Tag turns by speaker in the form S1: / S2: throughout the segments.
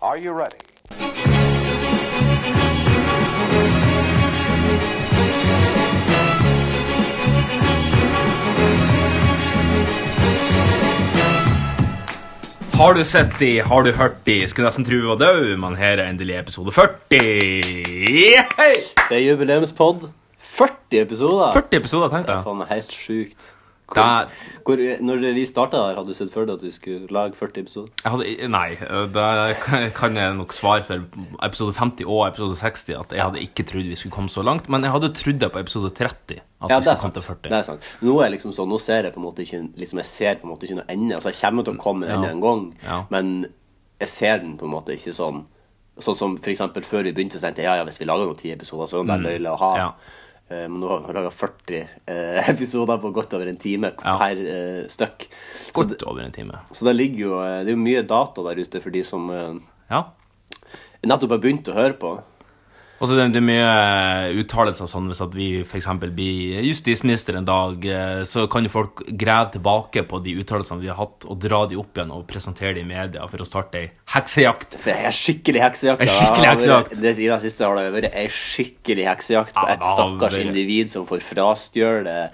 S1: Are you ready?
S2: Har du sett de, har du hørt de, skulle nesten tro vi var døde, men her er endelig episode 40! Hei!
S3: Det er jubileumspod. 40 episoder!
S2: 40 episoder, tenkte jeg.
S3: Faen, det er helt sjukt. Hvor,
S2: Det-
S3: hvor, når vi starta der, hadde du sett for deg at vi skulle lage 40 episoder?
S2: jeg hadde, nei, det kan jeg nok svare for episode 50 og episode 60 at jeg hadde ikke trodd vi skulle komme så langt, men jeg hadde trodd det på episode 30 at vi
S3: Ja, det er
S2: skulle
S3: sant.
S2: komme til 40.
S3: Det er sant. Nå er liksom sånn, nå ser jeg på en måte ikke liksom jeg ser på en måte ikke noe ende. Altså, jeg kommer til å komme
S2: Ja.
S3: enda en gang,
S2: Ja.
S3: men jeg ser den på en måte ikke sånn Sånn som for eksempel før vi begynte, så tenkte jeg ja, ja, hvis vi lager noen ti episoder, så er det løyelig å ha.
S2: Mm. Ja.
S3: Eh, Men nå har vi laga 40 eh, episoder på godt over en time
S2: Ja.
S3: per eh, stykk. Så,
S2: Godt
S3: det-
S2: over en time.
S3: så det ligger jo eh, Det er jo mye data der ute for de som eh,
S2: Ja.
S3: nettopp har begynt å høre på.
S2: Og så er det, det er mye uttalelser sånn hvis at vi for eksempel blir justisminister en dag, eh, så kan jo folk grave tilbake på de uttalelsene vi har hatt, og dra de opp igjen og presentere de i media for å starte ei heksejakt.
S3: For jeg er skikkelig heksejakt.
S2: En
S3: da.
S2: skikkelig
S3: Jeg har vært-
S2: heksejakt.
S3: Det, I det siste har det vært ei skikkelig heksejakt på
S2: Ja,
S3: et
S2: det har
S3: stakkars
S2: vært-
S3: individ som får frastjålet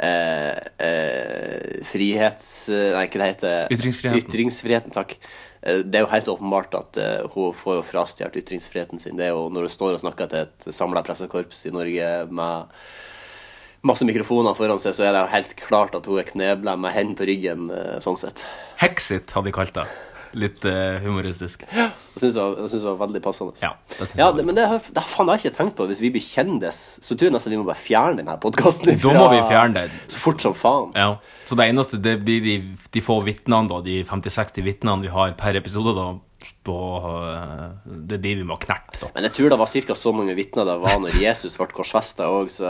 S3: eh, eh, frihets... Nei, hva det heter
S2: Ytringsfriheten.
S3: Ytringsfriheten, takk. Eh, Det er jo helt åpenbart at eh, hun får jo frastjålet ytringsfriheten sin. Det er jo når hun står og snakker til et samla pressekorps i Norge med masse mikrofoner foran seg, så er det jo helt klart at hun er knebla med hendene på ryggen, eh, sånn sett.
S2: Hexit hadde de kalt det. Litt eh, humoristisk.
S3: Jeg syns det, var- jeg synes det var veldig passende.
S2: Ja, det synes jeg
S3: ja
S2: var
S3: det, men det, har- det har faen, jeg har ikke tenkt på. Hvis vi blir kjendis, så tror jeg nesten vi må bare fjerne denne podkasten.
S2: Da må vi fjerne den.
S3: Så fort som faen.
S2: Ja, så det eneste det blir de, de få vitnene, da, de 50-60 vitnene vi har per episode, da, på, eh, det er de vi må ha knert, da.
S3: Men jeg tror det var ca. så mange vitner det var når Jesus ble korsfesta òg, så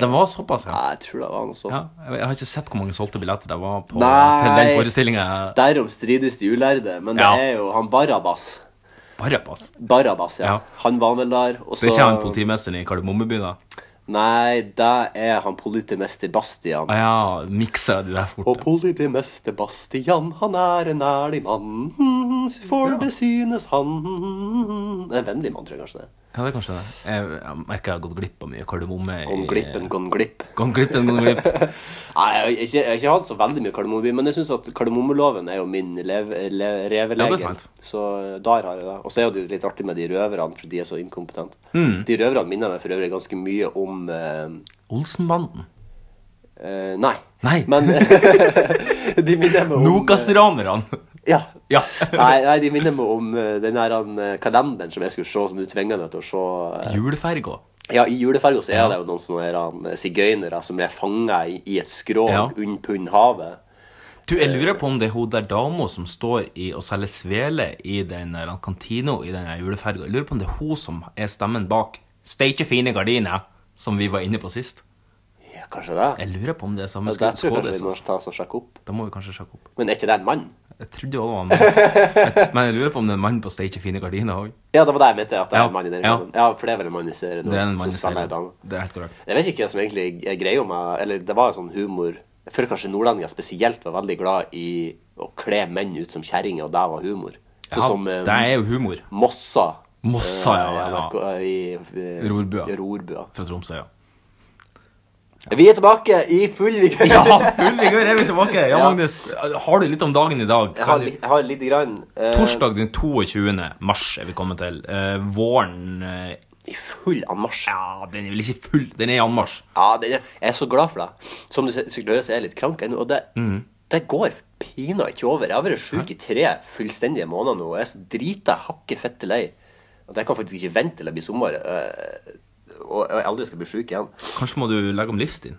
S2: Det var såpass, ja.
S3: Nei, jeg tror det var noe sånt.
S2: ja. Jeg har ikke sett hvor mange solgte billetter det var på,
S3: Nei.
S2: til den forestillinga.
S3: Derom strides de ulærde, men det
S2: Ja.
S3: er jo han Barabas.
S2: Barabbas.
S3: Barabas, ja.
S2: Ja.
S3: Han var vel der. Og så
S2: Det er ikke han politimesteren i Kardemommeby, da?
S3: Nei, det er han politimester Bastian.
S2: Ah, ja, mikser de der fort?
S3: Og politimester Bastian, han er en ærlig mann, for det synes han En vennlig mann, tror jeg kanskje det. er.
S2: Ja, det er kanskje det. Jeg, jeg merker jeg har gått glipp av mye kardemomme. i-
S3: Gone glippen, gone glipp.
S2: Gone glippen, gone glipp.
S3: Nei, jeg har ikke, jeg har ikke hatt så veldig mye kardemommeby, men jeg syns at kardemommeloven er jo min lev, le,
S2: Ja,
S3: revelege.
S2: det er sant.
S3: så eh, der har jeg det. Og så er det jo litt artig med de røverne, for de er så inkompetente.
S2: Mm.
S3: De røverne minner meg for øvrig ganske mye om eh,
S2: Olsenbanden.
S3: eh, Nei.
S2: Nei.
S3: Men de minner meg om
S2: Nokas-ranerne.
S3: Ja.
S2: Ja.
S3: nei, nei, de minner meg om eh, den her eh, kalenderen som jeg skulle se, som du tvinga meg til å se. eh.
S2: Juleferga.
S3: Ja, I juleferga så er det jo noen sånne her, eh, sigøynere som er fanga i, i et skrog
S2: Ja.
S3: under Pundhavet.
S2: Du, jeg lurer på om det er hun der dama som står i og selger svele i den der kantina i den der juleferga. Jeg lurer på om det er hun som er stemmen bak 'Steike fine gardiner', som vi var inne på sist.
S3: Ja, kanskje det.
S2: Jeg lurer på om det er samme
S3: Det der tror jeg
S2: skådespiller.
S3: kanskje vi må ta oss og sjekke opp.
S2: Da må vi kanskje sjekke opp.
S3: Men er ikke det en mann?
S2: Jeg trodde det var en mann. Men jeg lurer på om det er en mann på 'Steike fine gardiner' òg.
S3: Ja, det var det jeg mente. at det
S2: Ja.
S3: er en mann i den
S2: Ja.
S3: filmen. Ja, for det er vel en mann i serien nå
S2: Det er en
S3: som
S2: mann i
S3: spiller
S2: serien.
S3: en dame.
S2: Det er helt korrekt.
S3: Jeg vet ikke hva som egentlig er greia med Eller det var jo sånn humor Jeg føler kanskje nordlendinger spesielt var veldig glad i å kle menn ut som kjerringer, og det var humor. Sånn
S2: Ja,
S3: som eh,
S2: det er jo humor.
S3: Mossa.
S2: Mossa, ja,
S3: eh,
S2: ja, ja.
S3: NRK, eh, I, eh,
S2: Rorbua.
S3: Rorbua.
S2: Fra Tromsø, ja.
S3: Vi er tilbake i full vigør.
S2: Ja, full vigør er vi tilbake! Ja,
S3: Ja.
S2: Magnus, har du litt om dagen i dag?
S3: Jeg har, li- jeg har lite grann eh,
S2: Torsdag den 22. mars er vi kommet til. Eh, våren eh,
S3: I full anmarsj. Ja,
S2: Ja, den er vel ikke full. Den er i anmarsj.
S3: det, jeg er så glad for det. Som du ser- sikkert hører, så er jeg litt krank ennå, og det, det går pinadø ikke over. Jeg har vært sjuk i tre fullstendige måneder nå, og jeg er så drita hakke fette lei at jeg kan faktisk ikke vente til det blir sommer, eh, og jeg aldri skal bli sjuk igjen.
S2: Kanskje må du legge om livsstilen?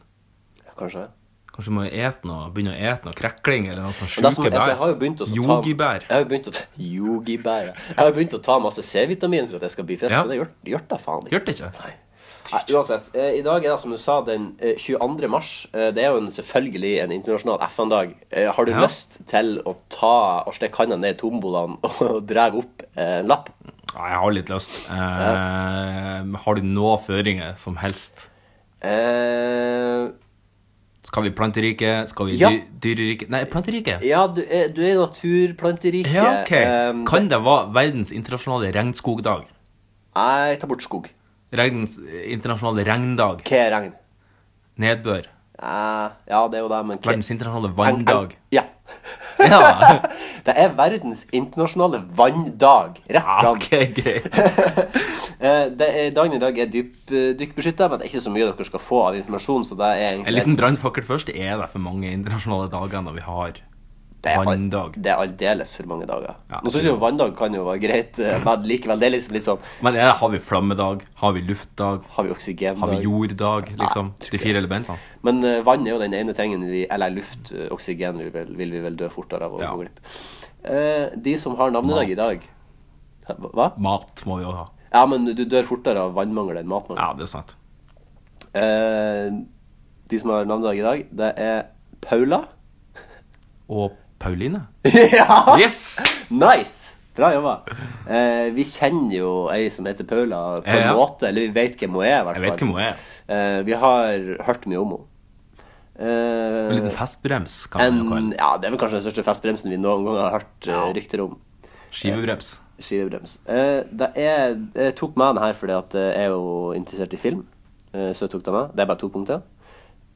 S3: Kanskje.
S2: Kanskje du må ete noe, begynne å ete noe krekling eller noe sånt
S3: Men det som,
S2: sjuke
S3: altså,
S2: bær?
S3: jeg har jo begynt å ta
S2: Yogibær.
S3: Jeg har jo begynt å ta Yogibær, ja. Jeg har jo begynt å ta masse C-vitamin for at jeg skal bli frisk,
S2: Ja.
S3: men det gjør- gjør da faen ikke.
S2: Gjør det ikke?
S3: Nei, uansett. Eh, I dag er det, som du sa, den eh, 22. mars. Eh, det er jo en, selvfølgelig en internasjonal FN-dag. Eh, har du
S2: Ja.
S3: lyst til å ta og stikke handa ned i tombolaen og dra opp eh, en lapp?
S2: Ja, jeg har litt lyst. Eh, har du noen føringer som helst?
S3: Eh,
S2: Skal vi planterike? Skal vi
S3: Ja.
S2: dy dyrerike? Nei, planterike.
S3: Ja, du er, du er naturplanteriket.
S2: Ja, ok.
S3: Ehm,
S2: Kan det være verdens internasjonale regnskogdag?
S3: Jeg tar bort skog.
S2: Regnens internasjonale regndag?
S3: Hva er regn?
S2: Nedbør?
S3: Eh, ja, det er jo det, men hva-
S2: Verdens internasjonale
S3: Eng- eng-
S2: vanndag?
S3: Ja.
S2: Ja.
S3: det er verdens internasjonale vanndag. Rett
S2: Ah,
S3: fram.
S2: Ok, greit.
S3: Eh, det er, dagen i dag er dypdykkbeskytta, men det er ikke så mye dere skal få av informasjon. Så det er
S2: En
S3: egentlig
S2: liten brannfakkel først. Er det for mange internasjonale dager når vi har
S3: det er al-
S2: vanndag?
S3: Det er aldeles for mange dager.
S2: Ja,
S3: Nå syns jeg jo vanndag kan jo være greit, eh, men likevel. Det er liksom litt sånn
S2: Men er det, har vi flammedag? Har vi luftdag?
S3: Har vi oksygendag?
S2: Har vi jorddag? Liksom?
S3: tror
S2: De fire elementene?
S3: Men eh, vann er jo den ene tingen vi Eller luft, eh, oksygen, vil, vel- vil vi vel dø fortere av å
S2: Ja.
S3: gå glipp. Eh, de som har navnedag i
S2: Mat.
S3: dag Hva?
S2: Mat må vi òg ha.
S3: Ja, men du dør fortere av vannmangel enn matmangel.
S2: Ja, det er sant.
S3: Eh, de som har navnedag i dag, det er Paula.
S2: Og Pauline?
S3: ja!
S2: Yes!
S3: Nice! Bra jobba. Eh, vi kjenner jo ei som heter Paula på en
S2: Ja, ja.
S3: måte, eller vi vet hvem hun er, i hvert
S2: Jeg
S3: fall.
S2: vet hvem hun er.
S3: Eh, vi har hørt mye om henne.
S2: En
S3: Eh,
S2: liten festbrems, kan man jo
S3: en,
S2: kalle det.
S3: ja, det er vel kanskje den største festbremsen vi noen gang har hørt eh, rykter om.
S2: Skivebrems.
S3: Skivebrems. Eh, det er, jeg tok med den her fordi at eh, jeg er jo interessert i film. eh, så jeg tok den med. Det er bare to punkter.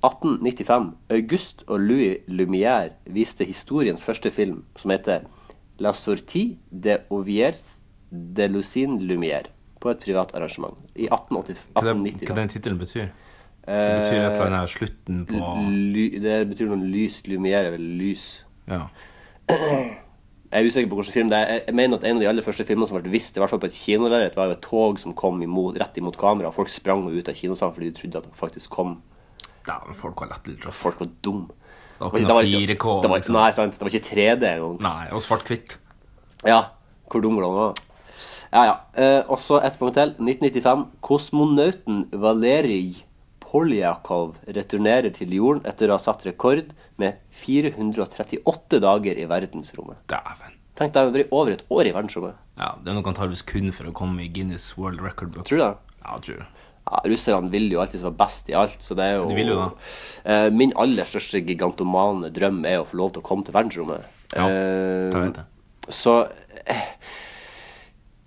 S3: 1895. August og Louis Lumière viste historiens første film, som heter La Sortie de Oviers de Lucine Lumière, på et privat arrangement i 1880,
S2: Hva det- hva
S3: 1890. eh, da. Eh,
S2: den tittelen betyr? Det betyr et eller annet slutten på
S3: Ly, det betyr noe lys. Lumière er vel lys.
S2: Ja.
S3: Jeg er usikker på hvilken film det er. Jeg- Jeg mener at en av de aller første filmene som ble vist, i hvert fall på et kinolerret, var jo et tog som kom imot, rett imot kamera, og folk sprang jo ut av kinosalen fordi de trodde at det faktisk kom.
S2: Dæven, folk var lett lurt.
S3: Folk var dumme.
S2: var ikke noe 4K,
S3: Det var,
S2: liksom.
S3: Nei, sant. Det var ikke 3D engang.
S2: Nei, og svart-hvitt.
S3: Ja, hvor dum var han var. Ja, ja. Eh, og så et punkt til. 1995. Kosmonauten Valerij Poljakov returnerer til jorden etter å ha satt rekord med 438 dager i verdensrommet.
S2: Dæven.
S3: Tenk deg, det har vært over et år i verdensrommet.
S2: Ja, det er noe antageligvis kun for å komme i Guinness World Record Book.
S3: Tror du det?
S2: Ja, jeg tror det.
S3: ja, Russerne vil jo alltid være best i alt, så det er jo
S2: De vil jo det.
S3: Eh, Min aller største gigantomane drøm er å få lov til å komme til verdensrommet.
S2: Ja,
S3: Eh,
S2: det vet jeg.
S3: så eh,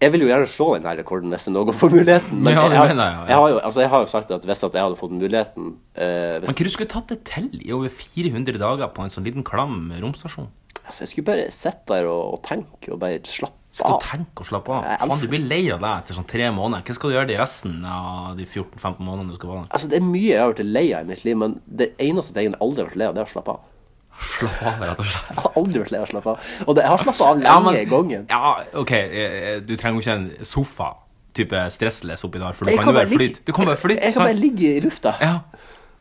S3: Jeg vil jo gjerne slå den her rekorden hvis jeg nå går for muligheten.
S2: Ja, det
S3: jeg, har-
S2: mener jeg, ja.
S3: jeg, har jo, altså, jeg har jo sagt at hvis at jeg hadde fått muligheten eh,
S2: Men
S3: hvis,
S2: hva du skulle tatt det til i over 400 dager på en sånn liten klam romstasjon?
S3: altså, Jeg skulle bare sitte der og, og tenke og bare slappe
S2: Sitte og
S3: av.
S2: tenke og slappe av.
S3: Ah. Jeg
S2: Faen,
S3: elsker-
S2: du blir lei av deg etter sånn tre måneder. Hva skal du gjøre de resten av de 14-15 månedene du skal være der?
S3: Altså, Det er mye jeg har vært lei av i mitt liv, men det eneste tingen jeg aldri har vært lei av, det er å slappe av.
S2: Slapp av, rett og slett.
S3: Jeg har aldri vært lei av å slappe av. Og det, jeg har slappet av lenge
S2: Ja, men-
S3: i gangen.
S2: Ja, OK, eh, eh, du trenger jo ikke en sofa-type stressless oppi der, for du
S3: Jeg
S2: kan
S3: kan
S2: jo
S3: bare
S2: bare
S3: ligge-
S2: flyte. Du kan bare flyte.
S3: Jeg kan bare
S2: sant?
S3: ligge i lufta.
S2: Ja,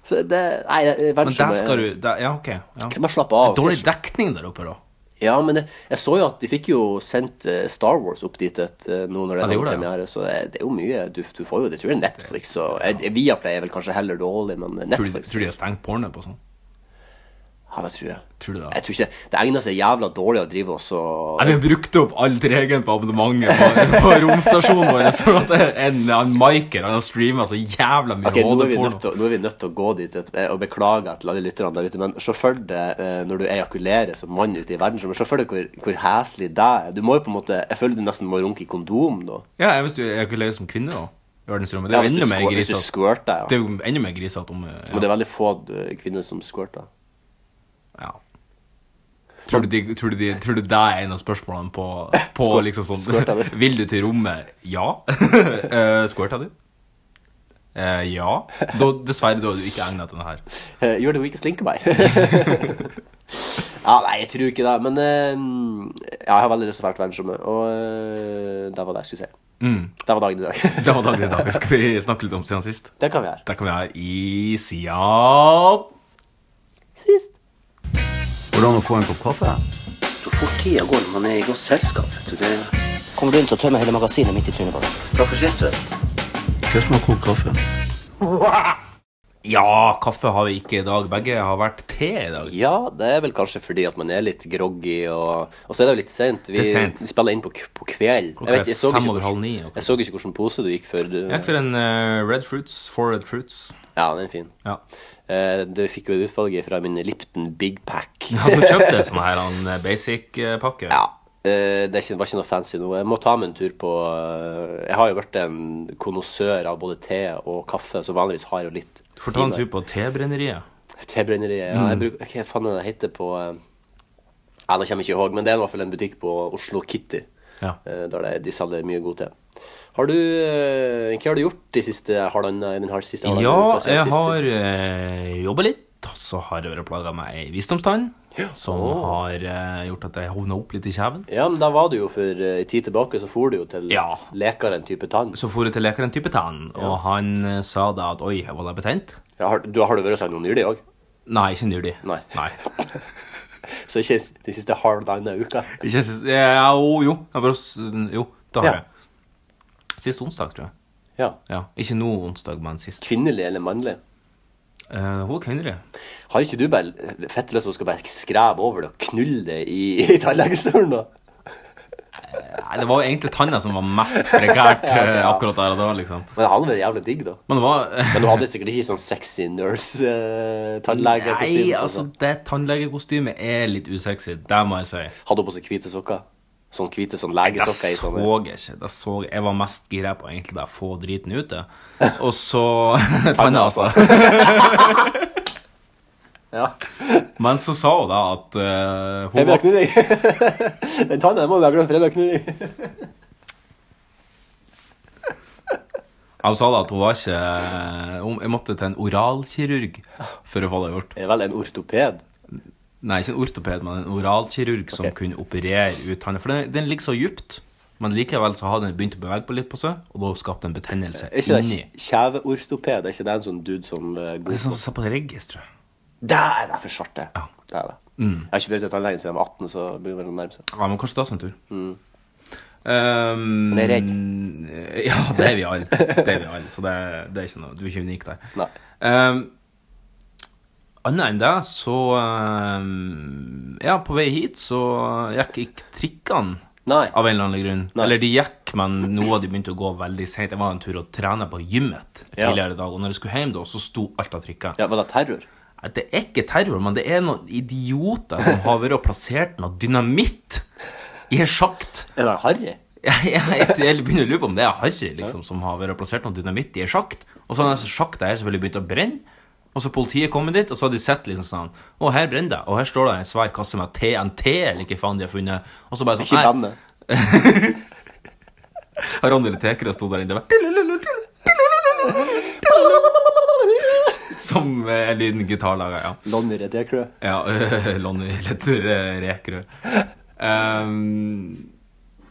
S3: Så det, nei, det-
S2: men der
S3: verdensrommet-
S2: skal du der, Ja, OK. Ja.
S3: Skal bare slappe av.
S2: Dårlig dekning der oppe, da.
S3: Ja, men jeg, jeg så jo at de fikk jo sendt eh, Star Wars opp dit et, eh, nå når det
S2: Ja,
S3: er
S2: det
S3: ja,
S2: gjorde det,
S3: premiere, så det, det er jo mye du, du får jo. Det tror jeg er Netflix og eh, Viaplay er vel kanskje heller dårlig, men
S2: Tror du,
S3: Netflix
S2: tror du de har stengt porno på sånn?
S3: Ja, det tror jeg.
S2: Tror du det?
S3: Jeg tror ikke Det egner seg jævla dårlig å drive oss og
S2: Nei, Vi har brukt opp all tregen på abonnementet på, på romstasjonen vår. Så at det er en, en Michael han har streama så jævla mye
S3: Ok, nå er, vi nødt
S2: HD-porno.
S3: til, å- nå er vi nødt til å gå dit et, eh, og beklage til alle lytterne der ute, men se for deg eh, når du ejakulerer som mann ute i verdensrommet, se for deg hvor, hvor heslig det er. Du må jo på en måte Jeg føler du nesten må runke i kondom nå.
S2: Ja, jeg, hvis du er ikke som kvinne, da. I verdensrommet. Det er jo
S3: hvis du
S2: enda mer
S3: skvør- hvis du
S2: grisete.
S3: squirter, ja.
S2: Det er jo enda mer grisete om eh,
S3: Men det er veldig få eh, kvinner som squirter.
S2: ja. Tror du, de, tror, du de, tror du det er en av spørsmålene på, på
S3: Squirt-
S2: liksom
S3: squirta
S2: sånn
S3: du?
S2: Vil du til rommet? Ja. uh, Squirta du? Eh, ja. Da, dessverre, da er du ikke egnet til denne her.
S3: Eh, Gjør det hun ikke slinker meg. ja, nei, jeg tror ikke det, men eh, ja, jeg har veldig lyst til å dra til verdensrommet, og eh, det var det jeg skulle si.
S2: Mm.
S3: Det var dagen i dag.
S2: Det var dagen i dag. Skal vi snakke litt om siden sist?
S3: det kan vi gjøre.
S2: Der kan vi være i sida
S3: Sist.
S1: Hvordan å få en kopp kaffe?
S4: Så fort tida går når man er i godt selskap. vet du, Det
S3: Kommer du inn, så tømmer jeg hele magasinet mitt i trynet på deg.
S4: Takk for sist, forresten.
S1: Hva som har kokt kaffe?
S2: Ja, kaffe har vi ikke i dag. Begge har vært te i dag.
S3: Ja, det er vel kanskje fordi at man er litt groggy, og, og så er det jo litt sent. Vi
S2: Det er sent.
S3: spiller inn på, k- på kveld.
S2: Klokka
S3: Jeg vet,
S2: er
S3: jeg så
S2: fem
S3: ikke
S2: over
S3: hvordan-
S2: halv ni, ok.
S3: Jeg så ikke hvilken pose du gikk for. Du,
S2: Jeg gikk for en eh, Red Fruits. Four Red Fruits.
S3: Ja, den er fin.
S2: Ja.
S3: Eh, du fikk jo utvalget fra min Lipton Big Pack.
S2: Ja, du kjøpte en sånn her han, basic-pakke?
S3: Ja. eh, Det er ikke, var ikke noe fancy nå. Jeg må ta meg en tur på eh, Jeg har jo vært en konnoissør av både te og kaffe, så vanligvis har jeg jo litt
S2: Du får ta en Mm. tur på tebrenneriet.
S3: Tebrenneriet. Ja, jeg bruker Hva faen er det det heter på eh, Ja, nå kommer jeg ikke i håp, men det er i hvert fall en butikk på Oslo Kitty.
S2: Ja.
S3: eh, Der det, de selger mye god te. Har du eh, Hva har du gjort de siste halvannen eh, den her siste halvannen
S2: Ja,
S3: uka siden
S2: jeg
S3: sist du-
S2: har eh, jobba litt. og Så har jeg vært plaga med ei visdomstann som har eh, gjort at jeg hovna opp litt i kjeven.
S3: Ja, men da var du jo for eh, en tid tilbake, så for du jo til
S2: Ja.
S3: lekeren type tann.
S2: Så for jeg til lekeren type tann, og han eh, sa da at oi, var det betent?
S3: Ja, har, du har du vært hos han nå nylig òg?
S2: Nei, ikke nylig.
S3: Nei.
S2: Nei.
S3: Så ikke s- de siste halvannen uka?
S2: Ikke sist ja, Jo, jo. Jeg bare, s- jo, det har
S3: Ja.
S2: jeg. Sist onsdag, tror jeg.
S3: Ja.
S2: Ja, Ikke nå onsdag, men sist.
S3: Kvinnelig eller mannlig?
S2: Eh, hun er kvinnelig.
S3: Har ikke du bare l- fett lyst til å skal bare skreve over det og knulle det i, i tannlegestolen, da?
S2: Nei, det var jo egentlig tanna som var mest prekært eh, akkurat der og da, liksom.
S3: Men han var jævlig digg, da.
S2: Men det var
S3: Men du hadde sikkert ikke sånn sexy eh, nurse-tannlegekostyme.
S2: Nei, altså, det tannlegekostymet er litt usexy. Det må jeg si.
S3: Hadde hun på seg hvite sokker? Sånn hvite sånn
S2: Det
S3: legesokker i
S2: så
S3: sånne
S2: jeg ikke. Det så jeg. jeg var mest gira på egentlig det å få driten ut. det. Og så Tanna, altså.
S3: Ja.
S2: Men så sa hun da at eh,
S3: Jeg
S2: hun
S3: vil ha
S2: var
S3: knulling! Den tanna den må vi ha glemt, for jeg vil ha knulling.
S2: Hun sa da at hun var ikke eh, hun- Jeg måtte til en oralkirurg for å få det gjort.
S3: Det er vel en ortoped?
S2: Nei, ikke en ortoped, men en oralkirurg som
S3: Ok.
S2: kunne operere ut tanna. For den, den ligger så djupt, men likevel så hadde den begynt å bevege på litt på seg, og da skapte den betennelse
S3: Er ikke
S2: inni.
S3: det kjeveortoped? Er ikke det en sånn dude som eh,
S2: Det
S3: går
S2: er sånn som ser på registeret.
S3: Der er det for svart, det.
S2: Ja.
S3: Det er det. Jeg har ikke vært til tannlegen siden jeg var 18, så begynner vel å nærme seg.
S2: Ja, men kanskje ta seg en tur. Um,
S3: Mm. Men jeg er redd.
S2: Ja, det er vi alle. Det er vi alle, så det, det er ikke noe, du er ikke unik der.
S3: Nei.
S2: Um, Annet enn det, så um, Ja, på vei hit så gikk ikke trikkene.
S3: Nei.
S2: Av en eller annen grunn.
S3: Nei.
S2: Eller de gikk, men noe av de begynte å gå veldig seint. Jeg var en tur og trene på gymmet
S3: Ja.
S2: tidligere i dag, og når jeg skulle hjem da, så sto alt av trikker.
S3: Ja, var det terror?
S2: Nei, Det er ikke terror, men det er noen idioter som har vært og plassert noe dynamitt i en sjakt.
S3: Er det harry?
S2: Jeg, jeg, jeg begynner å lure på om det er Harry liksom, som har vært og plassert noe dynamitt i en sjakt. Og så har den sjakta her selvfølgelig begynt å brenne. Og så politiet kommer dit, og så har de sett liksom sånn Å, her brenner det. Og her står det en svær kasse med TNT, eller hva faen de har funnet. Og så bare sånn
S3: Ikke
S2: «Nei,
S3: bandet.
S2: har andre tekere stod der inne bare, Som eh, en liten gitarlager, ja.
S3: Lonny Red Ekrø.
S2: Ja, Lonny litt eh, Rekerud. Ehm,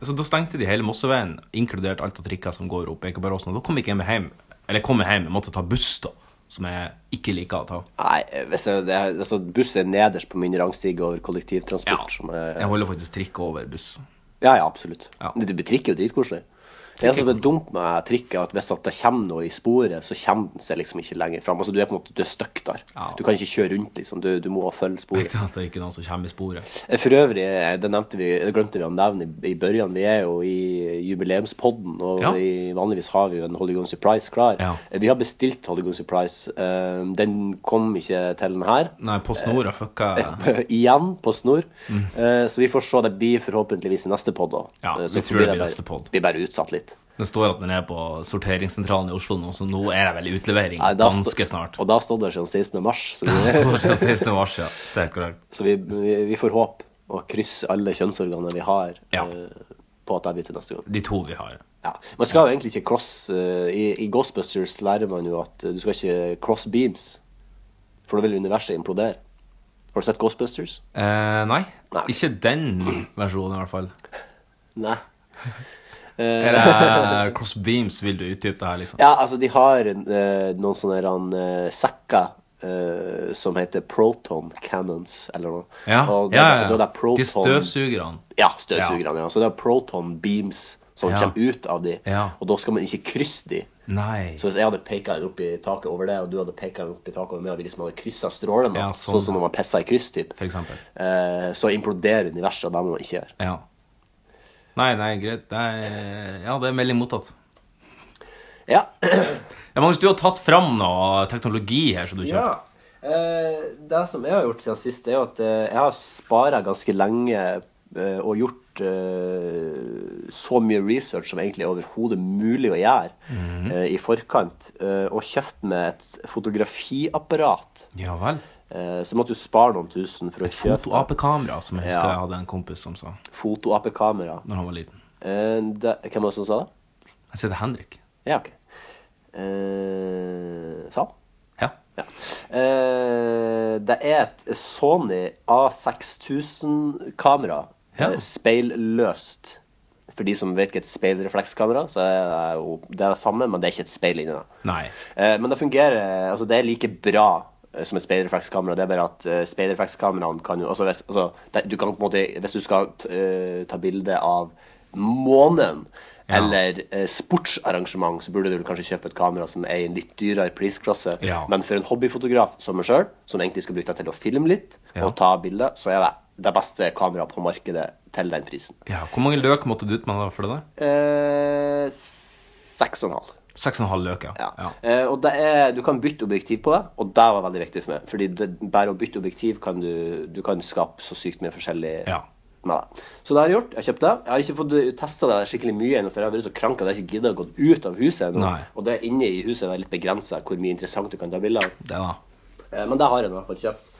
S2: så da stengte de hele Mosseveien, inkludert alt av trikker som går opp Ekebergåsen. Og da kom ikke jeg meg hjem. Eller jeg kom meg hjem, jeg måtte ta buss, da. Som jeg ikke liker å ta.
S3: Nei, hvis jeg, det er, altså, buss er nederst på min rangstige over
S2: Ja,
S3: kollektivtransport. Som er,
S2: jeg holder faktisk trikk over buss.
S3: ja, ja, absolutt.
S2: Ja.
S3: Det, det trikk er jo dritkoselig. Det som er altså dumt med trikk, er at hvis at det kommer noe i sporet, så kommer den seg liksom ikke lenger fram. Altså, du er på en måte du er stuck der.
S2: Ja.
S3: Du kan ikke kjøre rundt, liksom. Du, du må følge sporet.
S2: Viktig at det ikke er noen som kommer i sporet.
S3: For øvrig, eh, det, nevnte vi, det glemte vi å nevne i, i børjan. Vi er jo i jubileumspodden, og
S2: Ja.
S3: vi, vanligvis har vi jo en Hollygon Surprise klar. Eh,
S2: Ja.
S3: Vi har bestilt Hollygon Surprise. Eh, den kom ikke til den her.
S2: Nei, Post Nord har fucka
S3: Igjen på snor. Eh, så vi får se. Det blir forhåpentligvis i neste pod. da.
S2: Ja,
S3: Eh,
S2: vi
S3: så
S2: tror det blir
S3: bare-
S2: neste podd.
S3: blir bare utsatt litt.
S2: Det står at den er på sorteringssentralen i Oslo nå, så nå er det vel utlevering
S3: Nei, da sto-
S2: ganske snart.
S3: Og da står det siden 16. mars, så
S2: Det
S3: vi,
S2: står siden 16. mars, ja. Det er helt korrekt.
S3: så vi, vi, vi får håpe og krysse alle kjønnsorganene vi har,
S2: Ja.
S3: eh, på at det blir til neste gang.
S2: De to vi har.
S3: Ja. Man skal jo egentlig ikke cross eh, i, I Ghostbusters lærer man jo at eh, du skal ikke cross beams, for da vil universet implodere. Har du sett Ghostbusters?
S2: Eh, nei.
S3: Nei.
S2: Ikke den versjonen, i hvert fall.
S3: Nei. Eh,
S2: Er det cross Eh, beams vil du utdype det her, liksom?
S3: Ja, altså, de har eh, noen sånne ran, eh, sekker eh, som heter proton cannons, eller noe.
S2: Ja, ja,
S3: Og da,
S2: ja.
S3: Da, da er
S2: De
S3: proton,
S2: støvsugerne.
S3: ja, støvsugerne. Ja. Så det er proton beams som
S2: Ja.
S3: kommer ut av de.
S2: Ja.
S3: Og da skal man ikke krysse de.
S2: Nei.
S3: Så hvis jeg hadde peka den opp i taket over det, og du hadde peka den opp i taket over meg, og vi liksom hadde kryssa strålene,
S2: Ja, sånn.
S3: sånn. som når man pisser i kryss, typ,
S2: For eksempel.
S3: eh, så imploderer universet, og det må man ikke gjøre.
S2: Ja. Nei, nei, greit. Det er, ja, det er melding mottatt.
S3: Ja.
S2: Ja, Magnus, du har tatt fram noe teknologi her som du
S3: ja.
S2: kjøpte.
S3: Eh, det som jeg har gjort siden sist, er jo at eh, jeg har spara ganske lenge eh, og gjort eh, så mye research som egentlig er overhodet mulig å gjøre eh, i forkant, eh, og kjøpt meg et fotografiapparat.
S2: Ja, vel.
S3: Eh, så måtte du spare noen tusen for å kjøpe
S2: Foto-AP-kamera, som jeg husker
S3: Ja.
S2: jeg hadde en kompis som sa
S3: foto-AP-kamera.
S2: når han var liten.
S3: Eh, det- Hvem var det som sa det?
S2: Jeg sier det er Henrik.
S3: Ja, ok. Eh, sa han?
S2: Ja.
S3: Ja. Eh, det er et Sony A6000-kamera.
S2: Ja.
S3: eh, Speilløst. For de som vet hva et speilreflekskamera så er det jo det er det samme, men det er ikke et speil inni det.
S2: Nei.
S3: Eh, men det fungerer Altså, det er like bra eh, som et speilreflekskamera. Det er bare at eh, speilreflekskameraene kan jo altså, hvis, altså, det, du kan på en måte Hvis du skal t, eh, ta bilde av månen
S2: Ja.
S3: eller eh, sportsarrangement, så burde du vel kanskje kjøpe et kamera som er i en litt dyrere prisklasse.
S2: Ja.
S3: Men for en hobbyfotograf som meg sjøl, som egentlig skal bruke det til å filme litt
S2: Ja.
S3: og ta bilder, så er det det beste kameraet på markedet til den prisen.
S2: Ja, Hvor mange løk måtte du ut med da for det der?
S3: Eh, seks og en halv.
S2: Seks og en halv løk, ja.
S3: Ja. Eh, og det er, du kan bytte objektiv på det, og det var veldig viktig for meg. Fordi det, bare å bytte objektiv kan du, du kan skape så sykt mye forskjellig
S2: Ja.
S3: med det. Så det har jeg gjort. Jeg har kjøpt det. Jeg har ikke fått testa det skikkelig mye ennå, for jeg har vært så krank at jeg ikke gidder å gå ut av huset ennå.
S2: Nei.
S3: Og det er inne i huset det er litt begrensa hvor mye interessant du kan ta bilder av.
S2: Det da.
S3: Eh, men det har jeg nå i hvert fall kjøpt.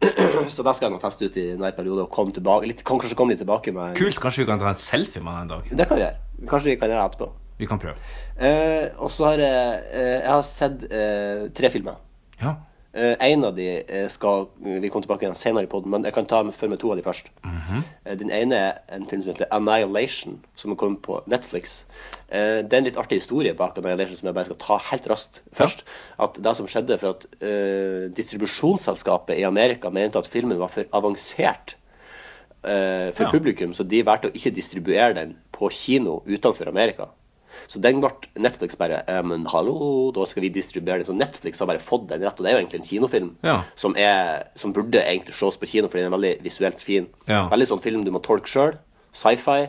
S3: så det skal jeg nå teste ut i en nær periode, og komme tilbake, litt, kan kanskje komme litt tilbake med
S2: Kult. Kanskje vi kan ta en selfie med den en dag?
S3: Det kan vi gjøre. Kanskje vi kan gjøre det etterpå.
S2: Vi kan prøve.
S3: Eh, og så har jeg eh, Jeg har sett eh, tre filmer.
S2: Ja.
S3: Eh, en av de eh, skal vi komme tilbake igjen senere i podden, men jeg kan ta med, for med to av de først. Eh, den ene er en film som heter Annihilation, som kom på Netflix. Eh, det er en litt artig historie bak Annihilation som jeg bare skal ta helt raskt først. At det som skjedde for at eh, distribusjonsselskapet i Amerika mente at filmen var for avansert eh, for
S2: Ja.
S3: publikum, så de valgte å ikke distribuere den på kino utenfor Amerika. Så den ble Netflix bare eh, Men hallo, da skal vi distribuere den. Så Netflix har bare fått den rett, og det er jo egentlig en kinofilm
S2: Ja.
S3: som, er, som burde egentlig ses på kino, fordi den er veldig visuelt fin.
S2: Ja.
S3: Veldig sånn film du må tolke sjøl. Sci-fi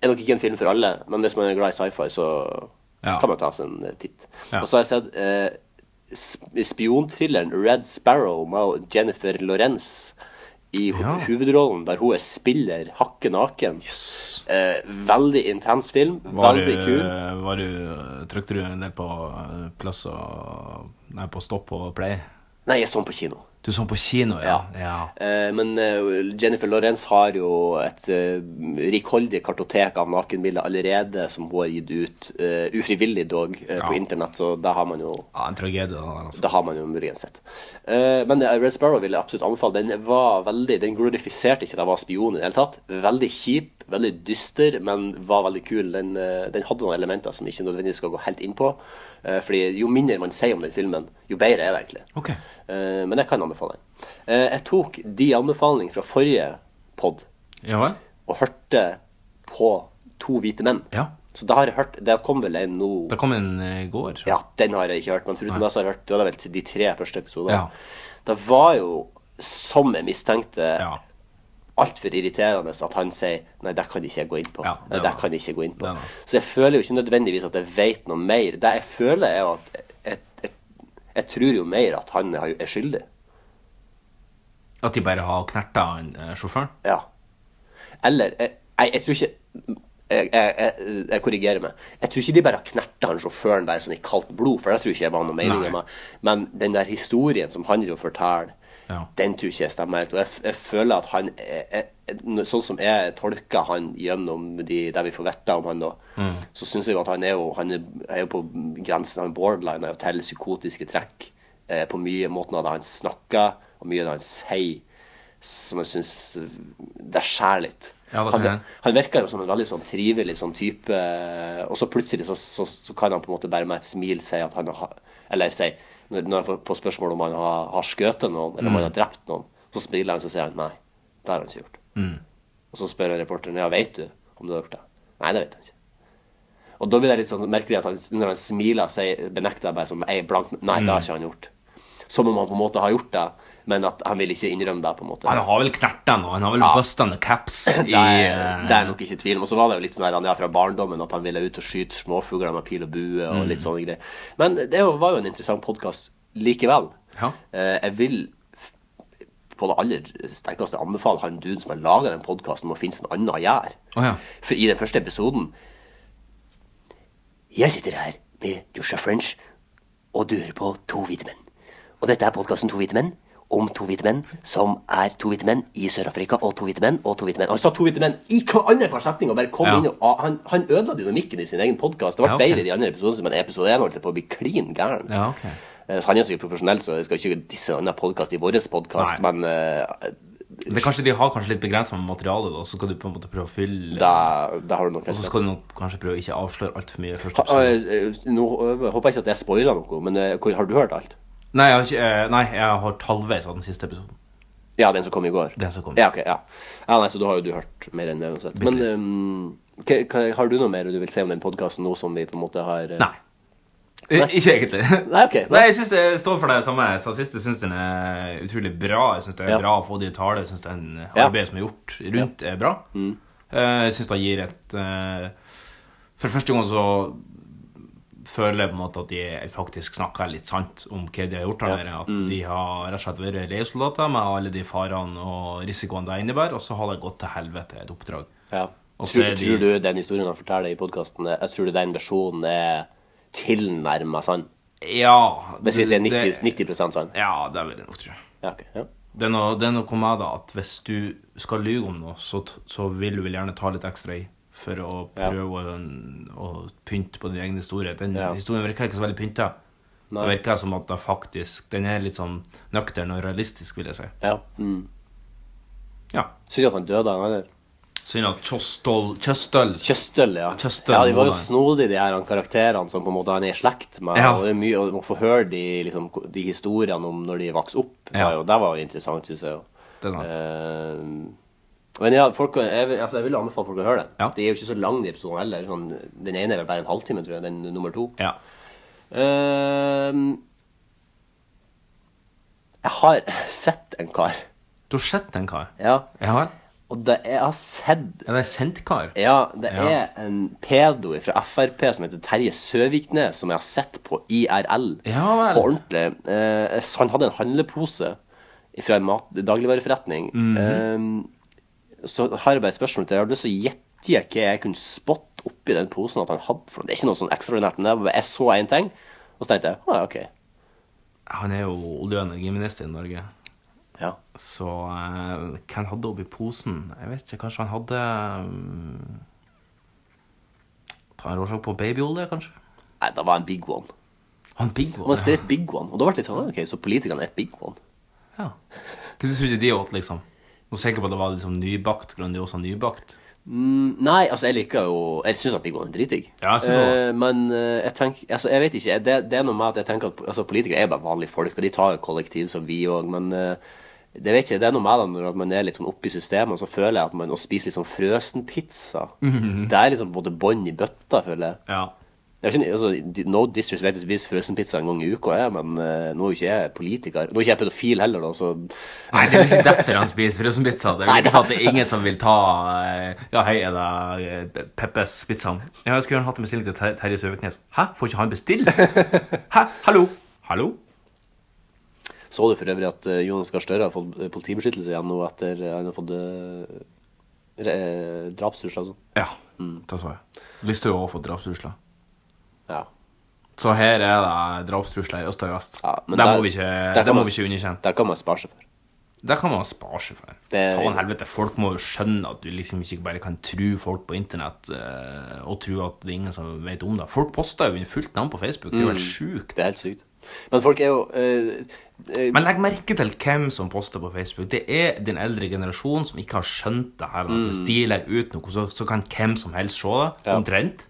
S3: er nok ikke en film for alle, men hvis man er glad i sci-fi, så
S2: Ja.
S3: kan man ta seg en eh, titt.
S2: Ja.
S3: Og så har jeg sett eh, sp- spionthrilleren Red Sparrow med Jennifer Lorentz i ho
S2: Ja.
S3: hovedrollen, der hun er spiller hakke naken. Eh, veldig intens film.
S2: Var
S3: veldig
S2: du,
S3: kul.
S2: var du Trykte du en del på eh, plass og Nei, på stopp og play?
S3: Nei, jeg så den på kino.
S2: Du så den på kino, ja? Ja.
S3: Eh, men eh, Jennifer Lawrence har jo et eh, rikholdig kartotek av nakenbilder allerede som hun har gitt ut, eh, ufrivillig dog, eh, på
S2: Ja.
S3: internett, så da har man jo
S2: ja en tragedie, det der, altså.
S3: Da har man jo muligens sett. Eh, men eh, Red Sparrow vil jeg absolutt anbefale. Den var veldig, den glorifiserte ikke at jeg var spion i det hele tatt. Veldig kjip, veldig dyster, men var veldig kul. Den, eh, den hadde noen elementer som ikke nødvendigvis skal gå helt inn på. Eh, fordi jo mindre man sier om den filmen, jo bedre er det egentlig.
S2: Ok.
S3: Eh, men jeg kan anbefale den. Eh, jeg tok de anbefalingene fra forrige pod
S2: Ja vel?
S3: og hørte på To hvite menn.
S2: Ja.
S3: Så det har jeg hørt. Det kom vel en nå
S2: Det kom en eh, i går.
S3: ja, den har jeg ikke hørt, men foruten det så har jeg hørt Du hadde vel til de tre første episodene.
S2: Ja.
S3: Det var jo, som jeg mistenkte,
S2: Ja.
S3: altfor irriterende at han sier Nei, det kan ikke jeg gå inn på.
S2: Ja, det
S3: Nei,
S2: var-
S3: det kan jeg ikke gå inn på.
S2: det var-
S3: Så jeg føler jo ikke nødvendigvis at jeg vet noe mer. Det jeg føler, er jo at jeg, jeg, jeg tror jo mer at han har- er skyldig.
S2: At de bare har knerta han eh, sjåføren?
S3: Ja. Eller eh, Nei, jeg tror ikke jeg, jeg, jeg, jeg korrigerer meg. Jeg tror ikke de bare knerta han sjåføren bare sånn i kaldt blod, for det tror ikke jeg var noe mening
S2: Nei.
S3: med. Men den der historien som han driver og forteller,
S2: Ja.
S3: den tror ikke jeg stemmer helt. Og jeg, f- jeg føler at han er- er- er- Sånn som jeg tolker han gjennom de, det vi får vite om han nå,
S2: Mm.
S3: så syns jeg jo at han er jo, han er, er jo på grensen av borderline er jo til psykotiske trekk eh, på mye måten av det han snakker, og mye av det han sier, som jeg syns Det skjærer litt.
S2: Ja, det kan
S3: han,
S2: jeg.
S3: han virker jo som en veldig sånn trivelig sånn type, og så plutselig så, så, så kan han på en måte bare med et smil si at han har Eller si når, når han får på spørsmål om han har, har skutt noen, eller om han har
S2: Mm.
S3: drept noen, så smiler han og sier han, nei. Det har han ikke gjort. Og så spør han reporteren ja, vet du om du har gjort det. Nei, det vet han ikke. Og da blir det litt sånn merkelig at han, når han smiler, sier, benekter jeg bare som ei blank Nei,
S2: Mm.
S3: det har ikke han gjort. Som om han på en måte har gjort det, men at han vil ikke innrømme det, på en måte.
S2: Han har vel knerten, og han har vel ja. bustende caps i
S3: Det er,
S2: eh,
S3: det er nok ikke tvil om. Og så var det jo litt sånn her, han er fra barndommen at han ville ut og skyte småfugler med pil og bue og
S2: Mm.
S3: litt sånne greier. Men det er jo- var jo en interessant podkast likevel.
S2: Ja.
S3: Eh, Jeg vil f- på det aller sterkeste anbefale han duden som har laga den podkasten, om å finne seg noe annet å gjøre.
S2: Å ja.
S3: For i den første episoden Jeg sitter her med Joshua French, og du hører på To hvite menn. Og dette er podkasten To hvite menn, om to hvite menn som er to hvite menn i Sør-Afrika, og to hvite menn, og to hvite menn. Og Han sa to hvite menn i hver andre hver setning, og bare kom
S2: Ja.
S3: inn og ah, han, han ødela dynamikken i sin egen podkast. Det ble
S2: Ja, ok.
S3: bedre i de andre episodene, men episode én holdt jeg på å bli klin gæren.
S2: Ja, ok.
S3: Eh, Så han er sikkert profesjonell, så jeg skal ikke disse en annen podkast i vår podkast,
S2: Nei.
S3: men eh,
S2: Men kanskje de har kanskje litt begrensa med materiale, da, så skal du på en måte prøve å fylle
S3: da, da har du nok
S2: Og så skal du nok kanskje prøve å ikke avsløre altfor mye. i første
S3: Ha-
S2: episode.
S3: eh, eh, Nå eh, håper jeg ikke at jeg spoiler noe, men eh, hvor, har du hørt alt?
S2: Nei, jeg har, ikke, eh, nei, jeg har halvveis av den siste episoden.
S3: Ja, den som kom i går?
S2: Den som kom.
S3: Ja, ok, ja. ja nei, så da har jo du hørt mer enn meg uansett. Men eh, hva- hva- har du noe mer du vil si om den podkasten nå som vi på en måte har eh,
S2: Nei. Eh, Ikke egentlig.
S3: Nei, ok, nei.
S2: Nei, jeg synes det står for det samme jeg sa sist. Jeg syns den er utrolig bra. Jeg syns det er
S3: Ja.
S2: bra å få det i tale. Jeg syns det er en
S3: Ja. Mm.
S2: arbeid som er gjort rundt, er bra. Eh, Jeg syns det gir et eh, For første gang så føler jeg på en måte at de faktisk snakker litt sant om hva de har gjort. her nede. At
S3: Mm.
S2: de har rett og slett vært leiesoldater med alle de farene og risikoene det innebærer, og så har det gått til helvete, et oppdrag.
S3: Ja.
S2: Og
S3: Tror,
S2: så er de-
S3: tror du den historien han forteller i podkasten, jeg tror du den versjonen er tilnærma sann?
S2: Ja
S3: Hvis vi sier
S2: det-
S3: 90, 90 sann?
S2: Ja, det vil jeg nok tro.
S3: Ja, ok, ja.
S2: Det er noe, det er noe med det at hvis du skal lyge om noe, så, t- så vil du vel gjerne ta litt ekstra i for å
S3: Ja.
S2: prøve å, å pynte på din egen historie. Den
S3: Ja.
S2: historien virker ikke så veldig pynta. Det
S3: Nei.
S2: virker som at det faktisk, den er litt sånn nøktern og realistisk, vil jeg si.
S3: ja. Mm.
S2: Ja.
S3: Synd at han døde, han der.
S2: Synd at Kjøstøl Kjøstøl
S3: Kjøstøl, ja.
S2: Kjøstøl,
S3: ja, de var jo
S2: Moland.
S3: snodige, de her han, karakterene som på en måte han er i slekt med.
S2: Ja.
S3: Og det er mye, og man får høre de, liksom, de historiene om når de vokste opp. Det
S2: Ja.
S3: var jo, det var jo interessant, synes jeg. jo.
S2: Det er sant.
S3: Eh, men ja, folk, jeg, vil- altså, jeg vil anbefale folk å høre den.
S2: Ja.
S3: De er jo ikke så lange, de episodene heller. Sånn, den ene er vel bare en halvtime, tror jeg. Den nummer to.
S2: Ja.
S3: Eh, jeg har sett en kar.
S2: Du har sett en kar?
S3: Ja.
S2: Jeg har.
S3: Og det, jeg har sett
S2: Er det en kjent kar?
S3: Ja, det
S2: Ja.
S3: er en pedo fra Frp som heter Terje Søviknes, som jeg har sett på IRL.
S2: Ja vel.
S3: På ordentlig. Eh, s- han hadde en handlepose fra en mat dagligvareforretning.
S2: Mhm.
S3: eh, så har jeg bare et spørsmål til deg. Har du lyst til å gjette hva jeg kunne spotte oppi den posen at han hadde? For noe? det er ikke noe sånn ekstraordinært, men det var bare- jeg så én ting, og så tenkte jeg ah, ok.
S2: Han er jo olje- og energiminister i Norge.
S3: Ja.
S2: Så eh, hvem hadde oppi posen? Jeg vet ikke, kanskje han hadde mm, Ta en råsjokk på babyolje, kanskje?
S3: Nei, det var en big one.
S2: Han Big
S3: Man
S2: One.
S3: ser et big one, og da ble det litt sånn ah, ok, så politikerne er et big one.
S2: Ja. Hva du trodde de åt, liksom? Nå tenker jeg på at det var liksom nybakt Grandiosa nybakt.
S3: Mm, nei, altså jeg liker jo Jeg syns at Big One er dritdigg.
S2: Ja, jeg synes også det.
S3: Eh, men eh, jeg tenker altså, Jeg vet ikke. Det, det er noe med at jeg tenker at altså, politikere er bare vanlige folk, og de tar jo kollektiv som vi òg, men eh, det vet ikke, det er noe med det når at man er litt sånn oppi systemet, og så føler jeg at man å spise litt sånn frøsen pizza
S2: Mhm.
S3: Det er liksom på en måte bånd i bøtta, føler jeg.
S2: Ja.
S3: jeg skjønner, altså, di- no disrespect, jeg spiser frøsen pizza en gang i uka, jeg, men eh, nå er jo ikke jeg politiker. Nå er ikke jeg pedofil heller, da, så
S2: Nei, det er vel ikke derfor han spiser frøssenpizza. Det er
S3: Nei,
S2: vel
S3: det-
S2: ikke for at det er ingen som vil ta eh, Ja, hei, er det eh, Pe- Peppes pizza? Ja, jeg skulle gjerne hatt en bestilling til Ter- Terje Søviknes. Hæ, får ikke han bestille? Hæ, hallo? Hallo?
S3: Så du for øvrig at eh, Jonas Gahr Støre har fått eh, politibeskyttelse igjen nå etter eh, han har fått eh, re- eh, drapstrusler og sånn?
S2: Ja, det så jeg. Listhaug har også fått drapstrusler.
S3: Ja.
S2: Så her er det drapstrusler i øst og i vest.
S3: ja
S2: det,
S3: men der-
S2: må vi ikke,
S3: der
S2: det
S3: kan
S2: må
S3: man-
S2: vi ikke underkjenne.
S3: Der kan man spare seg for.
S2: Det kan man spare seg for.
S3: Det-
S2: Faen helvete, Folk må jo skjønne at du liksom ikke bare kan tru folk på internett eh, og tro at det er ingen som vet om det. Folk poster jo under fullt navn på Facebook. Det er jo
S3: Mm.
S2: helt sjukt.
S3: Det er helt sykt. Men folk er jo eh, eh,
S2: Men legg merke til hvem som poster på Facebook. Det er den eldre generasjonen som ikke har skjønt det her. At hvis de legger ut noe, så, så kan hvem som helst se det.
S3: Mm. Ja.
S2: Omtrent.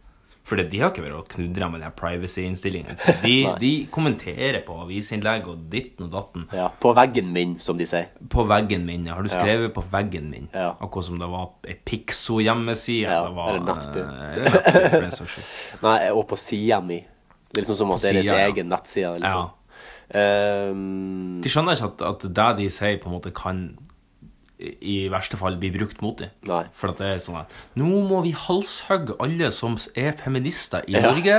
S2: For det- de har ikke vært og knudra med den her privacy-innstillingen. De, de kommenterer på avisinnlegg og ditten og datten.
S3: Ja, på veggen min, som de sier.
S2: På veggen min, ja. Har du skrevet på veggen min?
S3: Ja.
S2: Akkurat som det var ei Pixo-hjemmeside.
S3: Ja,
S2: det var,
S3: eller Nattby.
S2: eh, eller Nattby, for den saks skyld.
S3: Nei, og på sida mi. Det er liksom som at det er deres
S2: sida, ja.
S3: egen nettside. Liksom.
S2: Ja.
S3: Ehm,
S2: De skjønner ikke at, at det de sier, på en måte kan i i verste fall bli brukt mot dem.
S3: Nei.
S2: For at det er sånn at nå må vi halshugge alle som er feminister i
S3: Ja.
S2: Norge.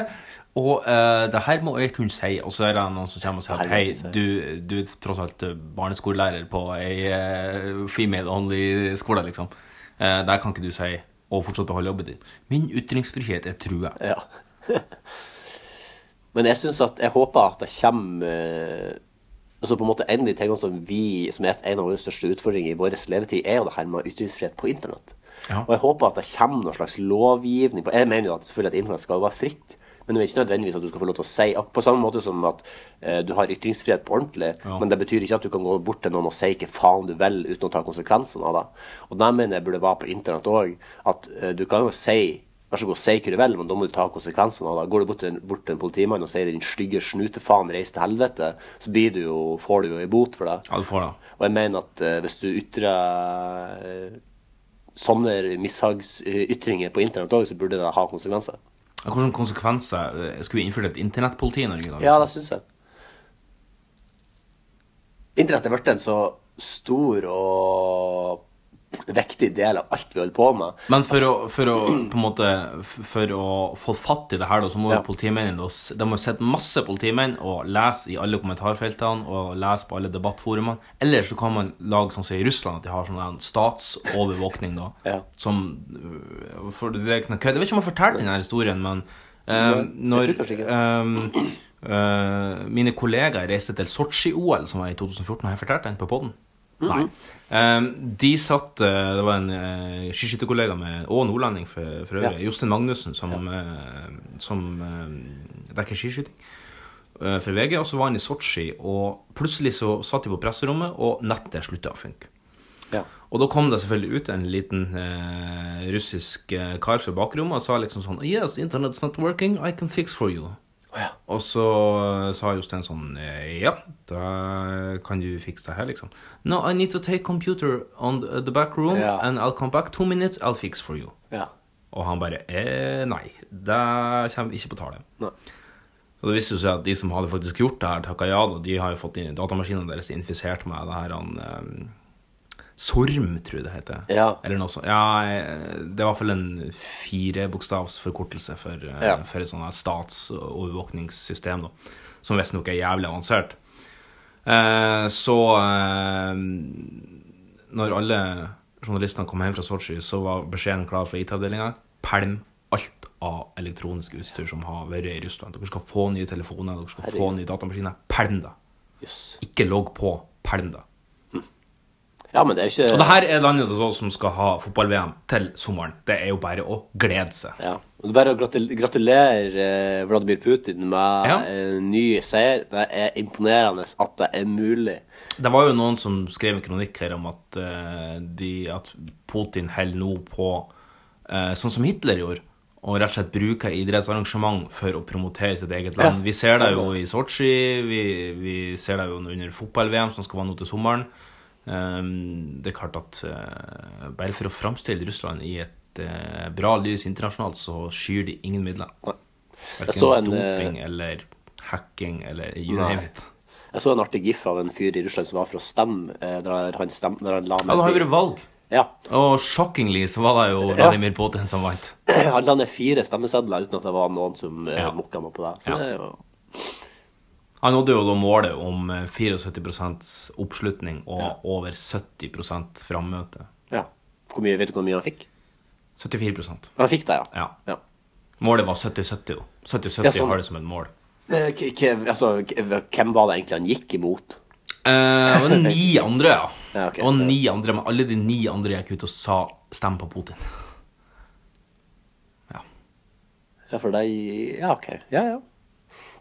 S2: Og eh, det her må jeg kunne si. Og så er det noen som kommer og sier
S3: Det
S2: at
S3: her må
S2: hei,
S3: jeg kunne
S2: du, du er tross alt barneskolelærer på ei eh, female only-skole, liksom. Eh, der kan ikke du si og fortsatt beholde jobben din. Min ytringsfrihet er trua.
S3: ja. Men jeg synes at Jeg håper at det kommer eh, Altså på en måte En av de tingene som vi Som er et- en av våre største utfordringer i vår levetid, er jo det her med ytringsfrihet på internett.
S2: Ja.
S3: Og jeg håper at det kommer noen slags lovgivning på Jeg mener jo at selvfølgelig at internett skal være fritt. Men det er ikke nødvendigvis at du skal få lov til å si ak- På samme måte som at eh, du har ytringsfrihet på ordentlig,
S2: Ja.
S3: men det betyr ikke at du kan gå bort til noen og si hva faen du vil uten å ta konsekvensene av det. Og det mener jeg burde være på internett òg. At eh, du kan jo si Vær så god, si hva du vil, men da må du ta konsekvensene av det. Går du bort til en, bort til en politimann og sier 'din stygge snutefaen, reis til helvete', så blir du jo, får du jo en bot for det.
S2: Ja, du får det.
S3: Og jeg mener at eh, hvis du ytrer eh, sånne mishagsytringer på internett òg, så burde det ha konsekvenser.
S2: Hvilke konsekvenser eh, skulle vi innført et internettpoliti i Norge i dag?
S3: Ja, det syns jeg. Internett er blitt en så stor og viktig del av alt vi holder på med.
S2: Men for å, for å på en måte f- For å få fatt i det her, da, så må
S3: Ja.
S2: jo politimennene da s- De må sitte masse politimenn og lese i alle kommentarfeltene og lese på alle debattforumene. Eller så kan man lage sånn som i Russland, at de har sånn en statsovervåkning, da.
S3: Ja.
S2: Som øh, For det er ikke noe kødd. Jeg vet ikke om jeg fortalte denne historien, men eh,
S3: Nei,
S2: når
S3: jeg tror kanskje ikke
S2: eh, eh, mine kollegaer reiste til Sotsji-OL, som var i 2014, har jeg fortalt den på poden?
S3: Mhm.
S2: Nei. Eh, de satt eh, Det var en uh, skiskytterkollega med- og nordlending for, for øvrig,
S3: Ja.
S2: Jostein Magnussen, som, eh, som eh, dekker skiskyting eh, for VG. Og så var han i Sotsji, og plutselig så satt de på presserommet, og nettet slutta å funke.
S3: Ja.
S2: Og da kom det selvfølgelig ut en liten eh, russisk eh, kar fra bakrommet og sa liksom sånn Yes, internet's not working, I can fix for you.
S3: ja.
S2: Og så eh, sa Jostein sånn eh, Ja, da kan du fikse det her, liksom. No, I need to take computer on the the back room,
S3: Ja.
S2: and I'll come back two minutes, I'll fix for you.
S3: ja.
S2: Og han bare eh, Nei, det kommer ikke på tale.
S3: Nei.
S2: Og det viste jo seg at de som hadde faktisk gjort det her, takka ja, da. De har jo fått inn datamaskinene deres infisert med det her han ehm, SORM, tror jeg det heter.
S3: Ja.
S2: Eller noe sånt. Ja, eh, det var i hvert fall en firebokstavsforkortelse for, eh,
S3: Ja.
S2: for et sånt her statsovervåkningssystem, da. Som visstnok er jævlig avansert. Eh, så eh, når alle journalistene kom hjem fra Sotsji, så var beskjeden klar fra IT-avdelinga. Pælm alt av elektronisk utstyr som har vært i Russland. Dere skal få nye telefoner, dere skal få
S3: Herregud.
S2: nye datamaskiner. Pælm det.
S3: Jøss.
S2: Ikke logg på. Pælm det.
S3: Ja, men det er jo ikke
S2: Og det her er landet hos oss som skal ha fotball-VM til sommeren. Det er jo bare å glede seg.
S3: Ja. Og det er bare å gratul- gratulere eh, Vladimir Putin med
S2: Ja.
S3: en ny seier. Det er imponerende at det er mulig.
S2: Det var jo noen som skrev en kronikk her om at, eh, de, at Putin holder nå på, eh, sånn som Hitler gjorde, og rett og slett bruker idrettsarrangement for å promotere sitt eget land.
S3: Ja,
S2: vi ser det
S3: stemmer.
S2: jo i Sotsji, vi, vi ser det jo under fotball-VM, som skal være nå til sommeren. Ehm, det er klart at eh, bare for å framstille Russland i et eh, bra lys internasjonalt, så skyr de ingen midler.
S3: Nei. Jeg
S2: Verken
S3: så en, eh,
S2: doping eller hacking eller you
S3: Nei.
S2: name it.
S3: Jeg så en artig gif av en fyr i Russland som var for å stemme. eh, Der han stemte, der han la ned
S2: Ja, det har jo
S3: bil.
S2: vært valg.
S3: Ja,
S2: Og shockingly så var det jo Vladimir Putin som vant.
S3: Han la ned fire stemmesedler uten at det var noen som eh,
S2: Ja.
S3: mokka noe på det. Så
S2: Ja.
S3: det er jo
S2: Han nådde jo da målet om eh, 74 oppslutning og over 70 frammøte.
S3: Ja. Hvor mye, vet du hvor mye han fikk?
S2: 74
S3: Han fikk det, ja.
S2: Ja. Målet var 70-70, da. 70-70
S3: Ja, sånn.
S2: har det som et mål.
S3: Eh, k- k- altså, k- hvem var det egentlig han gikk imot?
S2: Eh, og ni andre, ja.
S3: Ja, ok.
S2: Og ni andre, Men alle de ni andre gikk ut og sa 'stem på Putin'. Ja.
S3: Ja, for det Ja, OK. Ja, ja.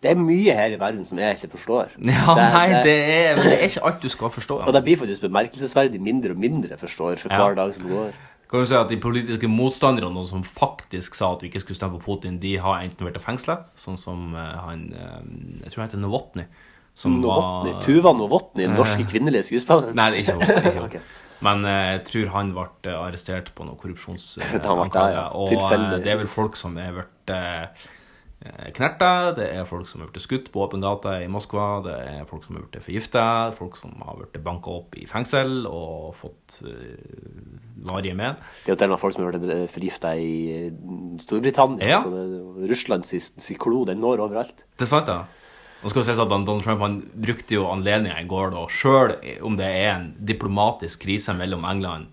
S3: Det er mye her i verden som jeg ikke forstår.
S2: ja
S3: Det-
S2: nei,
S3: det-
S2: det er, men det er ikke alt du skal forstå.
S3: Og det blir faktisk bemerkelsesverdig mindre og mindre, jeg forstår, for
S2: Ja.
S3: hver dag som går.
S2: Kan du si at De politiske motstanderne og som faktisk sa at du ikke skulle stemme på Putin, de har enten vært i fengsla, sånn som eh, han eh, Jeg tror han heter Novotny. Som
S3: Novotny, Tuva Novotny, den norske kvinnelige skuespilleren.
S2: Nei, det er ikke Novotny. Ikke.
S3: Ok.
S2: Men eh, jeg tror han ble eh, arrestert på noe korrupsjons... eh,
S3: Da han ble det, ja.
S2: anklager, Og eh,
S3: Tilfeldigvis.
S2: det er vel folk som er blitt eh, eh, knerta, det er folk som er blitt skutt på åpen gate i Moskva, det er folk som er blitt forgifta, folk som har blitt banka opp i fengsel og fått eh, varige men.
S3: Det er jo til og med folk som har vært forgifta i eh, Storbritannia.
S2: Ja.
S3: Så det, Russlands klo, den når overalt.
S2: Det er sant, ja. Nå skal det sies at han- Donald Trump han brukte jo anledningen i går, da, selv om det er en diplomatisk krise mellom England,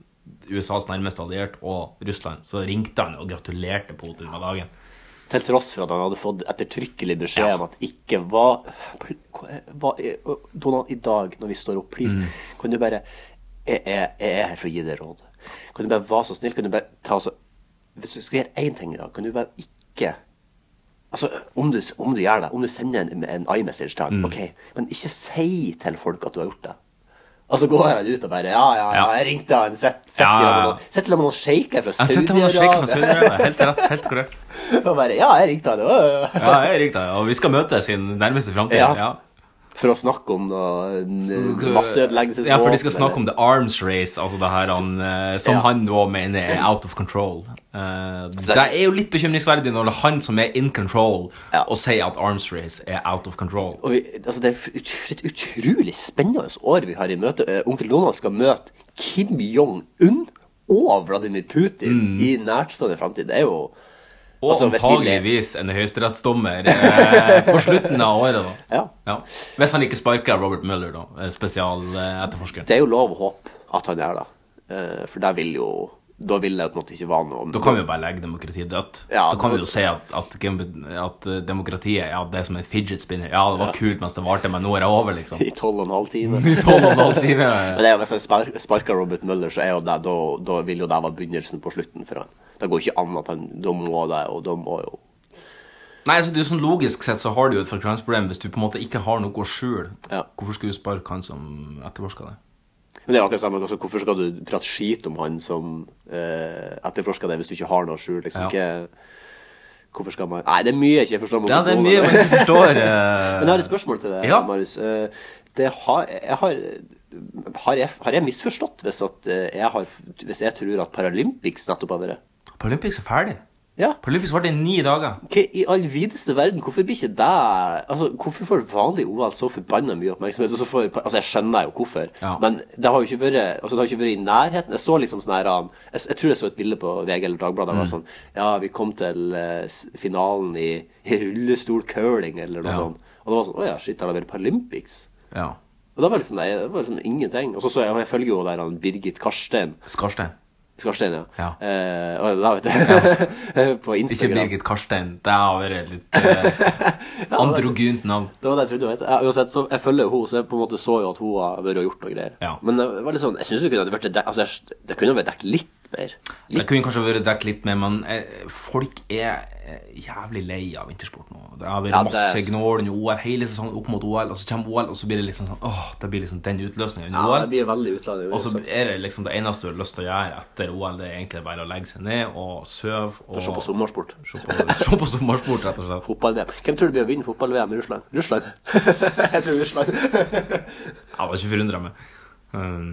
S2: USAs nærmeste alliert, og Russland, så ringte han og gratulerte Putin med dagen.
S3: Til tross for at han hadde fått ettertrykkelig beskjed
S2: Ja.
S3: om at ikke hva, hva er- Donald, i dag når vi står opp, please,
S2: Mm.
S3: kan du bare jeg, jeg, jeg er her for å gi deg råd. Kan du bare være så snill? Kan du bare ta altså, Hvis du skal gjøre én ting i dag, kan du bare ikke Altså, om du, om du gjør det, om du sender en, en iMessage til han,
S2: Mm.
S3: ok, men ikke si til folk at du har gjort det. Altså går han ut og bare Ja, ja, ja,
S2: Ja.
S3: jeg ringte han. Sett sett
S2: Ja,
S3: i lag
S2: ja,
S3: med
S2: ja.
S3: noen- sett i lag med noen sjeiker fra
S2: Jeg setter meg og sjekker fra Saudi-Arabia.
S3: Saudi-Arabia.
S2: Helt rett, helt korrekt.
S3: Og bare Ja, jeg ringte han. øh, øh,
S2: Ja, jeg ringte, og vi skal møtes i den nærmeste fremtid.
S3: Ja.
S2: Ja.
S3: For å snakke om noe n- masseødeleggelsesvåpen.
S2: Ja, for de skal snakke om the arms race, altså det her han, eh, som
S3: Ja.
S2: han nå mener er out of control. Eh,
S3: Så
S2: det
S3: det-
S2: er jo litt bekymringsverdig når det er han som er in control,
S3: Ja.
S2: og sier at arms race er out of control.
S3: og vi, altså Det er ut- et utrolig spennende år vi har i møte. Eh, Onkel Donald skal møte Kim Jong-un og Vladimir
S2: Mm.
S3: Putin i nærtstående fremtid. Det er jo
S2: Og
S3: Altså, hvis vi le-
S2: antageligvis en høyesterettsdommer eh, på slutten av året, da.
S3: Ja.
S2: Hvis han ikke sparker Robert Mueller, da. eh, Spesialetterforskeren.
S3: Det er jo lov å håpe at han gjør det. Eh, For der vil jo Da vil det på en måte ikke være noe
S2: Da kan vi jo bare legge demokratiet dødt.
S3: Ja,
S2: da kan vi
S3: da-
S2: jo si at, at, gem- at eh, demokratiet ja, det er som en fidget spinner. Ja, det var kult mens det varte, men nå er det over, liksom.
S3: I tolv og en halv time.
S2: I tolv og en halv time. eh.
S3: Men det er jo, hvis han spar sparker Robert Mueller, så er jo det, da, da vil jo det være begynnelsen på slutten for han. Det går ikke an at han Da må det, og da må jo
S2: Nei, altså, det er jo sånn Logisk sett så har du jo et forklaringsproblem hvis du på en måte ikke har noe å skjule.
S3: Ja.
S2: Hvorfor skulle du sparke han som etterforsker det?
S3: Men det er jo akkurat samme, altså, hvorfor skal du prate skit om han som eh, etterforsker det, hvis du ikke har noe å skjule?
S2: Ja.
S3: Liksom, ikke, hvorfor skal man Nei, det er mye jeg ikke forstår. med
S2: Ja, det er
S3: Donald.
S2: mye man ikke forstår. eh.
S3: Men jeg har et spørsmål til deg,
S2: Ja.
S3: Marius. Eh, Det har, jeg har, har, jeg, har jeg misforstått hvis, at eh, jeg har, hvis jeg tror at Paralympics nettopp har vært?
S2: Paralympics er ferdig.
S3: Ja.
S2: Paralympics varte i ni dager.
S3: Hva i all videste verden, hvorfor blir ikke det Altså, hvorfor får vanlig OL så forbanna mye oppmerksomhet? Og så får, altså, jeg skjønner jo hvorfor,
S2: Ja.
S3: men det har jo ikke vært Altså, det har ikke vært i nærheten. Jeg så liksom sånn her um, jeg, jeg tror jeg så et bilde på VG eller
S2: Mm.
S3: Dagbladet. Det var sånn Ja, vi kom til eh, s- finalen i, i rullestol-curling, eller noe
S2: Ja.
S3: sånt. Og det var sånn Å ja, shit, har det vært Paralympics?
S2: Ja.
S3: Og det var liksom, nei, det var liksom ingenting. Og så så jeg, og jeg følger jo der han Birgit Karstein
S2: Skarstein.
S3: Skarstein, ja.
S2: Ja.
S3: Eh, og da vet jeg. på
S2: Ikke
S3: Instagram.
S2: Birgit Karstein. Det har vært et litt eh, androgynt navn.
S3: Det var det jeg trodde. vet du. Ja, uansett, så jeg følger jo henne, så jeg på en måte så jo at hun har vært og gjort noe greier.
S2: Ja.
S3: Men det var litt sånn, jeg syns det kunne ha vært dekt, altså, jeg, det kunne ha vært dekt litt mer.
S2: Det
S3: Litt.
S2: kunne kanskje vært dekket litt mer, men eh, folk er eh, jævlig lei av vintersport nå. Det har vært
S3: Ja, det er-
S2: masse gnål under OL, hele sesongen opp mot OL, og så kommer OL, og så blir det liksom sånn Åh, det blir liksom den utløsningen under
S3: Ja, det
S2: OL.
S3: blir veldig utlandet.
S2: Og så er det liksom det eneste du har lyst til å gjøre etter OL, det er egentlig bare å legge seg ned og sove og
S3: Se på sommersport.
S2: Se på- se på sommersport, rett og slett.
S3: Fotball-VM. Hvem tror du blir å vinne fotball-VM i Russland? Russland? jeg tror Russland.
S2: Jeg var ikke forundra meg. Um,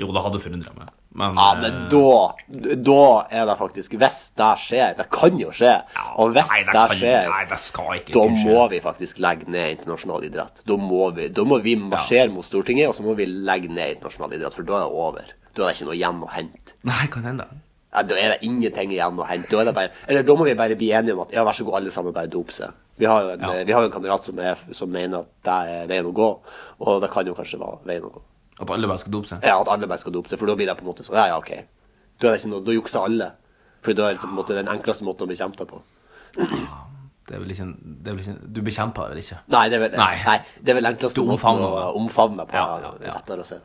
S2: jo, det hadde forundra meg, men
S3: ja, men
S2: eh,
S3: da Da er det faktisk Hvis det skjer Det kan jo skje.
S2: ja,
S3: Og hvis
S2: nei,
S3: det,
S2: kan-
S3: skjer
S2: Nei, det skal ikke
S3: Da
S2: ikke skje.
S3: må vi faktisk legge ned internasjonal idrett. Da må vi, da må vi marsjere mot Stortinget, og så må vi legge ned internasjonal idrett, for da er det over. Da er det ikke noe igjen å hente.
S2: Nei, kan hende.
S3: Ja, Da er det ingenting igjen å hente. Da, er det bare, eller, da må vi bare bli enige om at ja, vær så god, alle sammen, bare dop seg. Vi har jo en,
S2: Ja.
S3: vi har jo en kamerat som, er, som mener at det er veien å gå, og det kan jo kanskje være veien å gå.
S2: At alle bare skal dope seg.
S3: Ja, at alle bare skal dope seg, for da blir det på en måte sånn, ja, ja, ok. Da er det ikke noe, da jukser alle. For da er det liksom, på en måte den enkleste måten å bekjempe det på.
S2: Det er vel ikke, en- det er vel ikke en- Du bekjemper det vel ikke?
S3: Nei, det er vel, nei.
S2: Nei.
S3: det er vel enkleste
S2: Du
S3: måten å
S2: omfavner det.
S3: omfavne på.
S2: Ja, ja,
S3: det er
S2: ja.
S3: Lettere å se.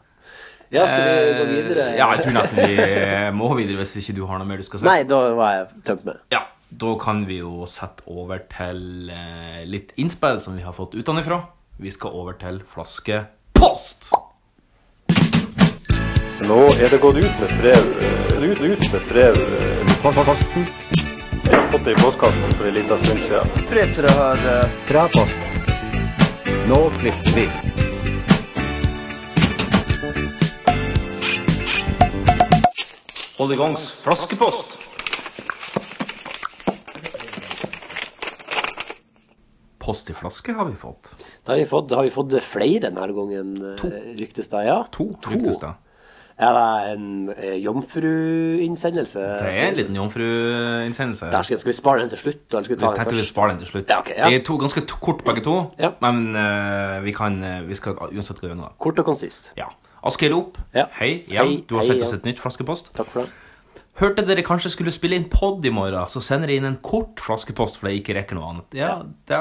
S3: Ja, skal vi gå videre?
S2: Eh, Ja, jeg tror nesten vi eh, må videre hvis ikke du har noe mer du skal si.
S3: Nei, da var jeg tømt med.
S2: Ja, da kan vi jo sette over til eh, litt innspill som vi har fått utenfra. Vi skal over til flaskepost!
S5: Nå er det gått ut med brev eh, ut, ut med brev eh,
S1: Posten.
S5: jeg har fått det i postkassen for en liten stund siden.
S1: Fra posten. Nå klipper vi.
S2: Hold i gangs flaskepost. Post i flaske har vi fått.
S3: Da har vi fått, har vi fått flere denne gangen, eh, ryktes det. Ja.
S2: To, ryktes det.
S3: Er det en eh, jomfruinnsendelse?
S2: Det er en liten jomfruinnsendelse.
S3: Der skal, skal vi spare den til slutt? Eller skal vi ta
S2: Jeg
S3: den
S2: tenkte vi
S3: først?
S2: sparer den til slutt.
S3: Ja, ok, ja.
S2: Det er to ganske t kort begge to,
S3: Ja.
S2: men eh, vi, kan, eh, vi skal uansett gå gjennom det.
S3: Kort og konsist.
S2: Ja. Asgeir Op,
S3: Ja.
S2: hei igjen.
S3: Hei,
S2: du har
S3: hei
S2: sendt oss
S3: igjen.
S2: et nytt flaskepost.
S3: Takk for det.
S2: Hørte dere kanskje skulle spille inn pod i morgen, så sender jeg inn en kort flaskepost fordi jeg ikke rekker noe annet. Ja, det,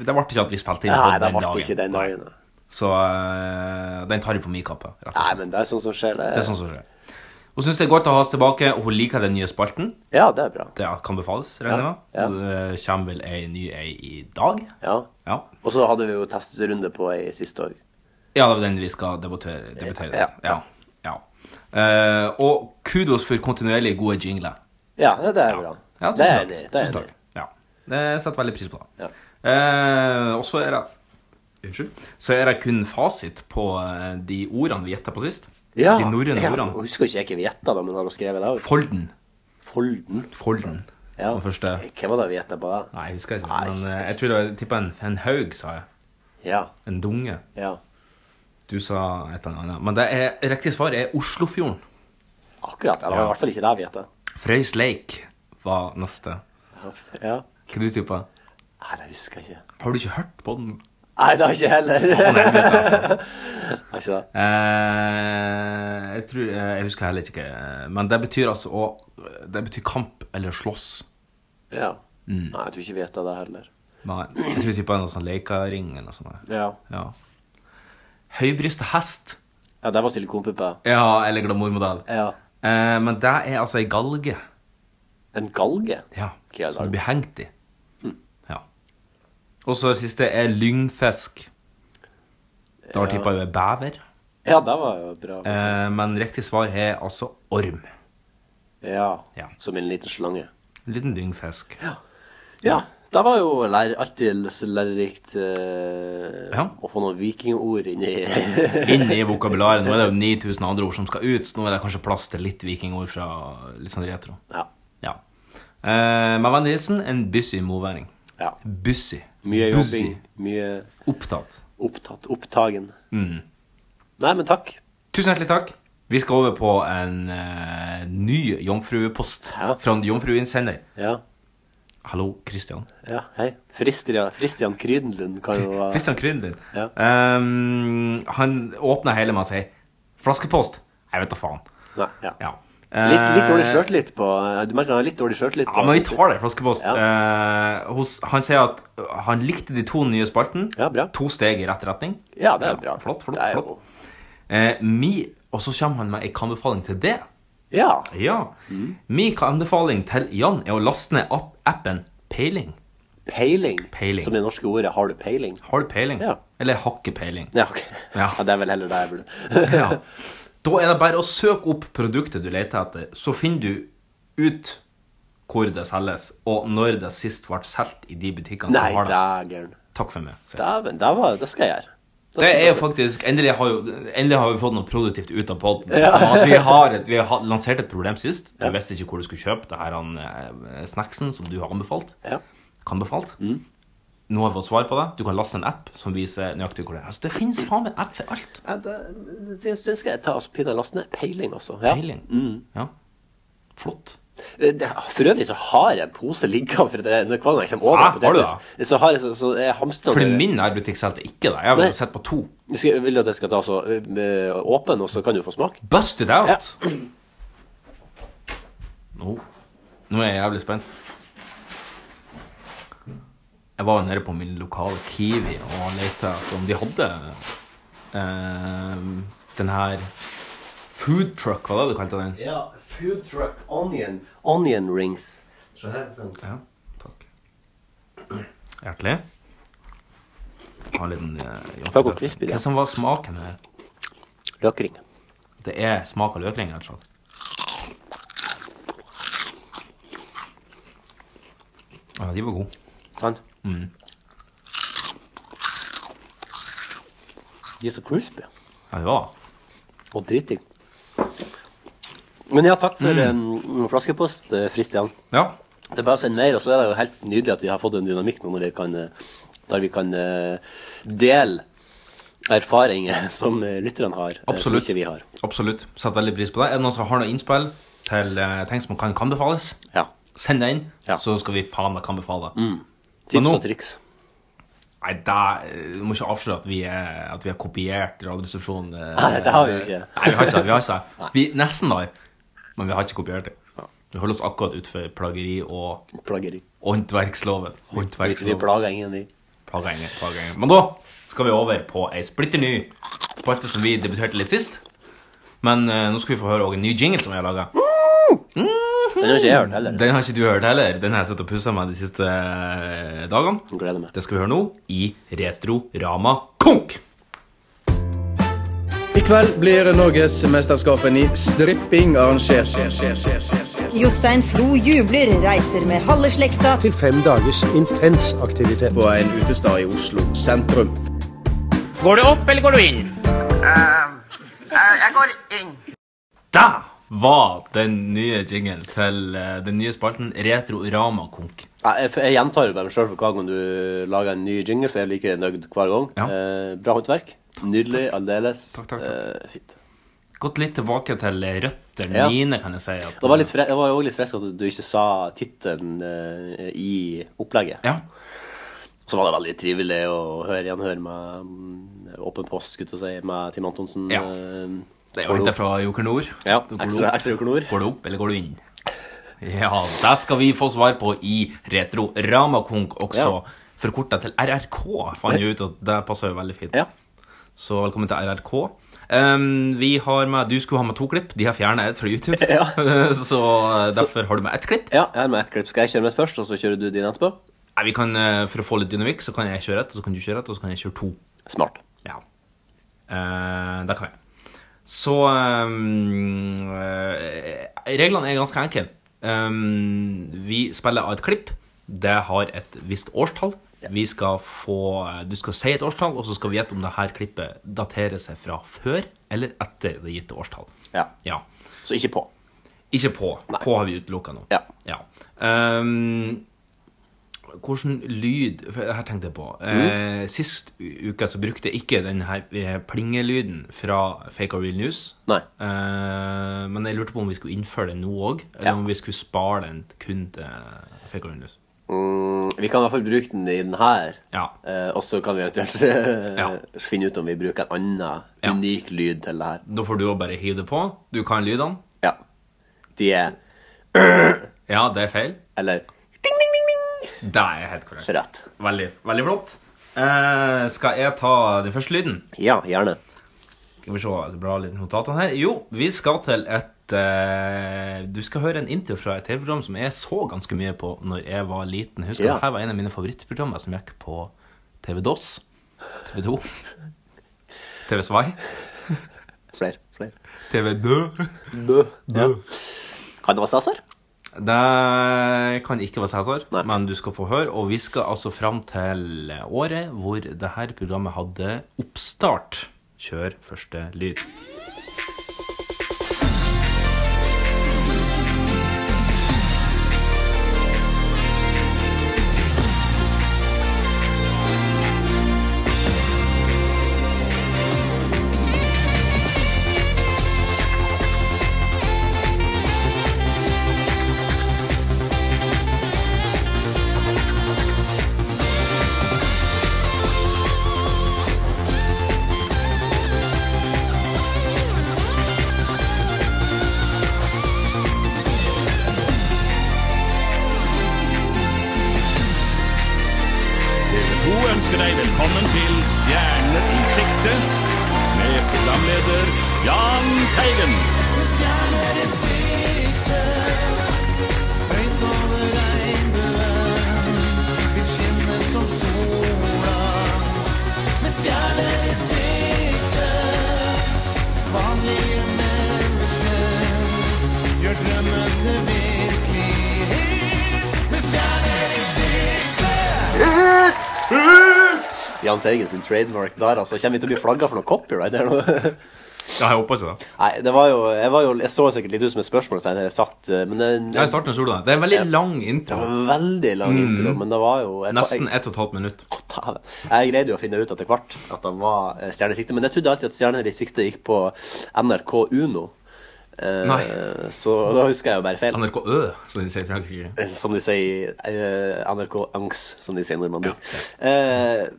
S2: det ble ikke at vi spilte inn
S3: Nei,
S2: pod
S3: det
S2: den
S3: ble
S2: dagen.
S3: ikke den dagen. da.
S2: Så eh, den tar jeg på min kappe. rett og slett.
S3: Nei, men det er sånn som skjer. Det,
S2: Det er sånn som skjer. Hun syns det er godt å ha oss tilbake, og hun liker den nye spalten.
S3: Ja, det er bra.
S2: Det kan befales, regner
S3: Ja,
S2: jeg med. Det kommer vel ei ny ei i dag.
S3: Ja.
S2: Ja.
S3: Og så hadde vi jo testrunde på ei siste òg.
S2: Ja, det er den vi skal debattere. debattere.
S3: Ja.
S2: ja. ja. Eh, og kudos for kontinuerlig gode jingler.
S3: Ja, det er bra.
S2: Ja,
S3: det er
S2: tusen takk.
S3: enig. Det er
S2: Tusen
S3: enig.
S2: takk. Ja. Det setter veldig pris på. det.
S3: Ja.
S2: Eh, og så er det Unnskyld. Så er det kun fasit på eh, de ordene vi gjetta på sist. De norrøne
S3: ja. og
S2: ordene.
S3: Husker ikke jeg ikke vi gjetta, da, men har hun skrevet det òg?
S2: Folden.
S3: Folden.
S2: Folden.
S3: Ja.
S2: Den første.
S3: Hva var det vi gjetta på da?
S2: Nei, jeg husker ikke.
S3: Nei, jeg
S2: men eh,
S3: husker
S2: jeg tror det var- jeg tippa en, en haug, sa jeg.
S3: Ja.
S2: En dunge.
S3: ja.
S2: Du sa et eller annet. Men det er, riktig svar er Oslofjorden.
S3: Akkurat. Ja, det var i hvert fall ikke det vi gjetta.
S2: Frøys leik var neste.
S3: Ja.
S2: Hva du tippa?
S3: Nei, det husker jeg ikke.
S2: Har du ikke hørt på den?
S3: Nei, det har jeg ikke heller. Har
S2: altså.
S3: ikke det.
S2: Eh, jeg, tror, eh, jeg husker heller ikke. eh, Men det betyr altså å Det betyr kamp eller slåss.
S3: Ja.
S2: Mm.
S3: Nei, jeg tror ikke vi gjetta det heller.
S2: Nei, jeg tror typen noe sånn leikaring eller noe sånt.
S3: Ja.
S2: Ja. Høybrysta hest.
S3: Ja, det var silikonpuppe.
S2: Ja, eller glamourmodell.
S3: Ja.
S2: Eh, men det er altså ei galge.
S3: En galge?
S2: Ja,
S3: Hva er Hm.
S2: som du
S3: galge?
S2: blir hengt i. Ja. Og så det siste er lyngfisk. Da har tippa jo ei bever.
S3: Ja, det var jo bra.
S2: Eh, men riktig svar er altså orm.
S3: Ja.
S2: Ja.
S3: Som en liten slange.
S2: En liten dyngfisk.
S3: Ja. Det var jo lær, alltid så lærerikt eh,
S2: Ja.
S3: å få noen vikingord inn i
S2: Inn i vokabularet. Nå er det jo 9000 andre ord som skal ut, så nå er det kanskje plass til litt vikingord fra litt sånn retro.
S3: Ja.
S2: Ja. Eh, men Wendy Nilsen, en bussy moværing.
S3: ja.
S2: Bussy.
S3: Mye
S2: Bussy.
S3: jobbing. Mye
S2: Opptatt.
S3: opptatt. Opptagen.
S2: Mm.
S3: Nei, men takk.
S2: Tusen hjertelig takk. Vi skal over på en eh, ny jomfruepost
S3: Ja.
S2: fra en jomfruinnsender.
S3: Ja.
S2: Hallo, Christian.
S3: ja hei. Fristian, Fristian Krydenlund kan jo være
S2: Christian Krydlund.
S3: Ja.
S2: Um, han åpner hele med å si 'flaskepost'. Jeg vet da faen.
S3: Nei, ja.
S2: Ja.
S3: Litt, litt dårlig
S2: Eh,
S3: sjøltillit på Du merker han har litt dårlig sjøltillit.
S2: Ja, men vi tar det, flaskepost.
S3: Ja.
S2: Eh, hos, han sier at han likte de to nye spaltene.
S3: Ja, bra.
S2: To steg i rett retning.
S3: Ja, det er bra.
S2: Flott, flott,
S3: Det er jo-
S2: flott. Eh, mi, og så kommer han med en anbefaling til det.
S3: Ja.
S2: Ja.
S3: Mm.
S2: Mi anbefaling til Jan er å laste ned app appen Peiling.
S3: Peiling.
S2: Peiling.
S3: Som det norske ordet 'har du peiling'?
S2: Har du peiling?
S3: Ja.
S2: Eller hakke peiling.
S3: Ja, ok.
S2: Ja.
S3: Ja. det er vel heller det jeg burde
S2: Ja. Da er det bare å søke opp produktet du leter etter, så finner du ut hvor det selges, og når det sist ble solgt i de butikkene
S3: Nei,
S2: som har det.
S3: dægeren.
S2: Takk for meg. sier jeg.
S3: Dæven, det, var- det skal jeg gjøre. Da
S2: Det
S3: skal
S2: er
S3: jeg
S2: jo faktisk Endelig har, jo, endelig har vi fått noe produktivt ut av poden. Sånn Vi, har et, vi har lansert et problem sist. Du visste ikke hvor du skulle kjøpe det her han, eh, snacksen som du har anbefalt.
S3: Ja.
S2: Kan befalt.
S3: Mm.
S2: Nå har vi fått svar på det. Du kan laste en app som viser nøyaktig hvor det er. Altså, det finnes faen meg en app for alt.
S3: Ja, det, det det skal jeg ta altså, pinadø laste ned. Peiling også. Ja. Mm.
S2: Peiling. Ja. Flott.
S3: Eh, Det, for øvrig så har jeg en pose liggende for at jeg, når hver gang jeg kommer over
S2: Hæ?
S3: på
S2: Ah, Har du
S3: Tetris, Så har jeg så, så jeg hamstrer
S2: Fordi min nærbutikk selger ikke det. Jeg har
S3: Nei.
S2: vel sett på to.
S3: Skal- Vil du at jeg skal ta så eh, med åpen, og så kan du få smak?
S2: Bust it out! Nå Nå er jeg jævlig spent. Jeg var jo nede på min lokale Kiwi og lette etter om de hadde eh, den her food truck, hva var det du kalte den?
S3: Ja. Food truck onion. Onion rings. Se her, Frank.
S2: Ja, takk. Hjertelig. Ha en liten eh,
S3: Det var godt crispy, det.
S2: Hva som var smaken her?
S3: Løkring.
S2: Det er smak av løkring, rett og slett. Ja, de var gode.
S3: Sant?
S2: Mm.
S3: De er så crispy
S2: Ja, de var det.
S3: og driting. Men ja, takk for
S2: Mm.
S3: em, flaskepost, eh, Christian.
S2: Ja.
S3: Det er bare å sende mer, og så er det jo helt nydelig at vi har fått en dynamikk nå når vi kan, eh, der vi kan eh, dele erfaringer som eh, lytterne har, eh,
S2: Absolutt.
S3: som ikke vi har.
S2: Absolutt. Setter veldig pris på det. Er det noen som har noe innspill til eh, ting som kan, kan befales,
S3: Ja.
S2: send det inn,
S3: Ja. Mm.
S2: så skal vi faen meg kan befale.
S3: Tips
S2: nå-
S3: og triks.
S2: Nei, da eh, du må ikke avsløre at vi, er, at vi har kopiert Radioresepsjonen. eh,
S3: Nei, det har vi jo ikke.
S2: Nei, vi har ikke det. Vi har ikke det. Vi nesten har, men vi har ikke kopiert det. Vi holder oss akkurat utenfor plageri og
S3: Plageri.
S2: håndverksloven.
S3: Vi, vi
S2: Håndverksloven.
S3: plager ingen, vi.
S2: Plagegjenge, plagegjenge. Men da skal vi over på ei splitter ny spalte som vi debuterte litt sist. Men eh, nå skal vi få høre også en ny jingle som vi har laga.
S3: Den har ikke jeg hørt heller.
S2: Den har ikke du hørt heller. Den har jeg sittet og pussa meg de siste eh, dagene.
S3: Jeg gleder meg.
S2: Det skal vi høre nå i Retrorama Konk.
S1: I kveld blir Norgesmesterskapen i stripping arrangert.
S6: Jostein Flo jubler, reiser med halve slekta
S7: til fem dagers intens aktivitet.
S1: På en utestad i Oslo sentrum.
S2: Da var den nye jinglen til eh, den nye spalten Retrorama Konk.
S3: Ja, Jeg, jeg gjentar jo bare meg sjøl for hver gang du lager en ny jingle, for jeg er like nøyd hver gang.
S2: Ja.
S3: Eh, bra håndverk. Nydelig aldeles.
S2: Takk, takk, takk.
S3: Eh, fint.
S2: Gått litt tilbake til eh, røttene
S3: Ja.
S2: mine, kan jeg si. At,
S3: Det var litt fre- det var jo også litt frisk at du ikke sa tittelen eh, i opplegget.
S2: Ja.
S3: Så var det veldig trivelig å høre igjen høre med mm, Åpen post, skulle jeg til å si, med Tim Antonsen.
S2: Ja.
S3: eh,
S2: Det er
S3: går
S2: jo
S3: det
S2: henta fra Joker Nord.
S3: opp? Ja,
S2: Det går
S3: ekstra,
S2: opp.
S3: ekstra uker nord.
S2: Går du opp, eller går du inn? Ja, det skal vi få svar på i Retro Ramakonk også.
S3: Ja.
S2: Forkorta til RRK, fant jeg ut, og det passer jo veldig fint.
S3: Ja.
S2: Så velkommen til RRK. Ehm, vi har med, Du skulle ha med to klipp. De har fjerna ett fra YouTube.
S3: Ja.
S2: så eh, derfor har du med ett klipp.
S3: ja, jeg har med ett klipp. Skal jeg kjøre mitt først, og så kjører du din etterpå?
S2: Nei, vi kan, eh, For å få litt dynamikk, så kan jeg kjøre ett, og så kan du kjøre ett, og så kan jeg kjøre to.
S3: Smart.
S2: Ja. Eh, det kan vi. Så ehm, eh, Reglene er ganske enkle. Ehm, vi spiller av et klipp. Det har et visst årstall. Vi skal få, du skal si et årstall, og så skal vi gjette om dette klippet daterer seg fra før eller etter det gitte årstall.
S3: Ja.
S2: Ja.
S3: Så ikke på.
S2: Ikke på. På har vi utelukka nå.
S3: Ja.
S2: Ehm, hvordan lyd for det Her tenkte jeg på.
S3: Mm.
S2: Eh, sist u- uke så brukte jeg ikke den her eh, plingelyden fra Fake or Real News.
S3: Nei.
S2: Eh, men jeg lurte på om vi skulle innføre den nå òg, eller
S3: Ja.
S2: om vi skulle spare den kun til eh, Fake or Real News.
S3: Mm, vi kan i hvert fall bruke den i den her.
S2: Ja.
S3: Eh, og så kan vi eventuelt eh,
S2: Ja.
S3: finne ut om vi bruker en annen
S2: Ja.
S3: unik lyd til det her.
S2: Da får du òg bare hive det på. Du kan lydene.
S3: Ja. De er
S2: Ja, det er feil.
S3: Eller
S2: Det er helt korrekt.
S3: rett.
S2: Veldig, veldig flott. Eh, skal jeg ta den første lyden?
S3: Ja, gjerne.
S2: Skal vi se, bra litt notatene her. Jo, vi skal til et eh, Du skal høre en intro fra et TV-program som jeg så ganske mye på når jeg var liten. Husker
S3: Ja.
S2: du, Her var en av mine favorittprogrammer som gikk på TV DOS, TV 2, TV Svai,
S3: Flere. Flere.
S2: TV Dø.
S3: Bø. Ja. Kan det være Cæsar?
S2: Det kan ikke være Cæsar,
S3: Nei.
S2: men du skal få høre. Og vi skal altså fram til året hvor det her programmet hadde oppstart. Kjør første lyd.
S8: TV 2 ønsker deg velkommen til Stjerner i sikte med programleder Jan Teigen.
S9: Stjerner i sikte, vanlige menn
S3: Jahn Teigen sin trademark der, altså. Kommer vi til å bli flagga for noe copyright eller noe?
S2: Ja, jeg håper ikke det.
S3: Nei, det var jo Jeg, var jo, jeg så sikkert litt ut som et spørsmålstegn her jeg satt, eh, men det-
S2: Jeg starter med sola. Det er en veldig lang
S3: Det
S2: intro.
S3: var en veldig lang intro, men det var jo jeg,
S2: Nesten ett og et halvt minutt.
S3: Å, dæven. Jeg greide jo å finne ut etter hvert at han var eh, stjerner i sikte, men jeg trodde alltid at stjerner i sikte gikk på NRK Uno. Eh,
S2: Nei.
S3: Så da husker jeg jo bare feil.
S2: NRK Ø, som de sier i Frankrike.
S3: Eh, Som de sier eh, NRK Angs, som de sier i Normandie. Eh,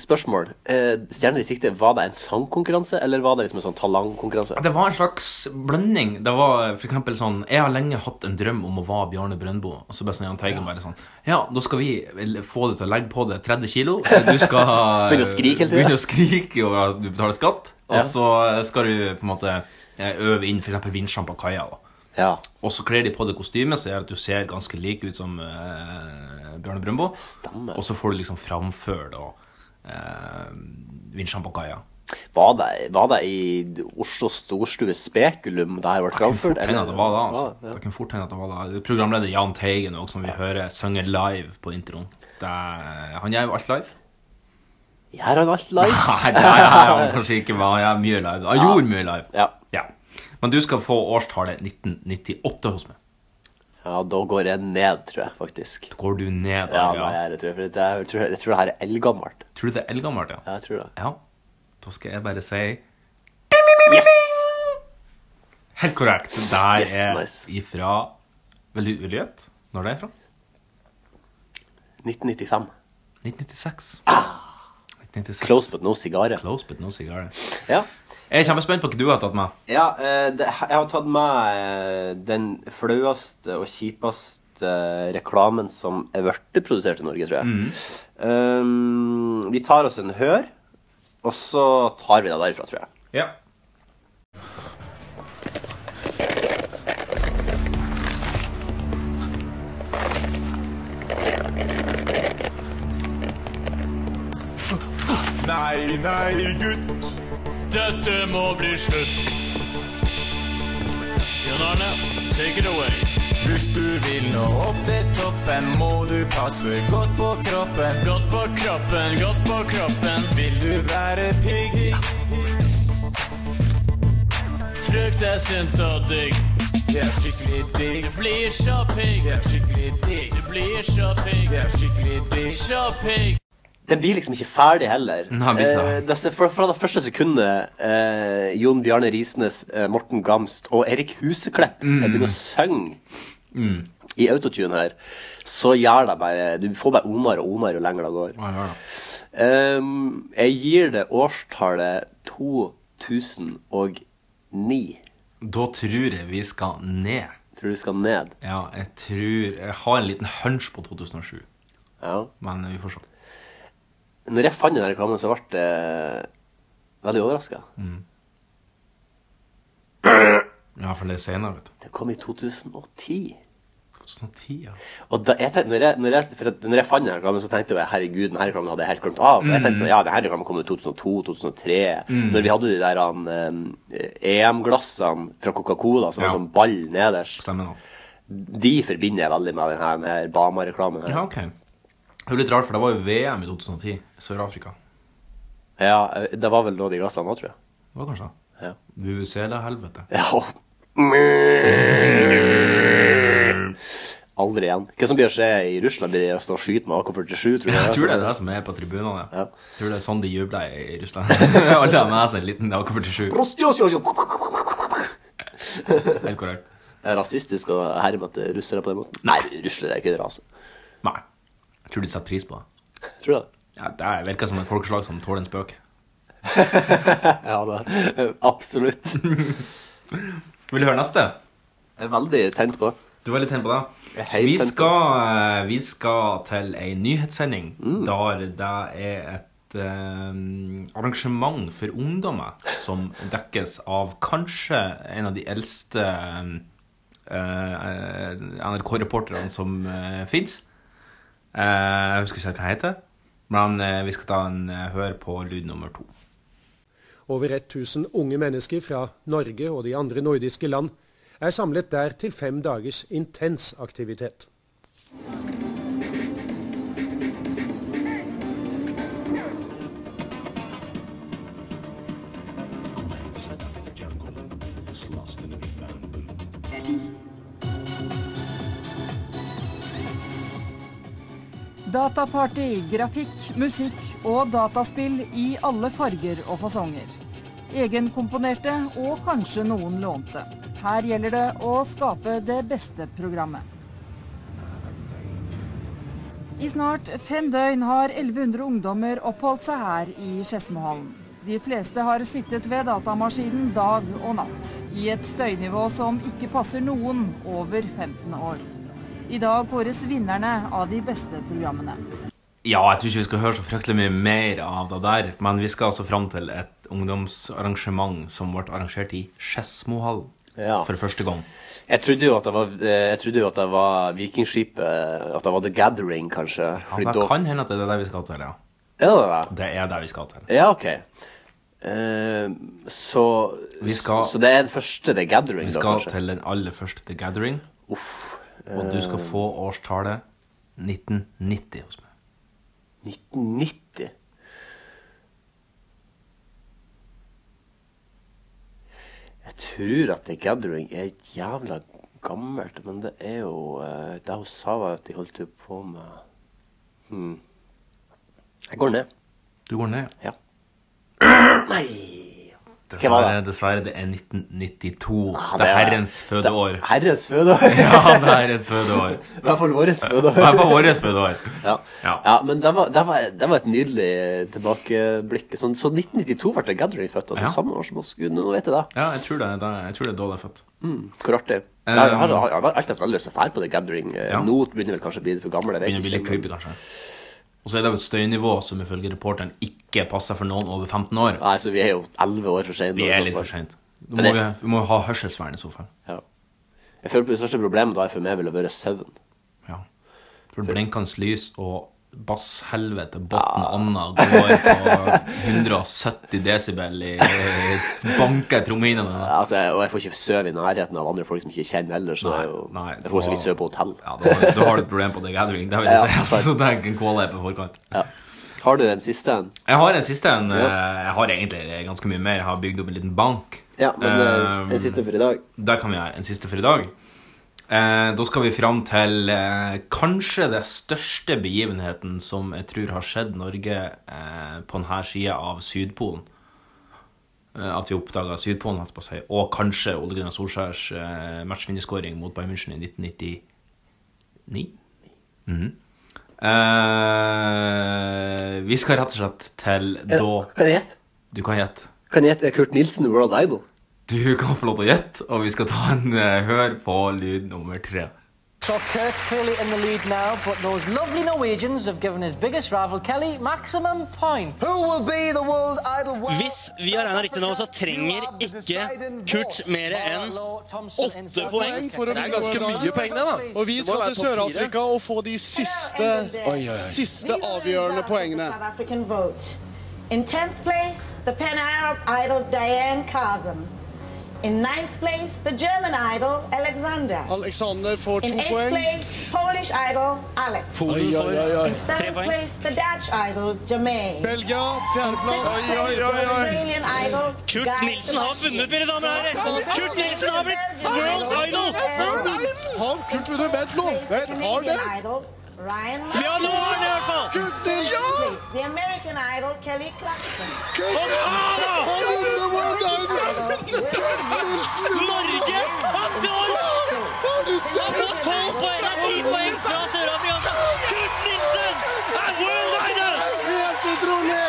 S3: spørsmål. Eh, stjerner i sikte, var det en sangkonkurranse, eller var det liksom en sånn talangkonkurranse?
S2: Det var en slags blanding. Det var for eksempel sånn Jeg har lenge hatt en drøm om å være Bjarne Brøndbo. Og så bare sånn Jahn Teigen bare sånn Ja, da skal vi vel få deg til å legge på deg 30 kilo. Du skal
S3: Begynne å skrike hele tiden.
S2: Begynne å skrike over at du betaler skatt. Og
S3: Ja.
S2: så skal du på en måte eh, øve inn f.eks. vinsjene på kaia. da.
S3: Ja.
S2: Og så kler de på deg kostyme som gjør at du ser ganske lik ut som eh, Bjarne Brøndbo.
S3: Stemmer.
S2: Og så får du liksom framføre da eh, vinsjene på kaia.
S3: Var det, var det i Oslo storstue Spekulum det her ble
S2: Det kan fort
S3: framført?
S2: hende at det var da. Altså.
S3: Ja, ja.
S2: Det kan fort hende at det var da. Programleder Jahn Teigen også, som vi hører synger live på introen. Det er, han gjør jo alt live.
S3: Gjør han alt live?
S2: Nei, det er han kanskje ikke. Men han gjør mye live. Han gjorde mye live.
S3: Ja.
S2: Men du skal få årstallet 1998 hos meg.
S3: Ja, da går jeg ned, tror jeg, faktisk.
S2: Da går du ned.
S3: Ja,
S2: da,
S3: nei, jeg, er det, tror jeg, for det er- jeg, tror, jeg tror det her er eldgammelt.
S2: Tror du det er eldgammelt,
S3: Ja,
S2: ja?
S3: jeg tror det.
S2: Ja. Da skal jeg bare si
S3: Yes!
S2: Helt korrekt. Det der
S3: Yes,
S2: er
S3: nice.
S2: ifra Vil du vil du gjette når det er fra? 1996.
S3: 1995.
S2: 1996.
S3: Ah. Close but no cigar.
S2: Close, but no cigar.
S3: Ja.
S2: Jeg er kjempespent på hva du har tatt med.
S3: Ja, eh, det, jeg har tatt med eh, den flaueste og kjipeste eh, reklamen som er blitt produsert i Norge, tror jeg. Um, vi tar oss en hør, og så tar vi det derifra, tror jeg.
S2: Ja.
S8: Nei, nei, gutt. Dette må bli slutt. Jon Arne, take it away. Hvis du vil nå opp til toppen, må du passe godt på kroppen. Godt på kroppen, godt på kroppen. Vil du være pigg? Frukt er sunt og digg. Det er skikkelig digg. Du blir så pigg. Det er skikkelig digg. Du blir så pigg. Det er skikkelig digg. Så pigg.
S3: Den blir liksom ikke ferdig heller.
S2: Nei, visst da.
S3: Eh, det er fra, fra det første sekundet eh, Jon Bjarne Risnes, eh, Morten Gamst og Erik Huseklepp eh, begynner å synge
S2: Mm.
S3: i autotune her, så gjør det bare Du får bare onere og onere jo lenger det går. Ehm, jeg gir det årstallet 2009.
S2: Da tror jeg vi skal ned.
S3: Tror du skal ned?
S2: Ja, jeg tror Jeg har en liten hunch på 2007,
S3: Ja.
S2: men vi får se.
S3: Når jeg fant den reklamen, så ble jeg veldig overraska.
S2: Mm. I hvert fall det er senere, vet du.
S3: Det kom i 2010.
S2: 2010, ja.
S3: Og da, jeg tenkte, når, jeg, når, jeg, for at når jeg fant den reklamen, så tenkte jeg herregud, denne reklamen hadde jeg helt glemt av. Jeg
S2: Mm.
S3: tenkte sånn, ja, denne reklamen kom i 2002-2003, når vi hadde de der han, eh, EM-glassene fra Coca-Cola som
S2: Ja.
S3: var sånn ball nederst.
S2: Stemmer nå.
S3: De forbinder jeg veldig med denne, her Bama-reklamen. her.
S2: Ja, OK. Det er jo litt rart, for det var jo VM i 2010 i Sør-Afrika.
S3: Ja, eh, det var vel da de glassene var, tror jeg.
S2: Det var kanskje det?
S3: Ja.
S2: VUCL-helvete.
S3: Ja. Aldri igjen. Hva som blir å skje i Russland, blir det å stå og skyte med AK-47, tror jeg.
S2: Jeg tror det er det som er på tribunene.
S3: altså, Ja.
S2: Jeg tror det er sånn de jubler i Russland. Alle har med seg en liten AK-47. Helt korrekt.
S3: Det er rasistisk å herme etter russere på den måten. Nei, russere er ikke en rase.
S2: Nei. Jeg tror de setter pris på det.
S3: Tror du det?
S2: Ja, det virker som et folkeslag som tåler en spøk.
S3: Ja, det absolutt.
S2: Vil du høre neste?
S3: Jeg er veldig tent på.
S2: Du var litt tent på det.
S3: Jeg er helt
S2: Vi
S3: tent på
S2: skal, eh, vi skal til ei nyhetssending
S3: Mm.
S2: der det er et eh, arrangement for ungdommer som dekkes av kanskje en av de eldste eh, NRK-reporterne som uh, fins. jeg husker ikke hva han heter, men eh, vi skal ta en eh, hør på lyd nummer to.
S7: Over 1000 unge mennesker fra Norge og de andre nordiske land er samlet der til fem dagers intens aktivitet.
S9: Dataparty, grafikk, musikk og dataspill i alle farger og fasonger. Egenkomponerte og kanskje noen lånte. Her gjelder det å skape det beste programmet. I snart fem døgn har 1100 ungdommer oppholdt seg her i Skedsmohallen. De fleste har sittet ved datamaskinen dag og natt, i et støynivå som ikke passer noen over 15 år. I dag kåres vinnerne av de beste programmene.
S2: Ja, jeg tror ikke vi skal høre så fryktelig mye mer av det der, men vi skal altså fram til et ungdomsarrangement som ble arrangert i Skedsmohallen
S3: Ja.
S2: for første gang.
S3: Jeg trodde jo at det var, eh, jeg trodde jo at det var Vikingskipet, at det var The Gathering, kanskje. Fordi
S2: Ja, det
S3: da-
S2: kan hende at det er det vi skal til, ja.
S3: Er det det?
S2: Det er det vi skal til.
S3: Ja, ok. Eh, så,
S2: Vi skal-
S3: så det er den første The Gathering,
S2: Vi
S3: da,
S2: skal
S3: kanskje?
S2: til den aller første The Gathering,
S3: Uff. eh.
S2: og du skal få årstallet 1990 hos meg.
S3: 1990. Jeg tror at The Gathering er jævla gammelt, men det er jo eh, Det hun sa, var at de holdt jo på med hmm. Jeg går ned.
S2: Du går ned.
S3: Ja. Nei Hva var
S2: Dessverre, dessverre det er 1992.
S3: Ah,
S2: det er
S3: det-
S2: herrens fødeår.
S3: det er Herrens fødeår?
S2: Ja, det er herrens fødeår.
S3: I hvert fall vårt
S2: Det er
S3: fødeår.
S2: på vårt fødeår.
S3: Ja.
S2: Ja.
S3: ja, men det var, det, var, det var et nydelig eh, tilbakeblikk. Sånn, så 1992 ble The Gathering født, altså
S2: Ja.
S3: samme år som oss. Gud, nå vet jeg det.
S2: Ja, jeg tror det, er da- jeg tror det er da det er født.
S3: Mm, hvor artig.
S2: Eh,
S3: Jeg har, har, har alltid hatt veldig lyst til å fære på The Gathering. Eh,
S2: Ja.
S3: Nå begynner vel kanskje å bli litt for gammel. Jeg vet
S2: Begynner å bli litt
S3: ikke, men-
S2: creepy, kanskje. Og så er det jo et støynivå som ifølge reporteren ikke passer for noen over 15 år.
S3: Nei, så vi er jo 11 år for sene.
S2: Vi er litt for seint. Da må
S3: Men det-
S2: vi, vi må ha hørselsvern i så fall.
S3: Ja. Jeg føler på det største problemet da for meg ville vært søvn.
S2: Ja. For blinkende lys og basshelvete botn og anna går på 170 desibel i banker i trommehinnene.
S3: Altså, jeg, og jeg får ikke sove i nærheten av andre folk som ikke jeg kjenner ellers. så det er jo-
S2: nei,
S3: jeg får så vidt
S2: da-
S3: sove på hotell.
S2: Ja, da har, da har du et problem på The Gathering. Det vil
S3: Ja,
S2: jeg si.
S3: sant.
S2: Altså, det er ikke en caller på forkant.
S3: Ja. Har du en siste en?
S2: Jeg har en siste en. eh, Jeg har egentlig ganske mye mer. Jeg har bygd opp en liten bank.
S3: Ja, men eh,
S2: Eh,
S3: en siste for i dag.
S2: Der kan vi ha en siste for i dag. Eh, da skal vi fram til eh, kanskje den største begivenheten som jeg tror har skjedd Norge eh, på denne sida av Sydpolen. Eh, at vi oppdaga Sydpolen, holdt jeg på å si. Og kanskje Ole Gunnar Solskjærs eh, matchvinnerskåring mot Bayern München i 1999. Mhm. eh, vi skal rett og slett til da
S3: Kan jeg gjette?
S2: Du kan gjette.
S3: Kan jeg gjette Kurt Nilsen, World Idol?
S2: Du kan få lov til å gjette, og vi skal ta en eh, hør på lyd nummer tre.
S9: So Kurt's clearly in the lead now, but those lovely Norwegians have given his biggest rival Kelly maximum points. Who will be the world idol?
S8: Hvis vi har regnet riktig nå, så trenger ikke Kurt mer enn åtte poeng. Det er ganske mye poeng, det, da. Og vi skal til Sør-Afrika.
S10: Siste avgjørende poengene. In 10th place, the Pan Arab idol Diane Kazem. In 9th place, the German idol Alexander.
S9: Alexander får
S10: In 8th place, Polish idol Alex.
S8: Polen får tre
S10: 7th
S8: poeng.
S10: place, the Dutch idol Jermaine.
S9: Belgia,
S10: Sixth place, the Australian idol
S8: Kurt
S10: Guy
S8: Nilsen har
S10: Sebastian.
S8: vunnet, mine damer og herrer! Kurt Nilsen har blitt World Idol!
S9: Har Kurt vunnet
S10: Sixth place, the Canadian idol Ryan Murphy.
S8: Ja, nå har han det i hvert fall!
S9: Kurt
S10: Sixth, The American idol Kelly Clarkson.
S8: Og da! Norge! Han får Han får 12 poeng av 10 poeng fra Sør-Afrika! Kurt Nilsen er World Idol!
S9: Helt utrolig!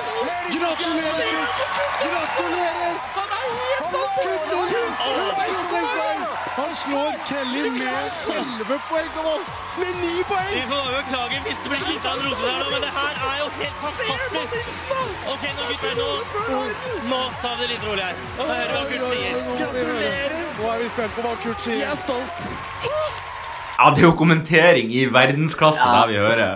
S9: Gratulerer, Kurt! Gratulerer! Kurt Nilsen med seks poeng! Han slår Kelly med 11 poeng av oss! Med 9 poeng!
S8: Vi får bare beklage hvis det blir litt av en rote der nå, men det her er jo helt fantastisk. Ok, nå gutter, nå, nå tar vi det litt rolig her. Og hører hva Kurt sier.
S9: Nå er vi spent på hva Kurt sier.
S2: Ja, det er jo kommentering i verdensklasse,
S3: Ja.
S2: der vi hører.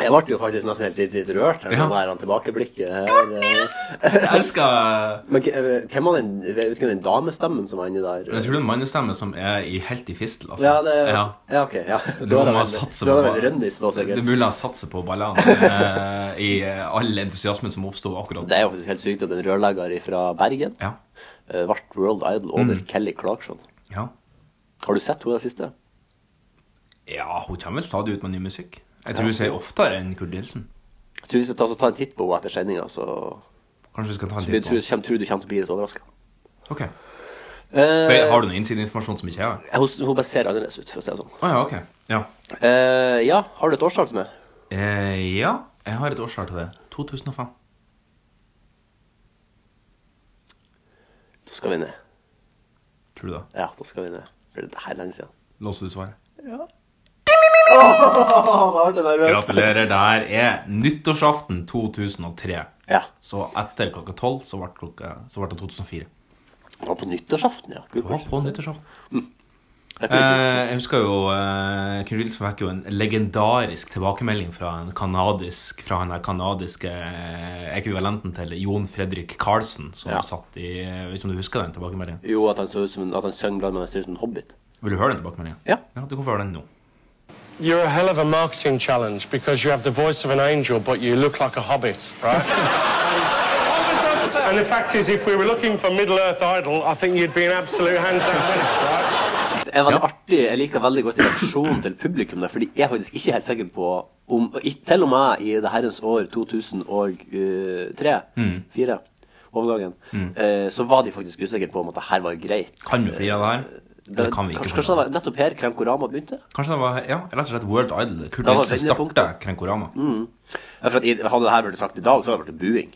S3: Jeg ble jo faktisk nesten helt litt, litt rørt her med
S2: Ja.
S3: det her tilbakeblikket. Her. eh.
S2: Jeg elsker
S3: Men k- eh, hvem var den, jeg vet ikke, den damestemmen som var inni der?
S2: Jeg tror det er en mannestemme som er i helt i fistel. Altså.
S3: Ja, det
S2: ja.
S3: ja, ok. Ja.
S2: Det
S3: Da
S2: må
S3: er det
S2: man
S3: vel,
S2: satse
S3: da er det
S2: på.
S3: vel Rønnis, da,
S2: Det er
S3: sikkert.
S2: mulig han satser på ballene eh, i eh, all entusiasmen som oppsto akkurat.
S3: Det er jo faktisk helt sykt at en rørlegger fra Bergen
S2: Ja. Mm.
S3: eh, ble World Idol over Kelly Clarkson.
S2: Ja.
S3: Har du sett henne i det siste?
S2: ja, hun kommer vel stadig ut med ny musikk. Jeg tror hun sier oftere enn Kurt Nilsen.
S3: Jeg tror vi skal ta, så ta en titt på henne etter sendinga, så,
S2: Kanskje vi skal ta en
S3: så jeg
S2: titt
S3: tror,
S2: på
S3: jeg tror du kommer til å bli litt overraska.
S2: Ok. Har du noe innsideinformasjon som ikke jeg har?
S3: Eh, Hun, hun bare ser annerledes ut, for å si det sånn.
S2: Å ja, ok. Ja.
S3: Eh, ja, har du et årstall til meg?
S2: Eh, ja, jeg har et årstall til det. 2005.
S3: Da skal vi ned.
S2: Tror du det?
S3: Ja, da skal vi ned. For det her er lenge siden.
S2: Låser du svaret?
S3: Å, da ble jeg nervøs.
S2: Gratulerer. Det her er nyttårsaften 2003.
S3: Ja.
S2: Så etter klokka tolv så ble klokka, så ble det 2004.
S3: Det var på nyttårsaften, ja. Gud,
S2: Det var på nyttårsaften.
S3: det kunne jeg ikke
S2: Eh, jeg husker jo eh, Knut Wilson fikk jo en legendarisk tilbakemelding fra en kanadisk Fra han der kanadiske eh, ekvivalenten til Jon Fredrik Karlsen, som
S3: Ja.
S2: satt i eh, Vet ikke om du husker den tilbakemeldingen?
S3: Eh, Jo, at han så ut som en, at han sang blant annet som en hobbit.
S2: Vil du høre den tilbakemeldingen?
S3: Ja.
S2: ja du kan få høre den nå.
S8: You're a hell of a marketing challenge because you have the voice of an angel, but you look like a hobbit, right? and the fact is, if we were looking for Middle Earth Idol, I think you'd be an absolute hands down winner, right?
S3: Det er veldig artig. Jeg liker veldig godt reaksjonen til publikum der, fordi jeg er faktisk ikke helt sikker på om i- Til og med i det herrens år 2003,
S2: Mm.
S3: 4, eh, overgangen, eh, så var de faktisk usikre på om at det her var greit.
S2: Kan vi flire av det her?
S3: Det,
S2: Eller kan vi ikke? flire
S3: kanskje, kanskje det
S2: av det?
S3: var nettopp her Kremkorama begynte?
S2: Kanskje det var ja, rett og slett World Idol. Kurt
S3: var Mm,
S2: Nilsen
S3: vendepunktet.
S2: starta Krenkorama.
S3: Ja, for at i- Hadde det her blitt sagt i dag, så hadde det blitt buing.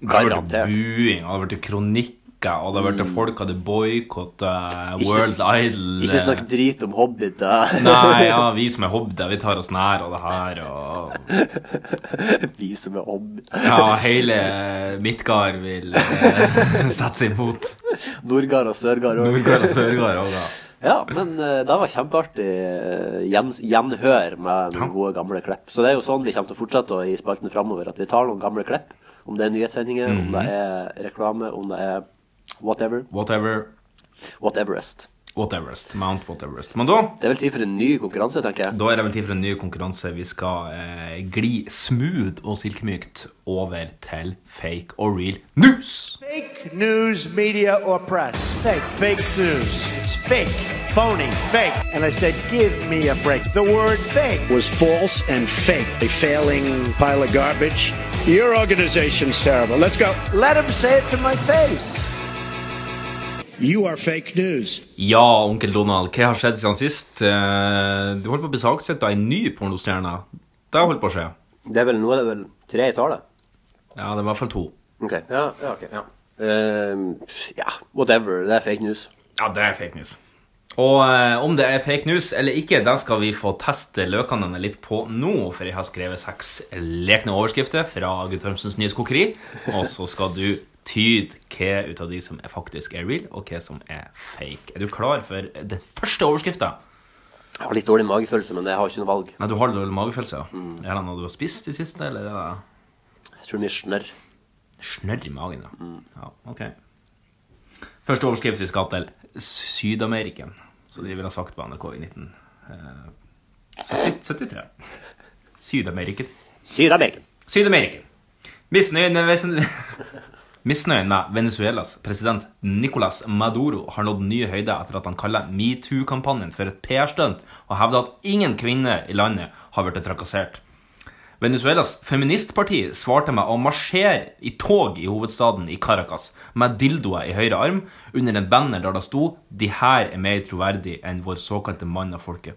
S2: Det har vært
S3: Garantert. Mm.
S2: buing, og det har vært kronikker, og det har vært folk hadde boikotta
S3: Ikke
S2: World
S3: s-
S2: Idol. Eh,
S3: Ikke snakk drit om hobbiter.
S2: Nei, ja, vi som er hobbiter, vi tar oss nær av det her, og
S3: Vi som er hobbiter.
S2: ja, hele Midtgard vil eh, sette seg imot.
S3: Nordgard og Sørgard også.
S2: Nordgard og Sørgard òg, da.
S3: Ja, men eh, det var kjempeartig eh, gjen, gjenhør med noen gode gamle klipp. Så det er jo sånn vi kommer til å fortsette å- i spalten framover, at vi tar noen gamle klipp. Om det er nyhetssendinger, om det er reklame, om det er whatever.
S2: Whatever.
S3: Whateverest.
S2: Whateverest. Mount Whateverest. Men da
S3: Det er vel tid for en ny konkurranse, tenker jeg.
S2: da er det vel tid for en ny konkurranse. Vi skal eh, gli smooth og silkemykt over til fake og real news.
S8: Fake news, media, or press. Fake. Fake news. It's fake. Phony. Fake. And I said, give me a break. The word fake was false and fake. A failing pile of garbage. Your organization's terrible. Let's go. Let him say it to my face. You are fake news.
S2: Ja, onkel Donald, hva har skjedd siden sist? Eh, Du holdt på å bli saksøkt av ei ny pornostjerne. Det holdt på å skje.
S3: Det er vel, nå er det vel tre i tallet.
S2: Ja, det var i hvert fall to.
S3: Ok. Ja, ja, ok. Ja. Ehm, ja, whatever. Det er fake news.
S2: Ja, det er fake news. Og eh, om det er fake news eller ikke, det skal vi få teste løkene litt på nå. For jeg har skrevet seks lekne overskrifter fra Guttormsens Nyes Kokeri. Og så skal du tyde hva ut av de som er faktisk er real, og hva som er fake. Er du klar for den første overskrifta?
S3: Jeg har litt dårlig magefølelse, men jeg har ikke noe valg.
S2: Nei, du har dårlig magefølelse? ja. Er det noe du har spist i siste, eller? Er det...
S3: Jeg tror mye snørr.
S2: Snørr i magen, ja. ja ok. Første overskrift vi skal til Sydameriken. Så de ville ha sagt på NRK i eh, 1973. Sydameriken.
S3: Syd-Amerika.
S2: Sydameriken. Misnøyen med, Vesen- Misnøyen med Venezuelas president Nicolas Maduro har nådd nye høyder etter at han kaller metoo-kampanjen for et PR-stunt og hevder at ingen kvinner i landet har blitt trakassert. Venezuelas feministparti svarte med å marsjere i tog i hovedstaden i Caracas med dildoer i høyre arm under en banner der det sto «De her er mer troverdig enn vår såkalte mann av folket».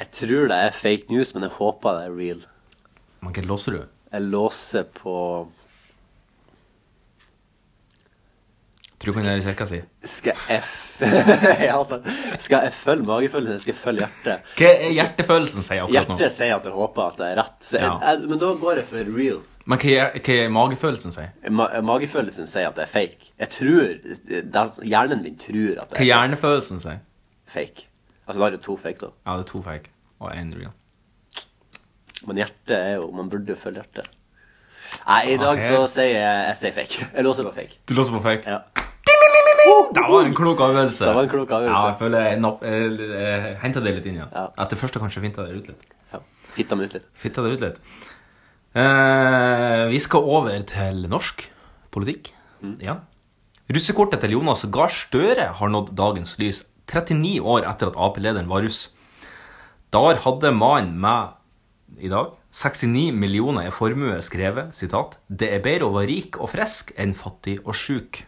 S3: Jeg tror det er fake news, men jeg håper det er real.
S2: Man kan låse det.
S3: Jeg låser på
S2: Tror du kan gjøre kirka si?
S3: Skal jeg f... ja, altså, skal jeg følge magefølelsen? Skal jeg følge hjertet?
S2: Hva er hjertefølelsen sier akkurat nå?
S3: Hjertet sier at jeg håper at det er rett, så jeg,
S2: Ja.
S3: jeg, men da går jeg for real.
S2: Men hva er, hva er magefølelsen sier?
S3: Ma magefølelsen sier at det er fake. Jeg tror det, er- Hjernen min tror
S2: Hva
S3: at det
S2: er
S3: er
S2: hjernefølelsen sier?
S3: fake. Altså, da er det to fake, da.
S2: Ja, det er to fake. og én real.
S3: Men hjertet er jo Man burde følge hjertet. Nei, i dag så
S2: helt-
S3: sier jeg Jeg sier fake. Jeg låser på fake.
S2: Du låser på fake?
S3: Ja.
S2: Det var en klok avgjørelse.
S3: Det var en klok avgjørelse.
S2: Ja, jeg føler jeg napp- eh, eh, hentet det litt inn, ja. Etter første kanskje finta det ut litt.
S3: ja. Fitta meg ut litt.
S2: Fitta det ut litt. Eh, vi skal over til norsk politikk. Ja. Russekortet til Jonas Gahr Støre har nådd dagens lys 39 år etter at Ap-lederen var russ. Der hadde mannen med i dag 69 millioner i formue skrevet sitat, 'Det er bedre å være rik og frisk enn fattig og sjuk'.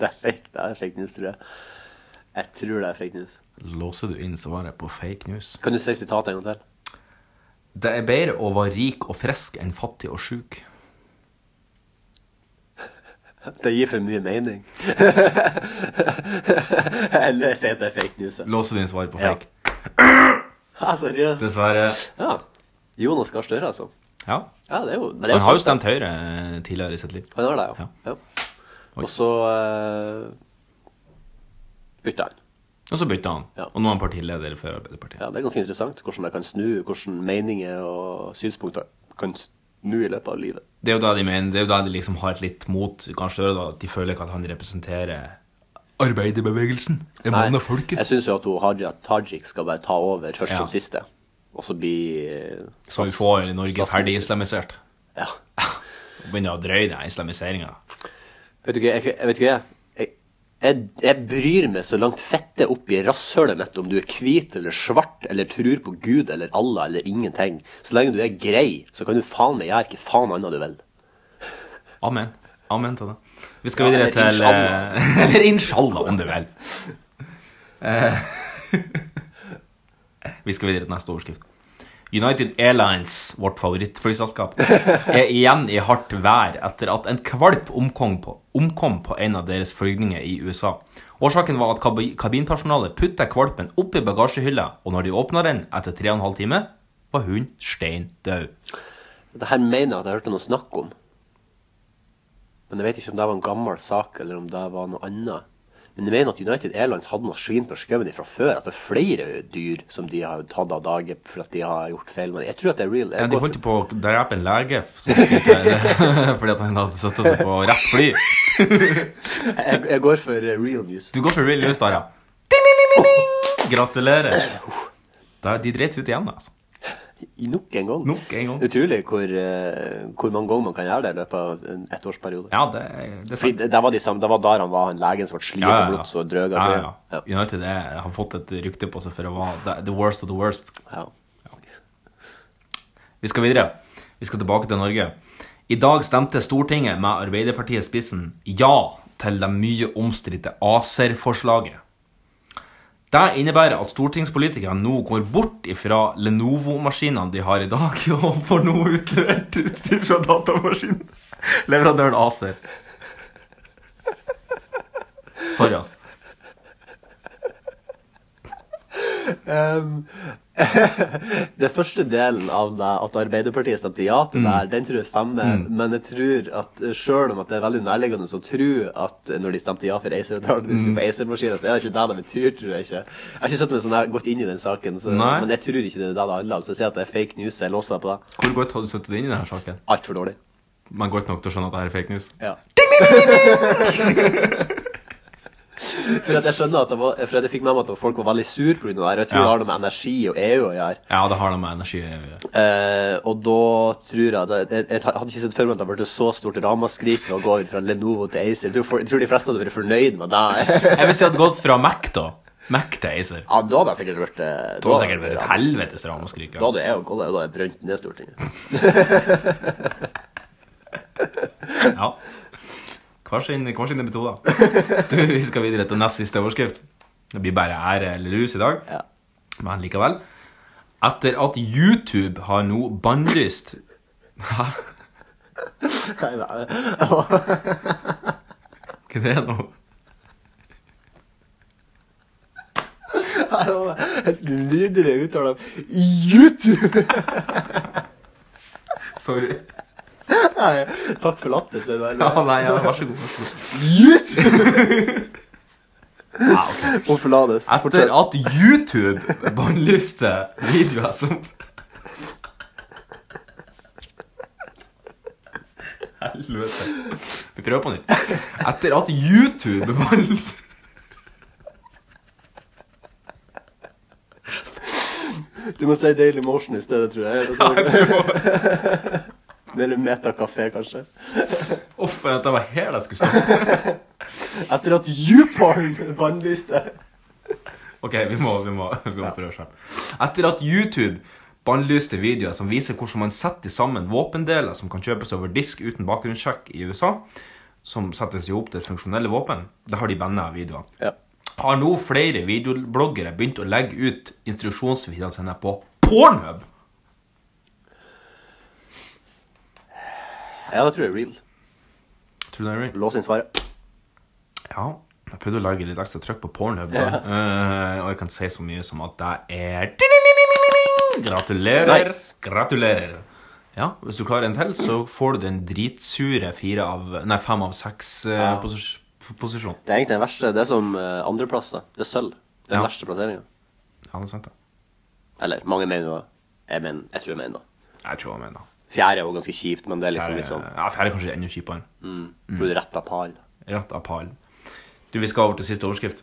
S3: Det er fake, det er fake news, tror jeg. Jeg tror det er fake news.
S2: Låser du inn svaret på fake news?
S3: Kan du si sitatet en gang til?
S2: Det er bedre å være rik og frisk enn fattig og sjuk.
S3: Det gir for mye mening. Eller jeg sier at det er fake news. jeg.
S2: Låser du inn svaret på
S3: Ja.
S2: fake?
S3: Ja, seriøst.
S2: Dessverre.
S3: Ja. Jonas Gahr Støre, altså.
S2: Ja.
S3: Ja, det er jo, men det er
S2: Han har jo
S3: sant,
S2: stemt Høyre eh, tidligere i sitt liv.
S3: det. Han har det, ja. ja. Og så uh, bytta han.
S2: Og så bytta han.
S3: Ja.
S2: Og nå er han partileder for Arbeiderpartiet.
S3: Ja, Det er ganske interessant hvordan det kan snu, hvordan meninger og synspunkter kan snu i løpet av livet.
S2: Det er jo da de mener, det er jo da de liksom har et litt mot Gahr Støre, da. At de føler ikke at han representerer arbeiderbevegelsen. En mann av folket.
S3: jeg syns jo at hun, Hadia Tajik skal bare ta over først
S2: Ja.
S3: som siste, og så bli eh,
S2: Så vi
S3: stats-
S2: får Norge ferdig
S3: statsminister.
S2: islamisert.
S3: Ja.
S2: Og begynner å drøye den islamiseringa.
S3: Vet du hva, jeg, jeg vet ikke hva jeg, jeg, jeg, jeg bryr meg så langt fettet opp i rasshølet mitt om du er hvit eller svart eller tror på Gud eller Allah eller ingenting. Så lenge du er grei, så kan du faen meg gjøre hva faen annet du vil.
S2: Amen. Amen til det. Vi skal
S3: Ja,
S2: videre
S3: eller
S2: til
S3: inshallah.
S2: eh, Eller inshallah, om du vil. Eh, Vi skal videre til neste overskrift. United Airlines, vårt favorittflyselskap, er igjen i hardt vær etter at en kvalp omkom på, omkom på en av deres flygninger i USA. Årsaken var at kabi- kabinpersonalet putta kvalpen opp i bagasjehylla, og når de åpna den etter 3,5 timer, var hunden stein død.
S3: Dette her mener jeg at jeg hørte noe snakk om. Men jeg vet ikke om det var en gammel sak, eller om det var noe annet. Men jeg mener at United Airlines hadde noe svin på skummen fra før. At det er flere dyr som de har tatt av dage for at de har gjort feil. Men jeg tror at det er real. Jeg
S2: Ja, de
S3: går for-
S2: holdt jo på å drepe en lege som skulle- fordi at han hadde satt seg på rett fly.
S3: jeg, jeg går for eh, real news.
S2: Du går for real news, da, ja. Ding, ding, ding, ding, ding. Gratulerer. Da, de dreit seg ut igjen, altså.
S3: Nok en gang.
S2: Nok en gang.
S3: Utrolig hvor, eh, hvor mange ganger man kan gjøre det i løpet av en ettårsperiode.
S2: Ja, det, er- det er
S3: Fordi
S2: sant.
S3: det, det, var de samme, det var der han var, han legen som ble slitt og blått og drøg av
S2: ja,
S3: det.
S2: ja, ja. United er, har fått et rykte på seg for å være the- the worst of the worst.
S3: Ja.
S2: Vi skal videre. Vi skal tilbake til Norge. I dag stemte Stortinget med Arbeiderpartiet i spissen ja til det mye omstridte ACER-forslaget. Det innebærer at stortingspolitikere nå går bort ifra Lenovo-maskinene de har i dag, og får nå utlevert utstyr fra datamaskinen. Leverandøren E ACER. Sorry, altså.
S3: Den første delen av det, at Arbeiderpartiet stemte ja
S2: Mm.
S3: til det her, den tror jeg stemmer. Men jeg tror at eh, selv om at det er veldig nærliggende å tro at eh, når de stemte ja for ACER-avtalen,
S2: Mm.
S3: de skulle få ACER-maskiner, så er det ikke det det betyr, tror jeg ikke. Jeg har ikke satt meg sånn her, gått inn i den saken, så,
S2: Nei.
S3: men jeg tror ikke det er det det handler om. Så jeg sier at det er fake news, jeg låser deg på det.
S2: Hvor godt har du satt deg inn i denne saken?
S3: Altfor dårlig.
S2: Men godt nok til å skjønne at det her er fake news?
S3: Ja. For at jeg skjønner at det var, for at jeg fikk med meg at folk var veldig sur på grunn av det her. Jeg tror
S2: Ja.
S3: det har noe med energi og EU å gjøre.
S2: Ja, det har det med energi å gjøre.
S3: Eh, og da tror jeg at jeg, jeg hadde ikke sett for meg at det ble så stort ramaskrik med å gå over fra Lenovo til Acer. Jeg tror, for, jeg tror de fleste hadde vært fornøyd med det.
S2: Jeg hvis jeg hadde gått fra Mac, da. Mac til Acer.
S3: ja, da hadde jeg sikkert vært eh,
S2: Da
S3: hadde
S2: hadde
S3: jeg
S2: sikkert vært et
S3: ramaskrik.
S2: helvetes ramaskrik.
S3: Da hadde jeg jo gått, da hadde jeg brent ned Stortinget.
S2: Ja. Hver sin, hver sine metoder. Du, vi skal videre til nest siste overskrift. Det blir bare ære eller rus i dag,
S3: Ja.
S2: men likevel. Etter at YouTube har nå bannlyst Hæ?
S3: Nei, nei.
S2: Hva er det nå?
S3: Det var Helt nydelig uttale av YouTube!
S2: Sorry.
S3: Nei, Takk for latter, sier du.
S2: Ja, nei, ja, vær så god. Vær så god.
S3: YouTube! Hun forlates.
S2: Etter at YouTube bannlyste videoer som Helvete. Vi prøver på nytt. Etter at YouTube ban-
S3: Du må si Daily Motion i stedet, tror jeg. Altså,
S2: Jeg tror bare-
S3: Eller Meta Café, kanskje.
S2: Uff, at det var her jeg skulle stoppe.
S3: Etter at YouPorn bannlyste.
S2: OK, vi må, vi må, vi må prøve selv. Etter at YouTube bannlyste videoer som viser hvordan man setter sammen våpendeler som kan kjøpes over disk uten bakgrunnssjekk i USA, som settes jo opp til funksjonelle våpen, da har de banna videoer.
S3: Ja.
S2: har nå flere videobloggere begynt å legge ut instruksjonsvideoene sine på Pornhub.
S3: ja, det tror jeg er real.
S2: Tror du det er real?
S3: Lås inn svaret.
S2: Ja. Jeg prøvde å legge litt ekstra trykk på Pornhub, da. Eh, og jeg kan si så mye som at det er Gratulerer.
S3: Nice.
S2: Gratulerer. Ja, Hvis du klarer en til, så får du den dritsure fire av Nei, fem av seks eh,
S3: Ja.
S2: posis posisjon.
S3: Det er egentlig den verste. Det er som eh, andreplass, da. Det er sølv. Det er Den
S2: Ja.
S3: verste plasseringa.
S2: Ja, det er sant, det.
S3: Eller mange mener jo Jeg, mener, jeg tror jeg mener det.
S2: Jeg tror jeg mener
S3: Fjerde er jo ganske kjipt, men det er liksom
S2: Fjerde-
S3: litt sånn
S2: Ja, Mm. fjerde er kanskje enda kjipere.
S3: Tror du rett av par?
S2: Rett av pallen. Du, vi skal over til siste overskrift.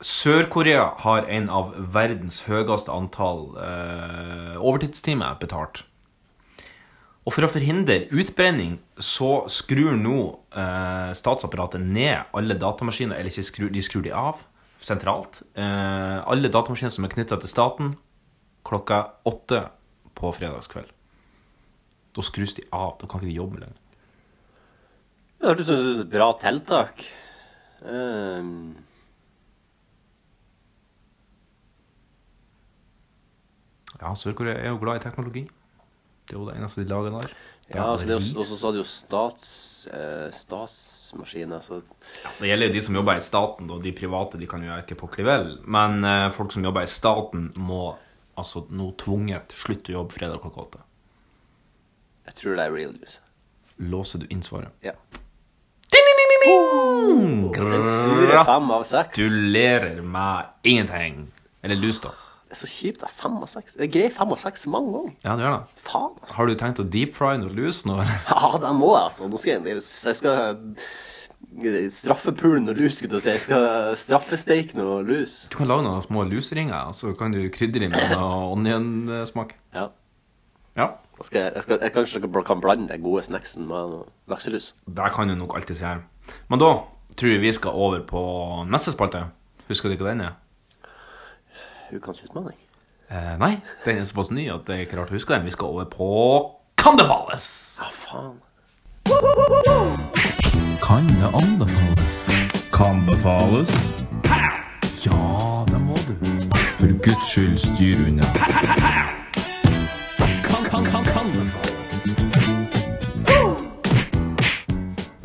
S2: Sør-Korea har en av verdens høyeste antall eh, overtidstimer betalt. Og for å forhindre utbrenning så skrur nå eh, statsapparatet ned alle datamaskiner, eller ikke skrur, de skrur de av sentralt. Eh, alle datamaskiner som er knytta til staten, klokka åtte på fredagskveld. Da skrus de av. Da kan ikke de jobbe lenger.
S3: Det hørtes ut som et bra tiltak. Ehm.
S2: Ja, Sør-Korea er jo glad i teknologi. Det er jo det eneste de lager der.
S3: ja, altså det er
S2: ris.
S3: jo- og så sa du jo stats... Eh, altså, statsmaskiner, så
S2: Det gjelder jo de som jobber i staten, og de private de kan jo ikke pokle vel. Men eh, folk som jobber i staten må altså nå tvunget slutte å jobbe fredag klokka åtte.
S3: jeg tror det er real juice.
S2: Låser du inn svaret?
S3: Ja. Den sure
S2: Gratulerer
S3: fem av seks. Det
S2: med ingenting. Eller lus, da.
S3: er så kjipt. Det er fem av seks. Jeg greier fem av seks mange ganger.
S2: Ja, du gjør det.
S3: Faen, altså.
S2: Har du tenkt å deep fry noe lus nå? eller?
S3: Ja, det må jeg, altså. Nå skal jeg, jeg skal straffe pulen og lus, skulle jeg si. Jeg skal straffesteike noe lus.
S2: Du kan lage noen små lusringer, og så kan du krydre dem med noe onionsmak.
S3: Ja.
S2: Ja.
S3: Da skal jeg, jeg, skal, jeg kanskje skal- kan blande den gode snacksen med noe lakselus.
S2: Der kan du nok alltid si her. Men da tror jeg vi skal over på neste spalte. Husker du ikke den er?
S3: Ukens utfordring.
S2: Eh, nei, den er såpass ny at det er ikke rart å huske den. Vi skal over på Kan det fales?
S3: Ja, faen.
S2: Kan det anbefales? Kan det fales? Ja, det må du. For guds skyld, styr unna. Kan, kan, kan, kan det fales?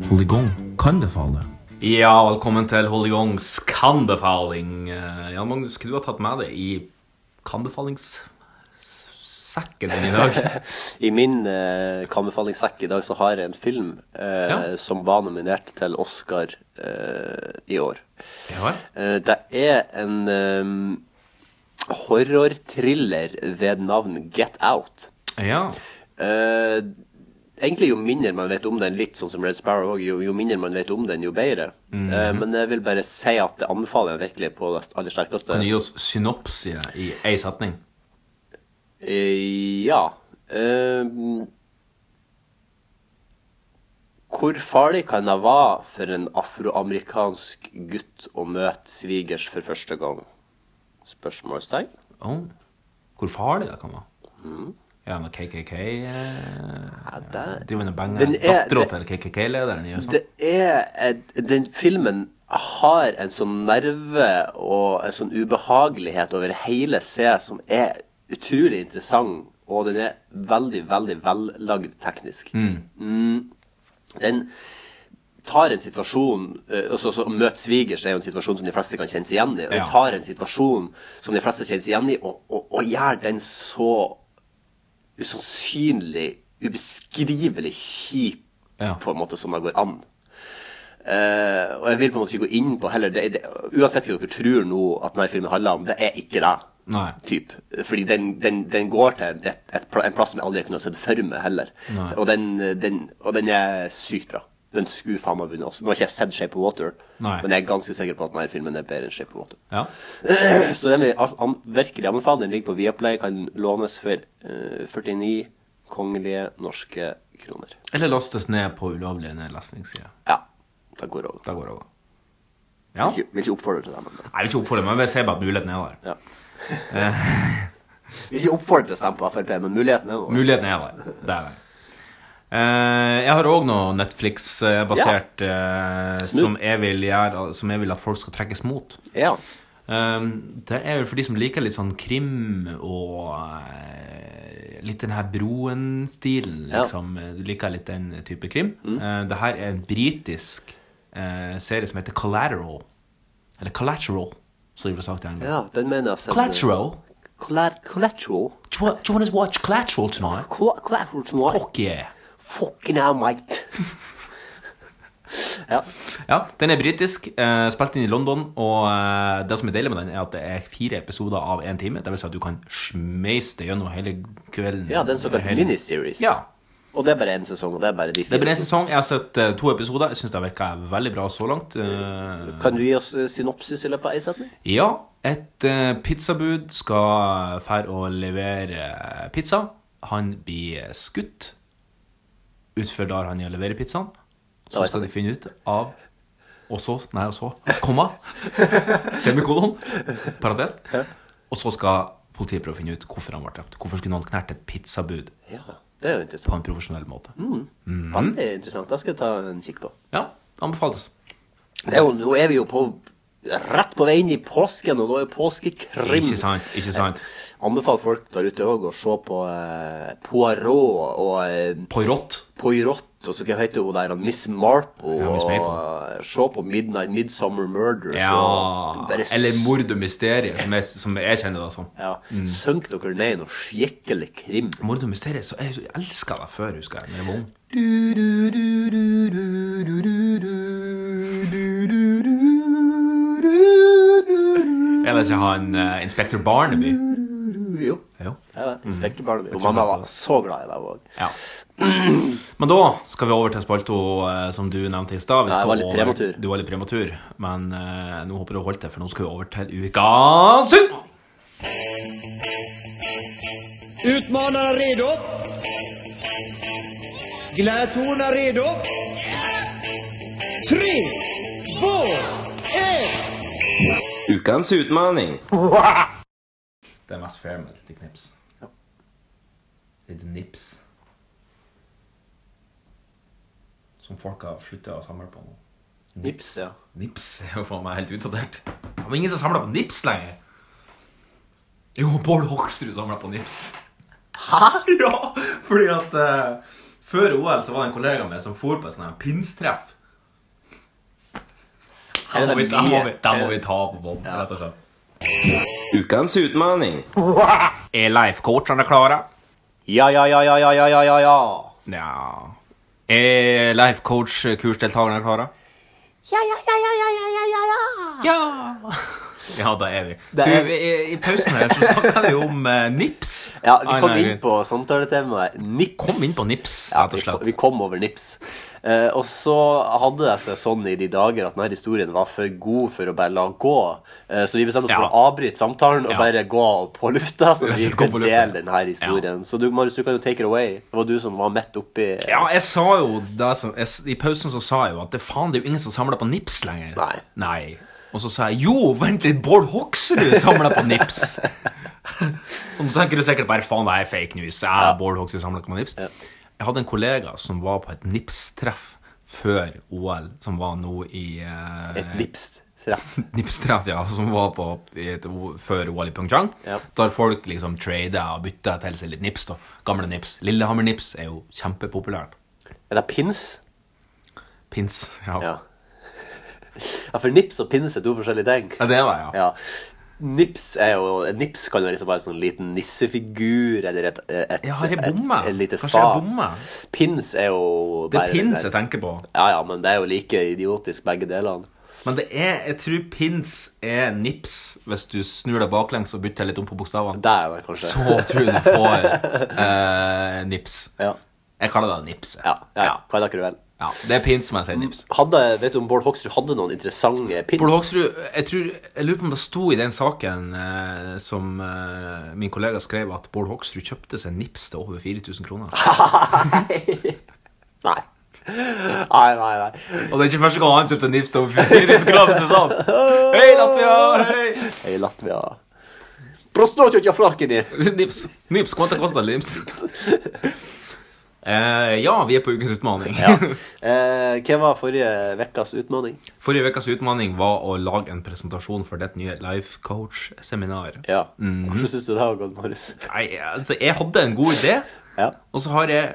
S2: Polygon, kan det fale? Ja, velkommen til Holigongs kanbefaling. Eh, Jan Magnus, skulle du ha tatt med deg i kanbefalingssekken din i dag?
S3: I min eh, kammefallingssekk i dag så har jeg en film eh,
S2: Ja.
S3: som var nominert til Oscar eh, i år.
S2: Ja, vel?
S3: Eh, det er en eh, horror-thriller ved navn Get Out.
S2: Ja.
S3: Eh, egentlig jo mindre man vet om den, litt sånn som Red Sparrow også, jo, jo mindre man vet om den, jo bedre. Eh,
S2: Mhm.
S3: men jeg vil bare si at det anbefaler jeg virkelig på det aller sterkeste.
S2: Kan du gi oss synopsie i én setning?
S3: Eh, ja. Eh, hvor farlig kan det være for en afroamerikansk gutt å møte svigers for første gang?
S2: Å,
S3: Spørsmålstegn?
S2: Oh. Hvor farlig det kan være? Ja, med KKK eh,
S3: Ja, det
S2: Driver og banger
S3: Den er-
S2: dattera
S3: det-
S2: til KKK-lederen i USA?
S3: Det er et- Den filmen har en sånn nerve og en sånn ubehagelighet over hele C som er utrolig interessant, og den er veldig, veldig vellagd teknisk. Mm. Den tar en situasjon eh, altså, så Å møte svigers er jo en situasjon som de fleste kan kjenne seg igjen i. Og
S2: Ja.
S3: den tar en situasjon som de fleste kjenner seg igjen i, og, og, og gjør den så usannsynlig, ubeskrivelig kjip
S2: Ja.
S3: på en måte som det går an. Eh, og jeg vil på en måte ikke gå inn på heller det, det, Uansett hva dere tror nå at denne filmen handler om, det er ikke det.
S2: Nei.
S3: Typ. Fordi den, den, den går til et, et, pla- en plass som jeg aldri kunne ha sett for meg heller.
S2: Nei.
S3: Og den, den, og den er sykt bra. Den skulle faen meg vunnet også. Nå har ikke jeg sett Shape of Water,
S2: Nei.
S3: men jeg er ganske sikker på at denne filmen er bedre enn Shape of Water.
S2: Ja.
S3: Så den vil jeg an- an- virkelig anbefale. Den ligger på Viaplay, kan lånes for eh, 49 kongelige norske kroner.
S2: Eller lastes ned på ulovlige nedlastningssider.
S3: Ja, det går over.
S2: Da går det over. Ja.
S3: Ikke, vil ikke oppfordre til det, men
S2: Jeg vil ikke oppholde meg, men jeg ser bare at muligheten er der.
S3: ja. Vil ikke oppfordre til å stemme på Frp, men muligheten er der.
S2: Muligheten er der. Det er det. Eh, jeg har òg noe Netflix-basert eh, som, jeg vil gjøre- som jeg vil at folk skal trekkes mot.
S3: Ja.
S2: Um, det er vel for de som liker litt sånn krim og eh, litt den her Broen-stilen,
S3: Ja. Mm.
S2: liksom. Du liker litt den type krim. Eh, det her er en britisk eh, serie som heter Collateral. Eller Collateral, som de får sagt i England.
S3: ja, den mener jeg selv-
S2: Collateral?
S3: Colla- Collateral?
S2: Do you, want- do you want to watch Collateral tonight?
S3: Colla- Collateral som var
S2: Fuck yeah!
S3: fucking hell, mate. ja.
S2: Ja, den er britisk, eh, spilt inn i London, og eh, det som er deilig med den, er at det er fire episoder av én time. Det vil si at du kan smeise det gjennom hele kvelden.
S3: ja, den såkalte
S2: Hele-
S3: miniseries.
S2: Ja.
S3: Og det er bare én sesong, og det er bare de
S2: Det
S3: fire.
S2: blir en sesong. Jeg har sett eh, to episoder. Jeg syns det har virka veldig bra så langt. Eh,
S3: Kan du gi oss eh, synopsis i løpet av en setning?
S2: ja, et eh, pizzabud skal fære og levere eh, pizza. Han blir skutt utfor der han er og leverer pizzaen.
S3: Da
S2: Så
S3: vet
S2: skal
S3: jeg.
S2: de finne ut av Og så Nei, og så Komma. Semikolon. Parentes. Og så skal politiet prøve å finne ut hvorfor han ble drept. Hvorfor skulle noen knerte et pizzabud
S3: Ja, det er jo
S2: på
S3: interessant.
S2: en profesjonell måte?
S3: Mm. Veldig interessant. Det skal jeg ta en kikk på.
S2: Mm. Ja, anbefales.
S3: Det er jo, nå er vi jo på rett på vei inn i påsken, og da er jo påskekrim.
S2: Ikke sant, ikke sant.
S3: Anbefaler folk der ute òg å se på eh, Poirot og eh,
S2: Poirot.
S3: Poirot, og så hva heter hun der, han Miss Marple,
S2: Ja, Miss
S3: og
S2: Maple.
S3: eh, se på Midnight Midsummer Murders.
S2: Ja,
S3: og bare s-
S2: eller Mm. mord og mysterier, som jeg, som jeg kjenner det som.
S3: Ja, Sønk dere ned i noe skikkelig krim.
S2: Mord og mysterier, så jeg elska det før, husker jeg, da jeg var ung. Eller ikke han eh, Inspector Barnaby?
S3: Jo.
S2: Jo.
S3: Ja,
S2: Mm.
S3: Inspektor Barnaby. Og mamma var så glad i deg òg.
S2: Ja. Men da skal vi over til spalto eh, som du nevnte i stad. Vi
S3: Ja, jeg
S2: skal
S3: var litt
S2: over-
S3: prematur.
S2: Du var litt prematur, men eh, nå håper jeg du holdt det, for nå skal vi over til ukas hund!
S8: Utmanaren är redo. Gladiatorerna är redo. Tre, två, ett.
S11: Ukens utmaning.
S2: Det er mest fair med et lite knips. Litt nips. Som folk har sluttet å samle på nå.
S3: Nips, ja.
S2: Nips er jo faen meg helt utdatert. Det var ingen som samla på nips lenger. Jo, Bård Hoksrud samla på nips. Hæ?! Ja, fordi at eh, før OL så var det en kollega av meg som for på et sånt her pinstreff. Den må,
S3: Er det
S2: vi, den må,
S3: mye-
S2: vi, den må vi ta på bånd,
S3: Ja.
S2: rett og slett.
S11: Ukens utmaning.
S2: Er life-coachene klare?
S3: Ja, ja, ja, ja, ja, ja, ja, ja, ja.
S2: Ja Er life coach kursdeltakerne klare? Ja, ja, ja, ja, ja, ja, ja, ja. Ja, da er vi.
S3: Da er
S2: Du, i, i pausen her så snakka vi om eh, nips.
S3: Ja, vi
S2: Av en
S3: kom
S2: eller annen
S3: inn på samtaletemaet nips.
S2: Kom inn på nips,
S3: Ja,
S2: rett og
S3: vi kom,
S2: slett.
S3: vi kom over nips. Eh, og så hadde det seg sånn i de dager at denne historien var for god for å bare la gå. Eh, så vi bestemte oss
S2: Ja.
S3: for å avbryte samtalen og
S2: Ja.
S3: bare gå på lufta. Så
S2: Rett og
S3: vi
S2: slett gå
S3: kunne
S2: på lufta.
S3: dele denne historien. Så du, Marius, du kan jo take it away. Det var du som var midt oppi
S2: Ja, jeg sa jo det som jeg, s- I pausen så sa jeg jo at det faen, det er jo ingen som samler på nips lenger.
S3: Nei.
S2: Nei. Og så sa jeg jo, vent litt, Bård Hoksrud samler på nips. Og da tenker du sikkert bare faen, det er fake news. Ja, Bård Hoksrud samler ikke på nips. Jeg hadde en kollega som var på et nipstreff før OL, som var nå i eh,
S3: et nips. Ja.
S2: Nipstreff, ja, som var på i et, o- før OL i Pyeongchang.
S3: Ja.
S2: Der folk liksom trader og bytter til seg litt nips. da Gamle nips. Lillehammer-nips er jo kjempepopulært.
S3: Er det pins?
S2: Pins. Ja.
S3: Ja. ja, for nips og pins er to forskjellige ting.
S2: Ja, det var jeg. Ja.
S3: Ja. Nips er jo En nips kan jo liksom være en sånn liten nissefigur eller et, et, et,
S2: Ja, har jeg
S3: et-
S2: bomma?
S3: et lite
S2: Kanskje jeg
S3: fat.
S2: bomma?
S3: Pins er jo
S2: Det
S3: bare
S2: er pins
S3: den
S2: jeg
S3: der-
S2: tenker på.
S3: Ja, ja, men det er jo like idiotisk begge delene.
S2: Men det er, jeg tror pins er nips hvis du snur deg baklengs og bytter litt om på bokstavene.
S3: Det er det kanskje.
S2: Så tror jeg du får eh, nips. Jeg kaller det nips.
S3: Ja, ja, ja. Hva er det akkurat vel?
S2: Ja, det er pins som jeg sier nips.
S3: Hadde, vet du om Bård Hoksrud hadde noen interessante pins?
S2: Bård Hoksrud, jeg, tror, jeg lurer på om det sto i den saken eh, som eh, min kollega skrev, at Bård Hoksrud kjøpte seg nips til over 4000 kroner.
S3: Nei. Nei, nei, nei.
S2: Og det er ikke første gang han kjøpte nips til over 4000 kroner. til sånn. Hei, Latvia! Hei!
S3: Hei, Latvia. Prostnotjotja flarkini.
S2: Nips. Nips, Hva koster det? Nips? Eh, ja, vi er på ukens utfordring.
S3: Ja. Eh, hvem var forrige ukas utfordring?
S2: Forrige ukas utfordring var å lage en presentasjon for ditt nye life coach-seminar.
S3: Ja.
S2: Mhm.
S3: Hvordan syns du det har gått, Marius?
S2: Nei, altså, jeg hadde en god idé, og så har jeg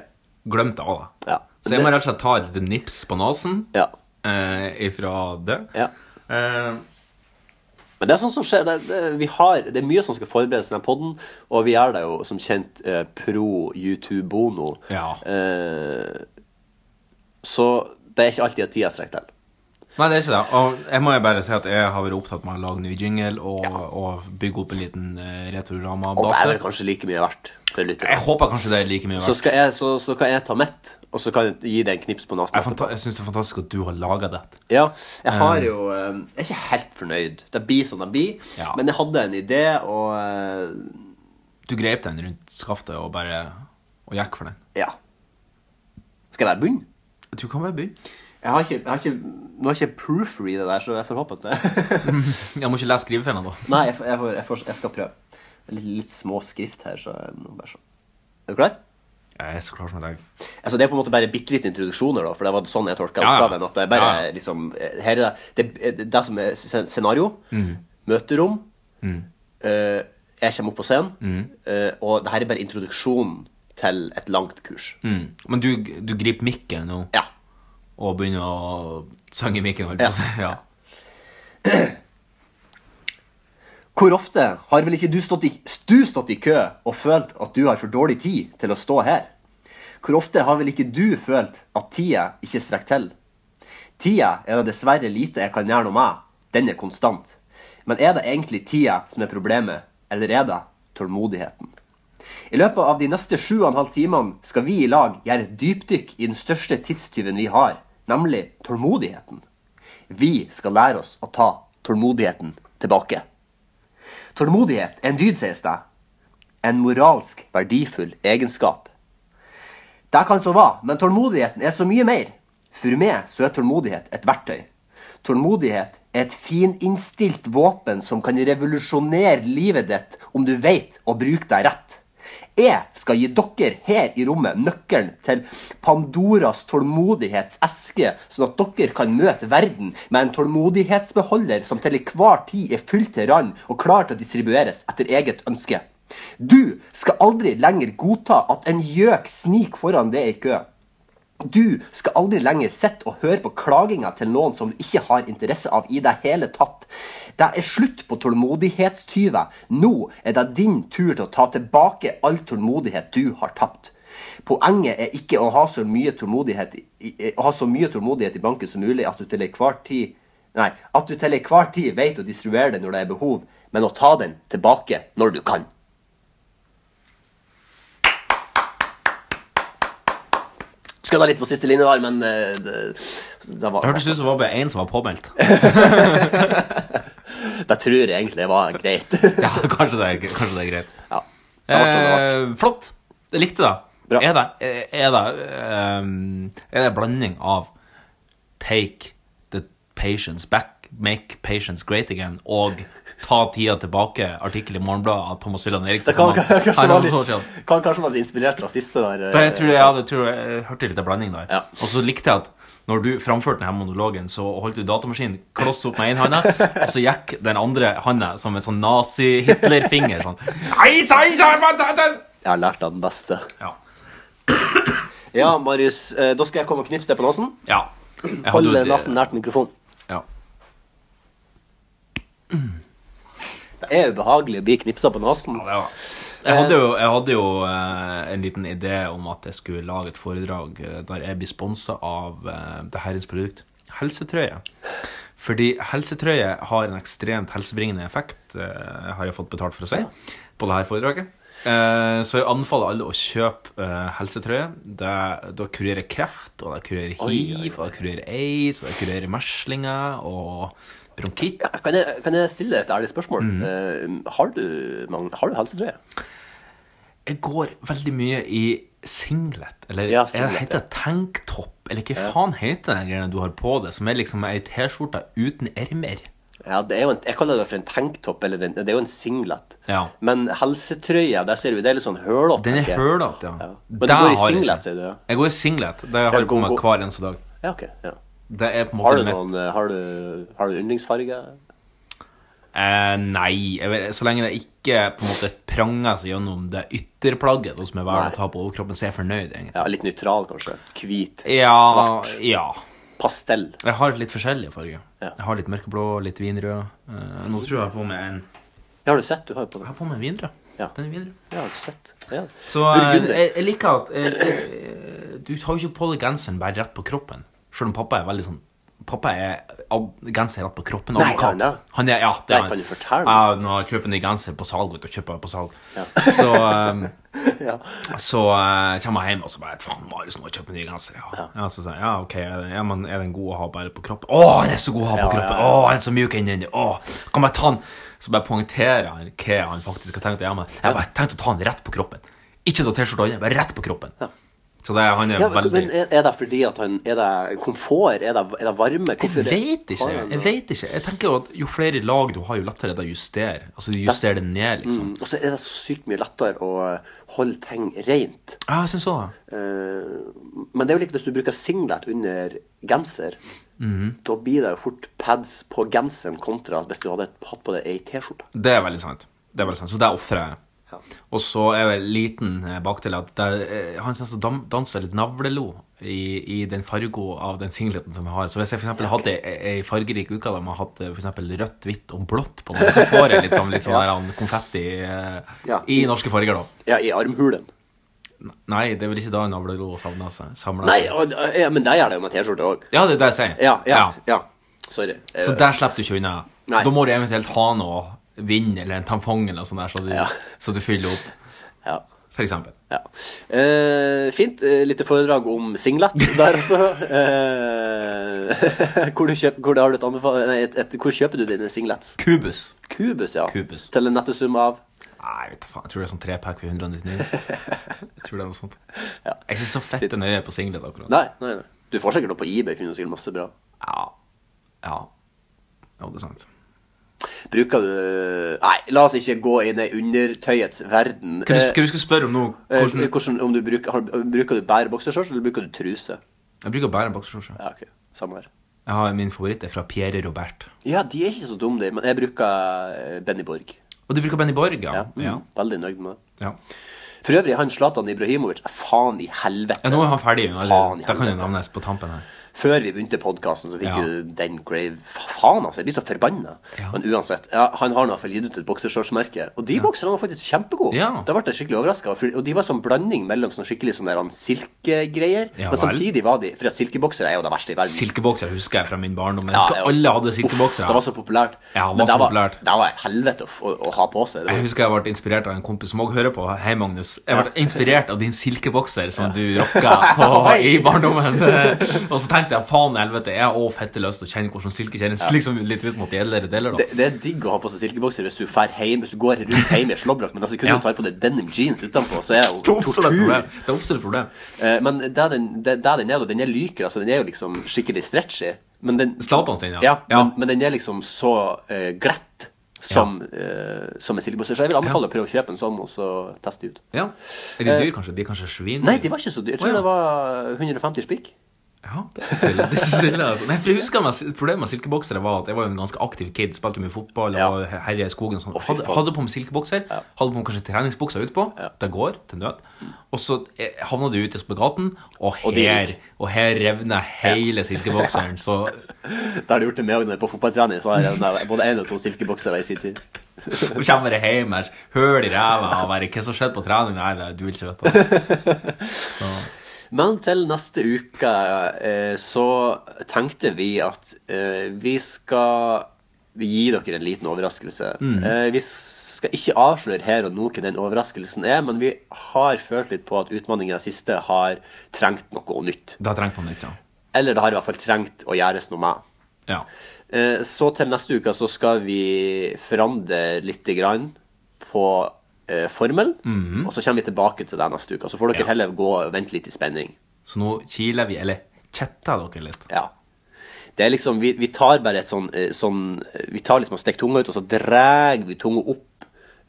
S2: glemt det av det. Så jeg må
S3: Det-
S2: rett og slett ta et nips på nesen eh, ifra det. Eh,
S3: Men det er sånn som skjer. Det, det, vi har, det er mye som skal forberedes i denne podden, og vi er da jo som kjent eh, pro YouTube Bono. Eh, så det er ikke alltid at de er strekt til.
S2: Nei, det er ikke det. Og jeg må jo bare si at jeg har vært opptatt med å lage ny jingle og, og bygge opp en liten eh,
S3: Og det er
S2: retorama-base.
S3: vel kanskje like mye verdt for lytterne.
S2: Jeg håper kanskje det er like mye verdt.
S3: Så, skal jeg, så, så kan jeg ta mitt, og så kan jeg gi deg en knips på nesen.
S2: Jeg, fanta- jeg syns det er fantastisk at du har laga det.
S3: Ja, jeg har
S2: Eh.
S3: jo eh, Jeg er ikke helt fornøyd. Det blir som det blir. Men jeg hadde en idé, og eh,
S2: Du grep den rundt skaftet og bare Og gikk for den.
S3: Ja. Skal jeg være bunn?
S2: Du kan være bunn.
S3: Jeg har ikke, jeg har ikke, nå har jeg ikke proofread det der, så jeg får håpe at det
S2: Jeg må ikke lese skrivefeilene, da.
S3: Nei, jeg, får- jeg, får, jeg, får, jeg skal prøve. Det er Litt, litt små skrift her, så jeg må bare se. Er du klar?
S2: Jeg er så klar som et egg.
S3: Altså, det er på en måte bare bitte litt introduksjoner, da, for det var sånn jeg tolka
S2: Ja, ja.
S3: oppgaven. At det er bare
S2: Ja, ja.
S3: liksom eh, Her er det Det, det, det som er scen- scenario. Møterom.
S2: Mm.
S3: eh, jeg kommer opp på scenen.
S2: Mm.
S3: eh, og det her er bare introduksjonen til et langt kurs.
S2: Mm. Men du, du griper mikken nå
S3: Ja.
S2: og begynner å synge i mikken. Holdt jeg på å si. Ja.
S3: Hvor ofte har vel ikke du stått, i, du stått i kø og følt at du har for dårlig tid til å stå her? Hvor ofte har vel ikke du følt at tida ikke strekker til? Tida er det dessverre lite jeg kan gjøre noe med. Den er konstant. Men er det egentlig tida som er problemet, eller er det tålmodigheten? I løpet av de neste sju og en halv timene skal vi i lag gjøre et dypdykk i den største tidstyven vi har, nemlig tålmodigheten. Vi skal lære oss å ta tålmodigheten tilbake. Tålmodighet er en dyd, sies det. En moralsk verdifull egenskap. Det kan så være, men tålmodigheten er så mye mer. For meg så er tålmodighet et verktøy. Tålmodighet er et fininnstilt våpen som kan revolusjonere livet ditt om du vet å bruke deg rett. Jeg skal gi dere her i rommet nøkkelen til Pandoras tålmodighetseske, sånn at dere kan møte verden med en tålmodighetsbeholder som til enhver tid er fylt til rand og klar til å distribueres etter eget ønske. Du skal aldri lenger godta at en gjøk sniker foran deg i kø. Du skal aldri lenger sitte og høre på klaginga til noen som du ikke har interesse av i det hele tatt. Det er slutt på tålmodighetstyver. Nå er det din tur til å ta tilbake all tålmodighet du har tapt. Poenget er ikke å ha så mye tålmodighet i, i- å ha så mye tålmodighet i banken som mulig at du til enhver tid Nei, at du til enhver tid vet å distribuere den når det er behov, men å ta den tilbake når du kan. Skødda litt på siste linje der, men eh, det, det var
S2: Det hørtes ut som det var bare én som var påmeldt.
S3: Det tror jeg egentlig var greit.
S2: Ja, kanskje det er, kanskje det er greit.
S3: Ja. Det ble sånn det ble.
S2: Eh, flott. Jeg likte det. Er det, er, det, ehm, er det en blanding av take the patience back, make patience great again, og ta tida tilbake, artikkel i Morgenbladet av Thomas Hylland Eriksen?
S3: Det kan, kan, kanskje,
S2: Nei,
S3: var
S2: det var
S3: litt, kan kanskje være litt inspirert av siste der. eh,
S2: Da, Eh, jeg tror jeg, hadde, tror jeg, jeg hørte litt av blanding der. Og så likte jeg at når du framførte denne monologen, så holdt du datamaskinen kloss opp med én hånda, og så gikk den andre hånda som en sånn nazi-Hitler-finger. Sånn. Nei, nei, nei, nei, nei, nei.
S3: Jeg har lært av den beste.
S2: Ja.
S3: Ja, Marius, eh, da skal jeg komme og knipse deg på nesen.
S2: Ja.
S3: Hold nesen nært mikrofonen.
S2: Ja.
S3: Det er ubehagelig å bli knipsa på nesen.
S2: Jeg hadde jo, jeg hadde jo eh, en liten idé om at jeg skulle lage et foredrag eh, der jeg blir sponsa av eh, det herrens produkt, helsetrøye. Fordi helsetrøye har en ekstremt helsebringende effekt, eh, har jeg fått betalt for å si, på det her foredraget. Eh, så jeg anbefaler alle å kjøpe eh, helsetrøye. Det, da kurerer kreft, og det kurerer hiv, og det kurerer aids, og det kurerer meslinger og bronkitt.
S3: Kan jeg, kan jeg stille et ærlig spørsmål?
S2: Mm.
S3: Eh, har, du, Magn- har du helsetrøye?
S2: Jeg går veldig mye i singlet, eller er
S3: Ja,
S2: det
S3: singlet,
S2: heter tanktopp, eller hva faen heter den greia du har på deg, som er liksom ei T-skjorte uten ermer.
S3: Ja, det er jo en, jeg kaller det for en tanktopp, eller en, det er jo en singlet.
S2: Ja.
S3: Men helsetrøya, der ser vi, det er litt sånn hølete.
S2: Den er
S3: tenker jeg.
S2: hølete, ja.
S3: Men
S2: Der
S3: du går i
S2: har jeg
S3: singlet,
S2: ikke.
S3: sier du? Ja,
S2: Jeg går i singlet. Det har jeg
S3: gå-
S2: på meg
S3: gå-
S2: hver eneste dag.
S3: ja ok. Ja.
S2: Det er på en måte
S3: Har du
S2: mitt-
S3: noen eh, Har du, har du yndlingsfarge?
S2: Eh, nei, jeg vet, så lenge det ikke på en måte pranger seg gjennom det ytterplagget da, som jeg velger å ta på overkroppen, så er jeg fornøyd, egentlig.
S3: Ja, litt nøytral, kanskje? Hvit?
S2: Ja,
S3: Svart?
S2: ja.
S3: Pastell?
S2: Jeg har litt forskjellige farger. Jeg har litt mørkeblå, litt vinrød. Eh, nå tror jeg jeg har på meg en
S3: Ja, har du sett? Du har jo på deg.
S2: Jeg har på meg en vinrød.
S3: Ja.
S2: Den er vinrød.
S3: Ja, har du sett? Ja.
S2: Så eh,
S3: Burgunder.
S2: jeg, jeg liker at eh, eh, Du tar jo ikke på deg genseren bare rett på kroppen. Selv om pappa er veldig sånn Pappa er ab genser rett på kroppen.
S3: Nei,
S2: advokat.
S3: han er.
S2: Han er, ja, det
S3: Nei,
S2: er han.
S3: kan du fortelle meg?
S2: Ja, nå kjøper han en genser på salg, vet du. Kjøper på salg. Så, eh,
S3: Ja.
S2: så eh, kommer jeg hjem og så bare Faen, Marius, nå kjøper jeg ny genser. Ja. Ja. så sier jeg ja, OK, er den- ja, men er den god å ha bare på kroppen? Å, den er så god å ha på
S3: Ja,
S2: kroppen!
S3: ja, ja.
S2: Å, han er så mjuk inni den. Å, kan bare ta den. Så bare poengterer han hva han faktisk har tenkt å gjøre med. Jeg bare tenkte å ta den rett på kroppen. Ikke ta T-skjorta under, bare rett på kroppen. Så det, er- han er
S3: Ja, men-
S2: veldig
S3: men eh, er er det fordi at han Er det komfort? Er det, er det varme? Hvorfor
S2: Jeg vet ikke. Jeg, jeg vet ikke. Jeg tenker jo at jo flere lag du har, jo lettere er det å justere. Altså du justerer det ned, liksom.
S3: Mm, Og så er det så sykt mye lettere å holde ting rent.
S2: Ja, jeg syns òg det.
S3: Eh, Men det er jo litt hvis du bruker singlet under genser,
S2: Mhm.
S3: da blir det jo fort pads på genseren kontra hvis du hadde hatt på deg ei T-skjorte.
S2: Det er veldig sant. Det er veldig sant. Så det ofrer jeg. Og så er jeg en liten eh, bakdel at det, eh, han synes å dam- danser litt navlelo i, i den fargo av den singleten som jeg har. Så hvis jeg for eksempel hadde ei ei fargerik uke der man hadde eh, for eksempel rødt, hvitt og blått på meg, så får jeg litt sånn, litt sånn der, han, konfetti eh,
S3: Ja.
S2: i norske farger, da.
S3: Ja, i armhulen.
S2: Nei, det er vel ikke da navlelo savner seg. samler
S3: Nei,
S2: seg.
S3: og- ja, men det gjør det jo med T-skjorte òg.
S2: Ja, det er det jeg sier.
S3: Ja, ja, ja. Sorry. Eh,
S2: Så der slipper du ikke unna.
S3: Nei.
S2: Da må du eventuelt ha noe vind eller en tampong eller noe sånt der, så du,
S3: Ja.
S2: så du fyller opp,
S3: Ja.
S2: for eksempel.
S3: ja. Eh, fint. Uh, lite foredrag om singlet der også. Eh, hvor, du kjøp, hvor, har du et anbefal- nei, et, et, hvor kjøper du dine singlets?
S2: Kubus.
S3: Kubus, ja.
S2: Kubus.
S3: Til en nettosum av
S2: Nei, vet du faen. Jeg tror det er sånn trepack for 199. Jeg tror det er noe sånt. Jeg syns så fett det nøye på singlet akkurat.
S3: Nei, nei, nei. Du får sikkert noe på eBay. Finner du sikkert masse bra.
S2: Ja. Ja. Ja, det er sant.
S3: Eh, Bruker du Nei, la oss ikke gå inn i undertøyets verden.
S2: Hva du, hva du skulle spørre om nå?
S3: Eh,
S2: Hvordan,
S3: eh, hvordan, om du bruker, har, bruker du bare boksershorts, eller bruker du truse?
S2: jeg bruker bare boksershorts.
S3: Ja, ok, samme her.
S2: Jeg har Min favoritt er fra Pierre Robert.
S3: Ja, de er ikke så dumme, de, men jeg bruker eh, Benny Borg.
S2: Og du bruker Benny Borg, ja?
S3: Mm,
S2: Ja.
S3: Veldig nøyd med det.
S2: ja.
S3: For øvrig, han Zlatan Ibrahimovic eh, Faen i helvete!
S2: ja nå er han ferdig. nå er
S3: Faen i
S2: det- Da kan jo
S3: helvete.
S2: navnes på tampen her.
S3: Før vi begynte podkasten, så fikk
S2: Ja.
S3: jo den grave Fa- Faen, altså! Jeg blir så forbanna.
S2: Ja.
S3: Men uansett, ja, han har i hvert fall gitt ut et boksershortsmerke. Og de bokserne var faktisk kjempegode.
S2: Ja.
S3: Da ble jeg skikkelig overraska. Og de var sånn blanding mellom sånn skikkelig sånn der han silkegreier,
S2: Ja,
S3: men
S2: vel.
S3: samtidig var de For at silkeboksere er jo det verste i verden.
S2: Silkebokser husker jeg fra min barndom. Jeg
S3: Ja,
S2: husker
S3: det var-
S2: alle hadde
S3: Uff, det var
S2: silkeboksere.
S3: så populært.
S2: Ja, det var
S3: Men
S2: så
S3: det var,
S2: populært.
S3: Det var et helvete å, f- å, å ha på seg. Det
S2: Jeg
S3: var,
S2: husker jeg ble inspirert av en kompis som også hører på. Hei, Magnus. Jeg ble inspirert av din silkebokser som du rocka på i barndommen. Og så tenkte jeg faen i helvete, jeg har òg fette lyst til å kjenne hvordan silke kjennes. Liksom litt ut mot de eldre deler,
S3: det,
S2: da.
S3: det er digg å ha på seg silkebokser hvis du fær hjem, hvis du går rundt hjemme i slåbrok, men altså, kunne
S2: Ja.
S3: du ta på deg denim jeans utenpå, så er det
S2: Det
S3: jo
S2: oppstår et
S3: tortur.
S2: problem. Det oppstår et problem.
S3: Eh, Men det er den, det, det er den er, da, den er lyker, altså den er jo liksom skikkelig stretchy. Men den,
S2: Zlatan sin, ja.
S3: ja,
S2: Ja.
S3: Men, men den er liksom så eh, glatt som, eh, som en silkebokser. Så jeg vil anbefale å prøve å kjøpe en sånn, og så teste ut.
S2: Ja. Er de dyr, kanskje? De er kanskje svin?
S3: Nei, de var ikke så dyre. Jeg
S2: Å,
S3: tror
S2: ja.
S3: det var 150 spikk.
S2: Ja, det er stille, det er stille, altså. Nei, for jeg husker meg, Problemet med silkeboksere var at jeg var jo en ganske aktiv kid. Spilte mye fotball
S3: Ja.
S2: og herja i skogen. og sånn.
S3: fy
S2: Hadde,
S3: faen.
S2: hadde på meg silkebokser, hadde på meg kanskje treningsbuksa utpå. Det går til nød. Og så eh, havna du ute på gaten, og
S3: Og de
S2: her,
S3: gikk.
S2: og her revner hele silkebokseren. Så
S3: Da har de gjort det med òg når jeg er på fotballtrening. Så har jeg både én og to silkeboksere i sin tid.
S2: Så kommer jeg hjem her, høl i ræva og bare Hva som skjedde på trening? Nei, det, du vil ikke vite. Så.
S3: Men til neste uke eh, så tenkte vi at eh, vi skal gi dere en liten overraskelse.
S2: Mm.
S3: Eh, vi skal ikke avsløre her og nå hva den overraskelsen er, men vi har følt litt på at utfordringen i det siste har trengt noe nytt.
S2: Det har trengt noe nytt, ja.
S3: Eller det har i hvert fall trengt å gjøres noe med.
S2: Ja.
S3: Eh, Så til neste uke så skal vi forandre litt grann på eh, formelen.
S2: Mhm.
S3: Og så kommer vi tilbake til det neste uke. Så får dere
S2: Ja.
S3: heller gå og vente litt i spenning.
S2: Så nå kiler vi, eller chatter dere litt.
S3: Ja. Det er liksom, vi, vi tar bare et sånn, eh, sånn eh, Vi tar liksom og stikker tunga ut, og så drar vi tunga opp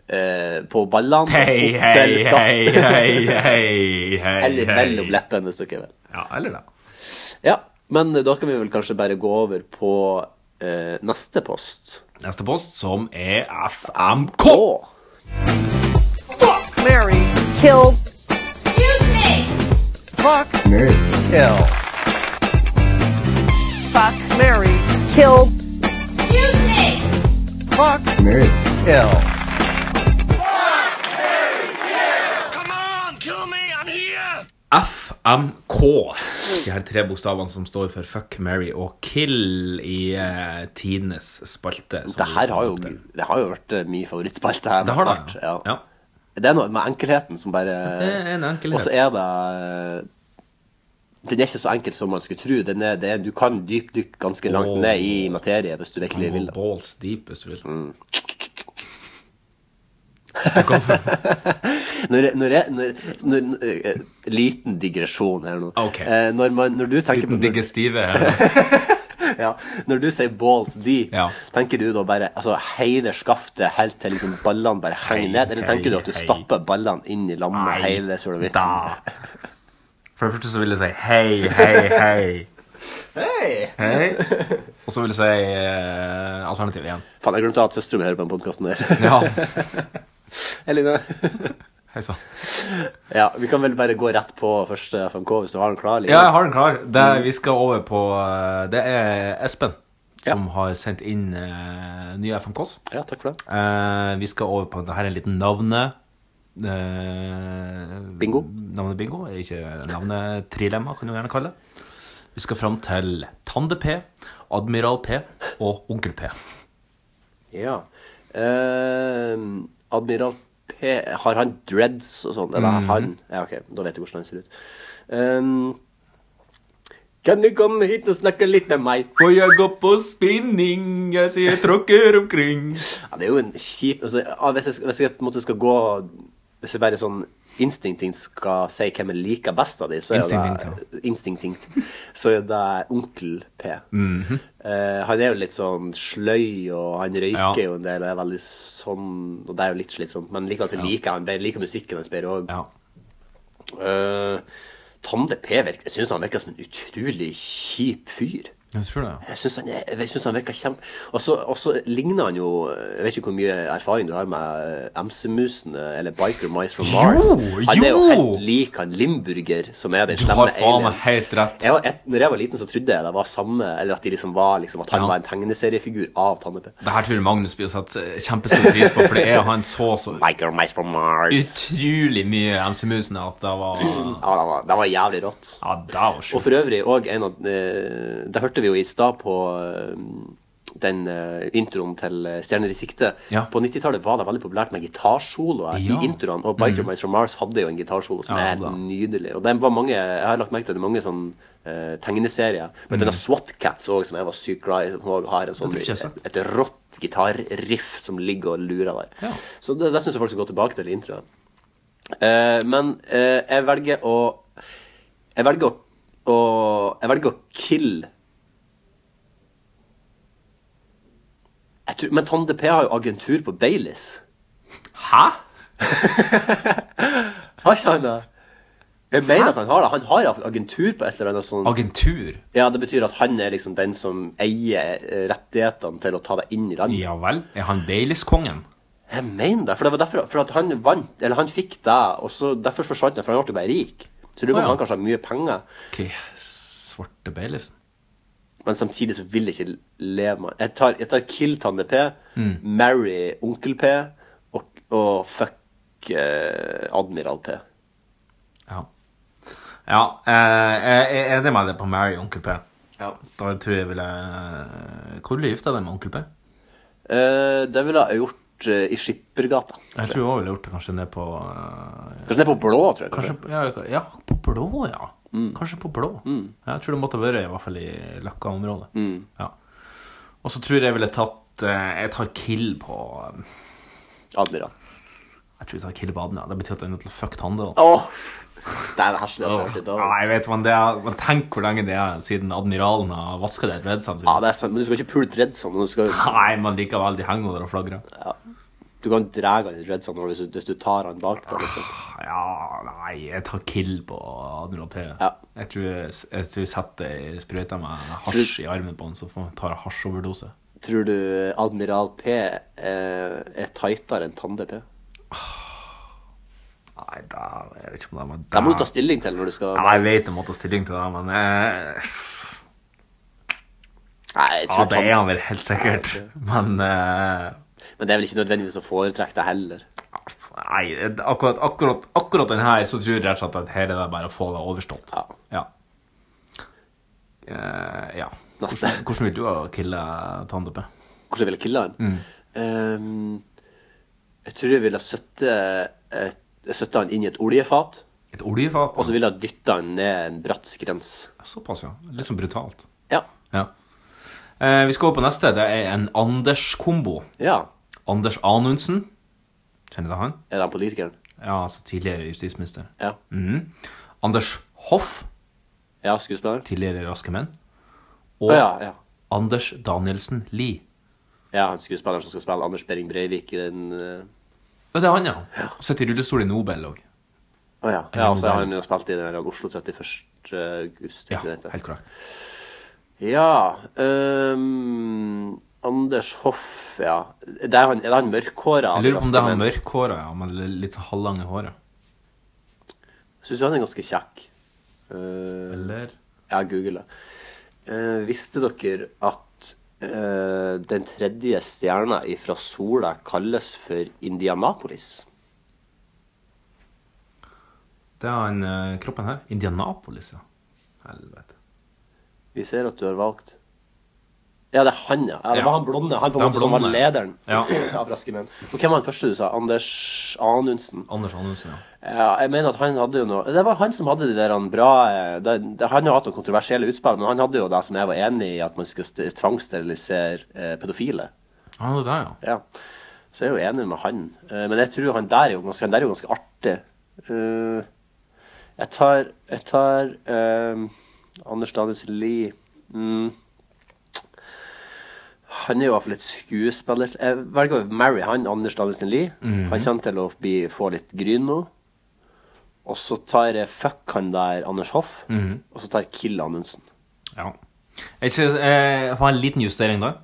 S3: eh, på ballene.
S2: Hei,
S3: opp
S2: hei,
S3: til
S2: hei,
S3: skaftet.
S2: hei, hei, hei.
S3: Eller
S2: hei.
S3: mellom leppene, hvis dere vil.
S2: Ja, eller det.
S3: Ja, men eh, da kan vi vel kanskje bare gå over på eh, neste post.
S2: Neste post, som er FMK.
S12: Larry. Kill. Excuse me. Fuck.
S13: Nerd.
S12: Kill. Fuck. Larry. Kill. Excuse me. Fuck.
S13: Nerd.
S12: Kill.
S2: FMK. De her tre bokstavene som står for Fuck, Mary og Kill i eh, tidenes spalte.
S3: Det her har jo, det har jo vært eh, min favorittspalte. her.
S2: Sånn Det har det,
S3: etter hvert, ja. Det er noe med enkelheten som bare
S2: Det er en enkelhet.
S3: Og så er det eh, Den er ikke så enkel som man skulle tro. Den er, det er, du kan dypdykke ganske langt
S2: Åh.
S3: ned i materie hvis du virkelig vil. det. Mm.
S2: Balls deep, hvis du vil.
S3: Når, jeg- når jeg når, når, eh, Liten digresjon her nå.
S2: Ah,
S3: Eh, når, man, når du tenker på
S2: Digestive
S3: ja. Når du sier balls deep, tenker du da bare altså, hele skaftet helt til liksom, ballene bare henger ned? Eller tenker
S2: hei,
S3: du at du
S2: hei.
S3: stapper ballene inn i
S2: Nei,
S3: lammet hele
S2: da. For det første så vil jeg si hei, hei, hei.
S3: Hei!
S2: Hei. Og så vil jeg si eh, alternativ igjen.
S3: Faen, jeg glemte at søstera mi hører på den podkasten der. Eller noe.
S2: Hei sann.
S3: Ja, vi kan vel bare gå rett på første FMK hvis du har den klar? Line.
S2: Ja, jeg har den klar. Det, vi skal over på eh, Det er Espen som har sendt inn eh, nye FMKs.
S3: Ja, takk for det.
S2: Eh, vi skal over på det her er en liten navne... eh,
S3: Bingo.
S2: Navnebingo. Ikke navnetrilemma, kan du gjerne kalle det. Vi skal fram til Tande-P, Admiral P og Onkel P.
S3: Ja. Ehm, Admiral P Har han dreads og sånn? Eller
S2: Mhm.
S3: han? Ja, ok, da vet jeg hvordan han ser ut. Ehm, kan du komme hit og snakke litt med meg?
S2: For jeg går på spinning, jeg sier tråkker omkring.
S3: Ja, det er jo en kjip altså, ja, hvis, jeg, hvis jeg på en måte skal gå Hvis jeg bare sånn instinktivt skal si hvem jeg liker best av de, så er det Instinktivt. Så er det onkel P.
S2: Mhm.
S3: Eh, han er jo litt sånn sløy, og han røyker
S2: Ja.
S3: jo en del, og er veldig sånn Og det er jo litt slitsomt, men likevel så liker jeg han bedre. Liker musikken hans bedre òg. Tande P virker Jeg syns han virker som en utrolig kjip fyr.
S2: Jeg tror det.
S3: Jeg syns han, er- jeg synes han virker kjempe... Og så- Og så ligner han jo Jeg vet ikke hvor mye erfaring du har med eh, MC-musene eller Biker Mice from
S2: Jo,
S3: Mars. Han er jo
S2: jo!
S3: helt lik han Limburger, som er den
S2: Du
S3: slemme
S2: har faen
S3: alien.
S2: meg helt rett.
S3: Jeg, var- et, når jeg var liten, så trodde jeg det var samme Eller at de liksom var liksom At han var en tegneseriefigur av Tannepe.
S2: Det her tror jeg Magnus blir satt eh, kjempestor pris på, for det er han så så utrolig mye MC-musene at det var
S3: Ja, det var, det var jævlig rått.
S2: Ja, det var sjukt.
S3: Og for øvrig òg en av eh, Det hørte vi jo i stad på eh, den eh, introen til eh, Stjerner i sikte.
S2: Ja.
S3: På 90-tallet var det veldig populært med gitarsoloer
S2: Ja.
S3: i introene. Og Biker
S2: Mhm.
S3: Mice from Mars hadde jo en gitarsolo som
S2: Ja,
S3: er helt nydelig. Og det var mange, jeg har lagt merke til det er mange sånne eh, tegneserier. Blant
S2: Mm.
S3: annet SWAT Cats òg, som jeg var sykt glad i. Som også har en sånn,
S2: tror jeg ikke jeg har
S3: et, et rått gitarriff som ligger og lurer der. Så det, det syns jeg folk skal gå tilbake til i introen. Eh, men eh, jeg velger å Jeg velger å, å Jeg velger å kill jeg tror, Men Tande P har jo agentur på Baileys.
S2: Hæ?
S3: Har ikke han det? Jeg mener at han har det. Han har iallfall agentur på et eller annet sånn
S2: Agentur?
S3: Ja, det betyr at han er liksom den som eier eh, rettighetene til å ta det inn i landet.
S2: Ja vel? Er han Baileys-kongen?
S3: Jeg mener det. For det var derfor for at han vant, eller han fikk det, og så derfor forsvant han, for han ble jo bare rik. Så
S2: Å,
S3: du på om
S2: ja.
S3: han kanskje har mye penger.
S2: Ok, svarte Baileysen.
S3: Men samtidig så vil jeg ikke leve meg Jeg tar, jeg tar Kill Tande P,
S2: Mm.
S3: Marry Onkel P og, og fuck eh, Admiral P.
S2: Ja, eh, jeg er enig med deg på Mary og Onkel P.
S3: Ja.
S2: Da tror jeg ville Hvor ville du gifta deg med Onkel P?
S3: Eh, det ville jeg gjort eh, i Skippergata.
S2: Jeg tror jeg også ville gjort det kanskje ned på eh,
S3: Kanskje ned på blå, tror jeg.
S2: Kanskje, Mm. ja, ja, på blå, ja. Kanskje på blå. Ja, Jeg tror det måtte ha vært i hvert fall i Løkka-området. Ja. Og så tror jeg ville tatt eh, Jeg tar kill på eh,
S3: Admiral.
S2: Jeg tror jeg tar kill på Admiral. Det betyr at jeg er nødt til å fuck Tande. da.
S3: Åh! Det er det herselig å
S2: Åh, ja, jeg vet, men, det er, men tenk hvor lenge det er siden admiralen har vaska det et vedsand.
S3: Ja, det er sant, men du skal ikke pule et redson. Du, skal...
S2: Nei, men likevel, de henger der og flagrer.
S3: Ja. du kan dra han i et redson hvis, du- hvis du tar han bakfra. Liksom.
S2: Ja, nei, jeg tar kill på Admiral P. Jeg tror jeg, jeg tror jeg setter sprøyta med hasj i armen på han, så får han tar jeg hasjoverdose.
S3: Tror du Admiral P er, er tightere enn Tande P?
S2: Nei, da, jeg vet ikke om det var
S3: Det må du ta stilling til når du skal
S2: Ja, jeg vet jeg må ta stilling til det, men eh,
S3: Nei,
S2: Ja,
S3: jeg tror
S2: det
S3: Tande-
S2: er han vel helt sikkert, men eh,
S3: Men det er vel ikke nødvendigvis å foretrekke det heller.
S2: Nei, akkurat, akkurat, akkurat den her, så tror jeg rett og slett at her er det bare å få det overstått. Ja. Ja. Eh, ja. Hvordan, hvordan vil du ha kille Tandepe?
S3: Hvordan vil jeg kille han?
S2: Mm.
S3: Ehm, jeg tror jeg ville søtte, et, søtte han inn i et oljefat.
S2: Et oljefat?
S3: Og så ville jeg dytte han ned en bratt skrens.
S2: Såpass, ja. Litt sånn brutalt.
S3: Ja.
S2: Ja. Eh, vi skal over på neste. Det er en Anders-kombo.
S3: Ja.
S2: Anders Anundsen. Kjenner du han?
S3: Er det han politikeren?
S2: Ja, altså tidligere justisminister.
S3: Ja.
S2: Mhm. Anders Hoff.
S3: Ja, skuespiller.
S2: Tidligere Raske menn. Og
S3: Å, ja, ja.
S2: Anders Danielsen Lie.
S3: Ja, han skuespilleren som skal spille Anders Behring Breivik i den eh,
S2: Ja, det er han, ja. Sitter i rullestol i Nobel òg.
S3: Å ja. ja og så har han jo spilt i den der Oslo 31. august. Ja, helt
S2: korrekt.
S3: Ja ehm, Anders Hoff, ja. Det er, han, er det han mørkhåra?
S2: Jeg lurer på om det er han mørkhåra, ja, men litt sånn halvlang i håret.
S3: Syns jo han er ganske kjekk. Eh,
S2: Eller?
S3: Ja, google det. Eh, visste dere at eh, den tredje stjerna ifra sola kalles for Indianapolis?
S2: Det er han eh, kroppen her. Indianapolis, ja. Helvete.
S3: Vi ser at du har valgt Ja, det er han, ja. ja det
S2: Ja.
S3: var han blonde. Han på en
S2: Det er
S3: måte som var
S2: blonde.
S3: lederen
S2: Ja.
S3: av Raske menn. Og hvem var den første du sa? Anders Anundsen?
S2: Anders Anundsen, ja.
S3: Ja, jeg mener at han hadde jo noe Det var han som hadde de der han bra eh, det, det, Han har hatt noen kontroversielle utspill, men han hadde jo det som jeg var enig i, at man skal st- tvangssterilisere eh, pedofile.
S2: Han er der, ja.
S3: Ja. Så jeg er jo enig med han. Eh, men jeg tror han der er jo ganske, han der er jo ganske artig. Eh, jeg tar, jeg tar eh, Anders Danielsen Lie. Mm. Han er jo i hvert fall et skuespiller. Jeg velger å marry han, Anders Danielsen Lie.
S2: Mhm.
S3: Han kommer til å bli, få litt gryn nå. Og så tar jeg fuck han der, Anders Hoff.
S2: Mhm.
S3: Og så tar jeg kill Anundsen.
S2: Ja. Jeg, synes, eh, jeg får en liten justering der.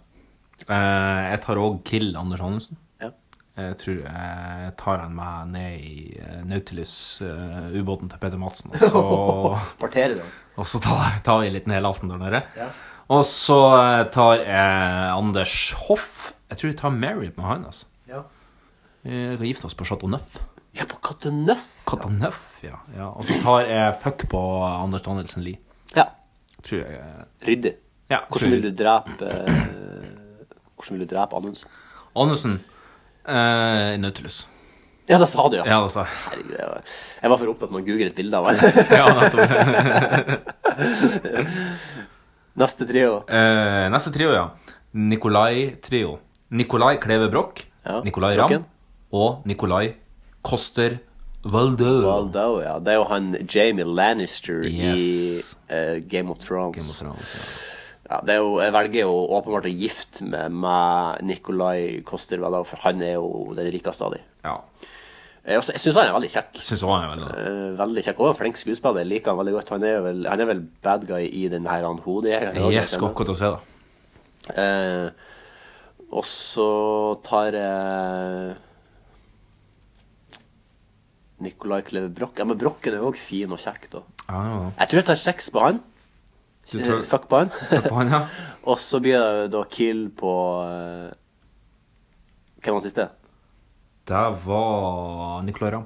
S2: Eh, jeg tar òg Kill Anders Anundsen.
S3: Ja.
S2: Jeg tror jeg tar han med ned i eh, Nautilus-ubåten til Peter Madsen. Og så,
S3: Parterer du?
S2: og så tar, tar vi en liten helalten der nede.
S3: Ja.
S2: Og så eh, tar jeg Anders Hoff. Jeg tror jeg tar Mary med han. altså.
S3: Ja.
S2: Vi kan gifte oss på Chateau Neuf.
S3: Ja, på Katte Nøff.
S2: Chateau Neuf, ja. ja. Og så tar jeg fuck på Anders Danielsen Lie.
S3: Ja.
S2: Tror jeg
S3: Ryddig.
S2: Ja,
S3: eh, Hvordan
S2: tror-
S3: vil du drepe eh, Hvordan vil du drepe Anundsen?
S2: Anundsen. Eh, Nautilus.
S3: Ja, det sa du, ja. altså.
S2: Ja, det sa jeg.
S3: Herregud, jeg var, jeg var for opptatt med å google et bilde av han.
S2: Ja, nettopp.
S3: Neste trio.
S2: Eh, neste trio, ja. Nikolai Trio. Nikolai Kleve Broch, Nikolai Ramm
S3: Brokken.
S2: og Nikolai Koster Valdo.
S3: Waldo, ja. Det er jo han Jamie Lannister
S2: Yes.
S3: i eh, Game of Thrones. ja. det er jo, jeg velger jo åpenbart å gifte meg med Nikolai Koster Waldo, for han er jo den rikeste av dem.
S2: Ja.
S3: Jeg, jeg syns han er veldig kjekk.
S2: Syns også han er veldig
S3: Eh, veldig kjekk. Og en flink skuespiller. Jeg liker han veldig godt. Han er vel, han er vel bad guy i den her han hodejegeren. også,
S2: Jeg skal
S3: ikke sant?
S2: akkurat å se det.
S3: Eh, og så tar jeg Nicolai Kleve Broch. Ja, men Brochen er jo òg fin og kjekk, da.
S2: Ja, ja.
S3: Jeg tror jeg tar seks på han.
S2: Så tar-
S3: Eh, Fuck på han.
S2: på han, ja.
S3: Og så blir det da kill på eh, Hvem var den siste?
S2: Det var Nicolay Ramm.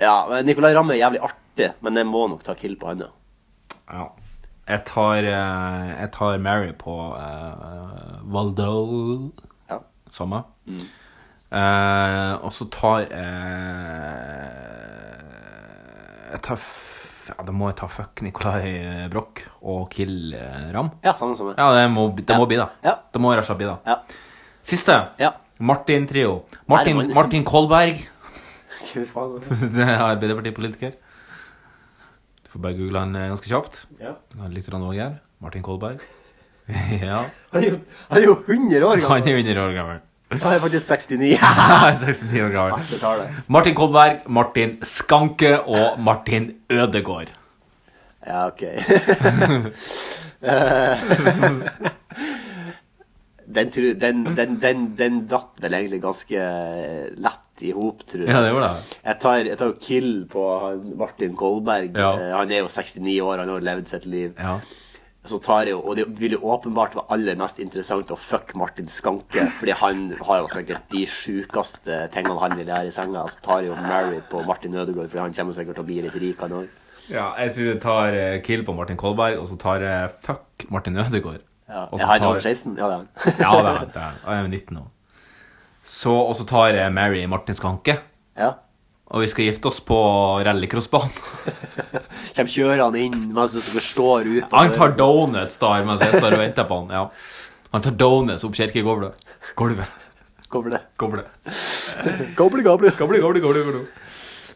S3: Ja, men Nicolay Ramme er jævlig artig, men jeg må nok ta kill på han, ja.
S2: Ja. Jeg tar, eh, jeg tar Mary på uh, Valdol.
S3: Ja.
S2: Samme.
S3: Mm.
S2: Eh, og så tar eh, Jeg tar f ja, Da må jeg ta fuck Nicolai Broch og kill eh, Ram.
S3: Ja, samme som meg.
S2: Ja, det må, det må bli, da. Det må rett og slett bli, da. Siste. Martin-trio. Martin,
S3: Nei, det var-
S2: Martin Kolberg.
S3: Hva faen?
S2: Det er Arbeiderpartipolitiker. Du får bare google han eh, ganske kjapt.
S3: Ja.
S2: Han er Litt rann også her. Martin Kolberg. ja.
S3: Han er jo- han er jo 100 år gammel.
S2: Han er 100 år gammel.
S3: Han er faktisk 69.
S2: Han er 69 år
S3: Beste tallet.
S2: gammel. Martin Kolberg, Martin Skanke og Martin Ødegård.
S3: Ja, ok. Eh, den, tru, den, den, den, den datt vel egentlig ganske eh, lett i hop, tror jeg.
S2: Ja, det gjorde det.
S3: Jeg tar, jeg tar jo kill på han Martin Kolberg.
S2: Ja.
S3: Eh, Han er jo 69 år, han har jo levd sitt liv.
S2: Ja.
S3: Så tar jeg jo, og det vil jo åpenbart være aller mest interessant å fuck Martin Skanke, fordi han har jo sikkert de sjukeste tingene han vil gjøre i senga. Så tar jeg jo Mary på Martin Ødegaard, fordi han kommer jo sikkert til å bli litt rik, han òg.
S2: Ja, jeg tror jeg tar eh, kill på Martin Kolberg, og så tar jeg fuck Martin Ødegård.
S3: Ja.
S2: Og så
S3: Er han
S2: tar-
S3: over 16? Ja, det er han.
S2: ja, det er han. det er han. Han er 19 nå. Så, og så tar jeg Mary Martin Skanke.
S3: Ja.
S2: Og vi skal gifte oss på rallycrossbanen.
S3: Kjem kjørende inn mens du står ut.
S2: Han tar donuts da, mens jeg står og venter på han. Ja. Han tar donuts opp kirkegulvet. Gulvet.
S3: Goblet.
S2: Goblet.
S3: Goble, goble.
S2: Goble, goble, goble, goble.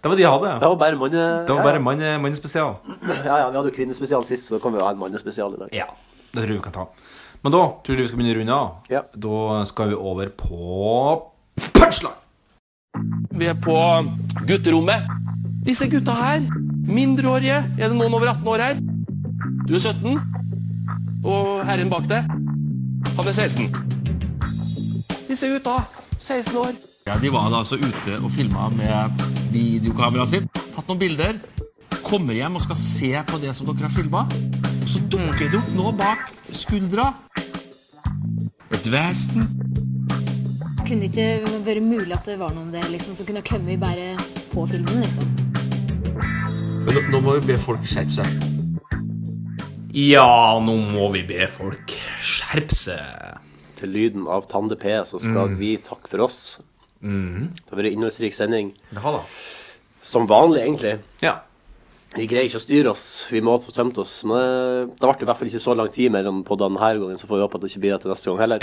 S2: Det var de jeg hadde.
S3: Det var bare mann...
S2: Det var bare manne- mannespesial.
S3: Ja, ja, vi hadde jo kvinnespesial sist, så da kan vi jo ha en mannespesial i dag.
S2: Ja. Det tror jeg vi kan ta. Men da tror jeg vi skal begynne å runde av. Da skal vi over på punchline!
S13: Vi er på gutterommet. Disse gutta her, mindreårige. Er det noen over 18 år her? Du er 17. Og herren bak deg, han er 16. Disse gutta, 16 år. Ja, De var da altså ute og filma med videokameraet sitt. Tatt noen bilder. Kommer hjem og skal se på det som dere har filma. Så dukker det opp noe bak skuldra. Et vesen.
S14: Kunne det ikke vært mulig at det var noe om det liksom, som kunne kommet bare på filmen? liksom?
S13: Men nå, nå må vi be folk skjerpe seg.
S2: Ja, nå må vi be folk skjerpe seg.
S3: Til lyden av Tande P så skal
S2: Mm. Mhm.
S3: vi takke for oss. Det har vært en innholdsrik sending.
S2: Det har det.
S3: Som vanlig, egentlig.
S2: Ja.
S3: Vi greier ikke å styre oss. Vi må få tømt oss. Men eh, det- det ble i hvert fall ikke så lang tid mellom poddene denne gangen, så får vi håpe at det ikke blir det til neste gang heller.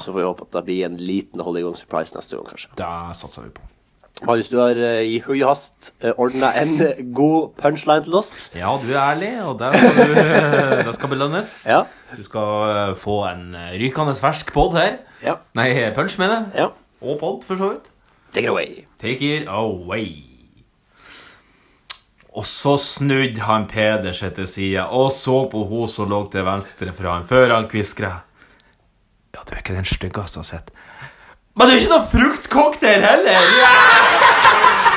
S3: Så får vi håpe at det blir en liten Holy Gong surprise neste gang, kanskje.
S2: Det satser vi på.
S3: Marius, du har eh, i hui og hast ordna en god punchline til oss.
S2: Ja, du er ærlig, og det skal, du, det skal belønnes. Du skal eh, få en eh, rykende fersk pod her. Nei, eh, punch, mener jeg. Og pod, for så vidt.
S3: Take it away.
S2: Take it away. Og så snudde han Peder seg til sida og så på hun som lå til venstre for han, før han kviskra. Ja, du er ikke den styggeste jeg har sett. Men det er jo ikke noe fruktcocktail heller! Ja!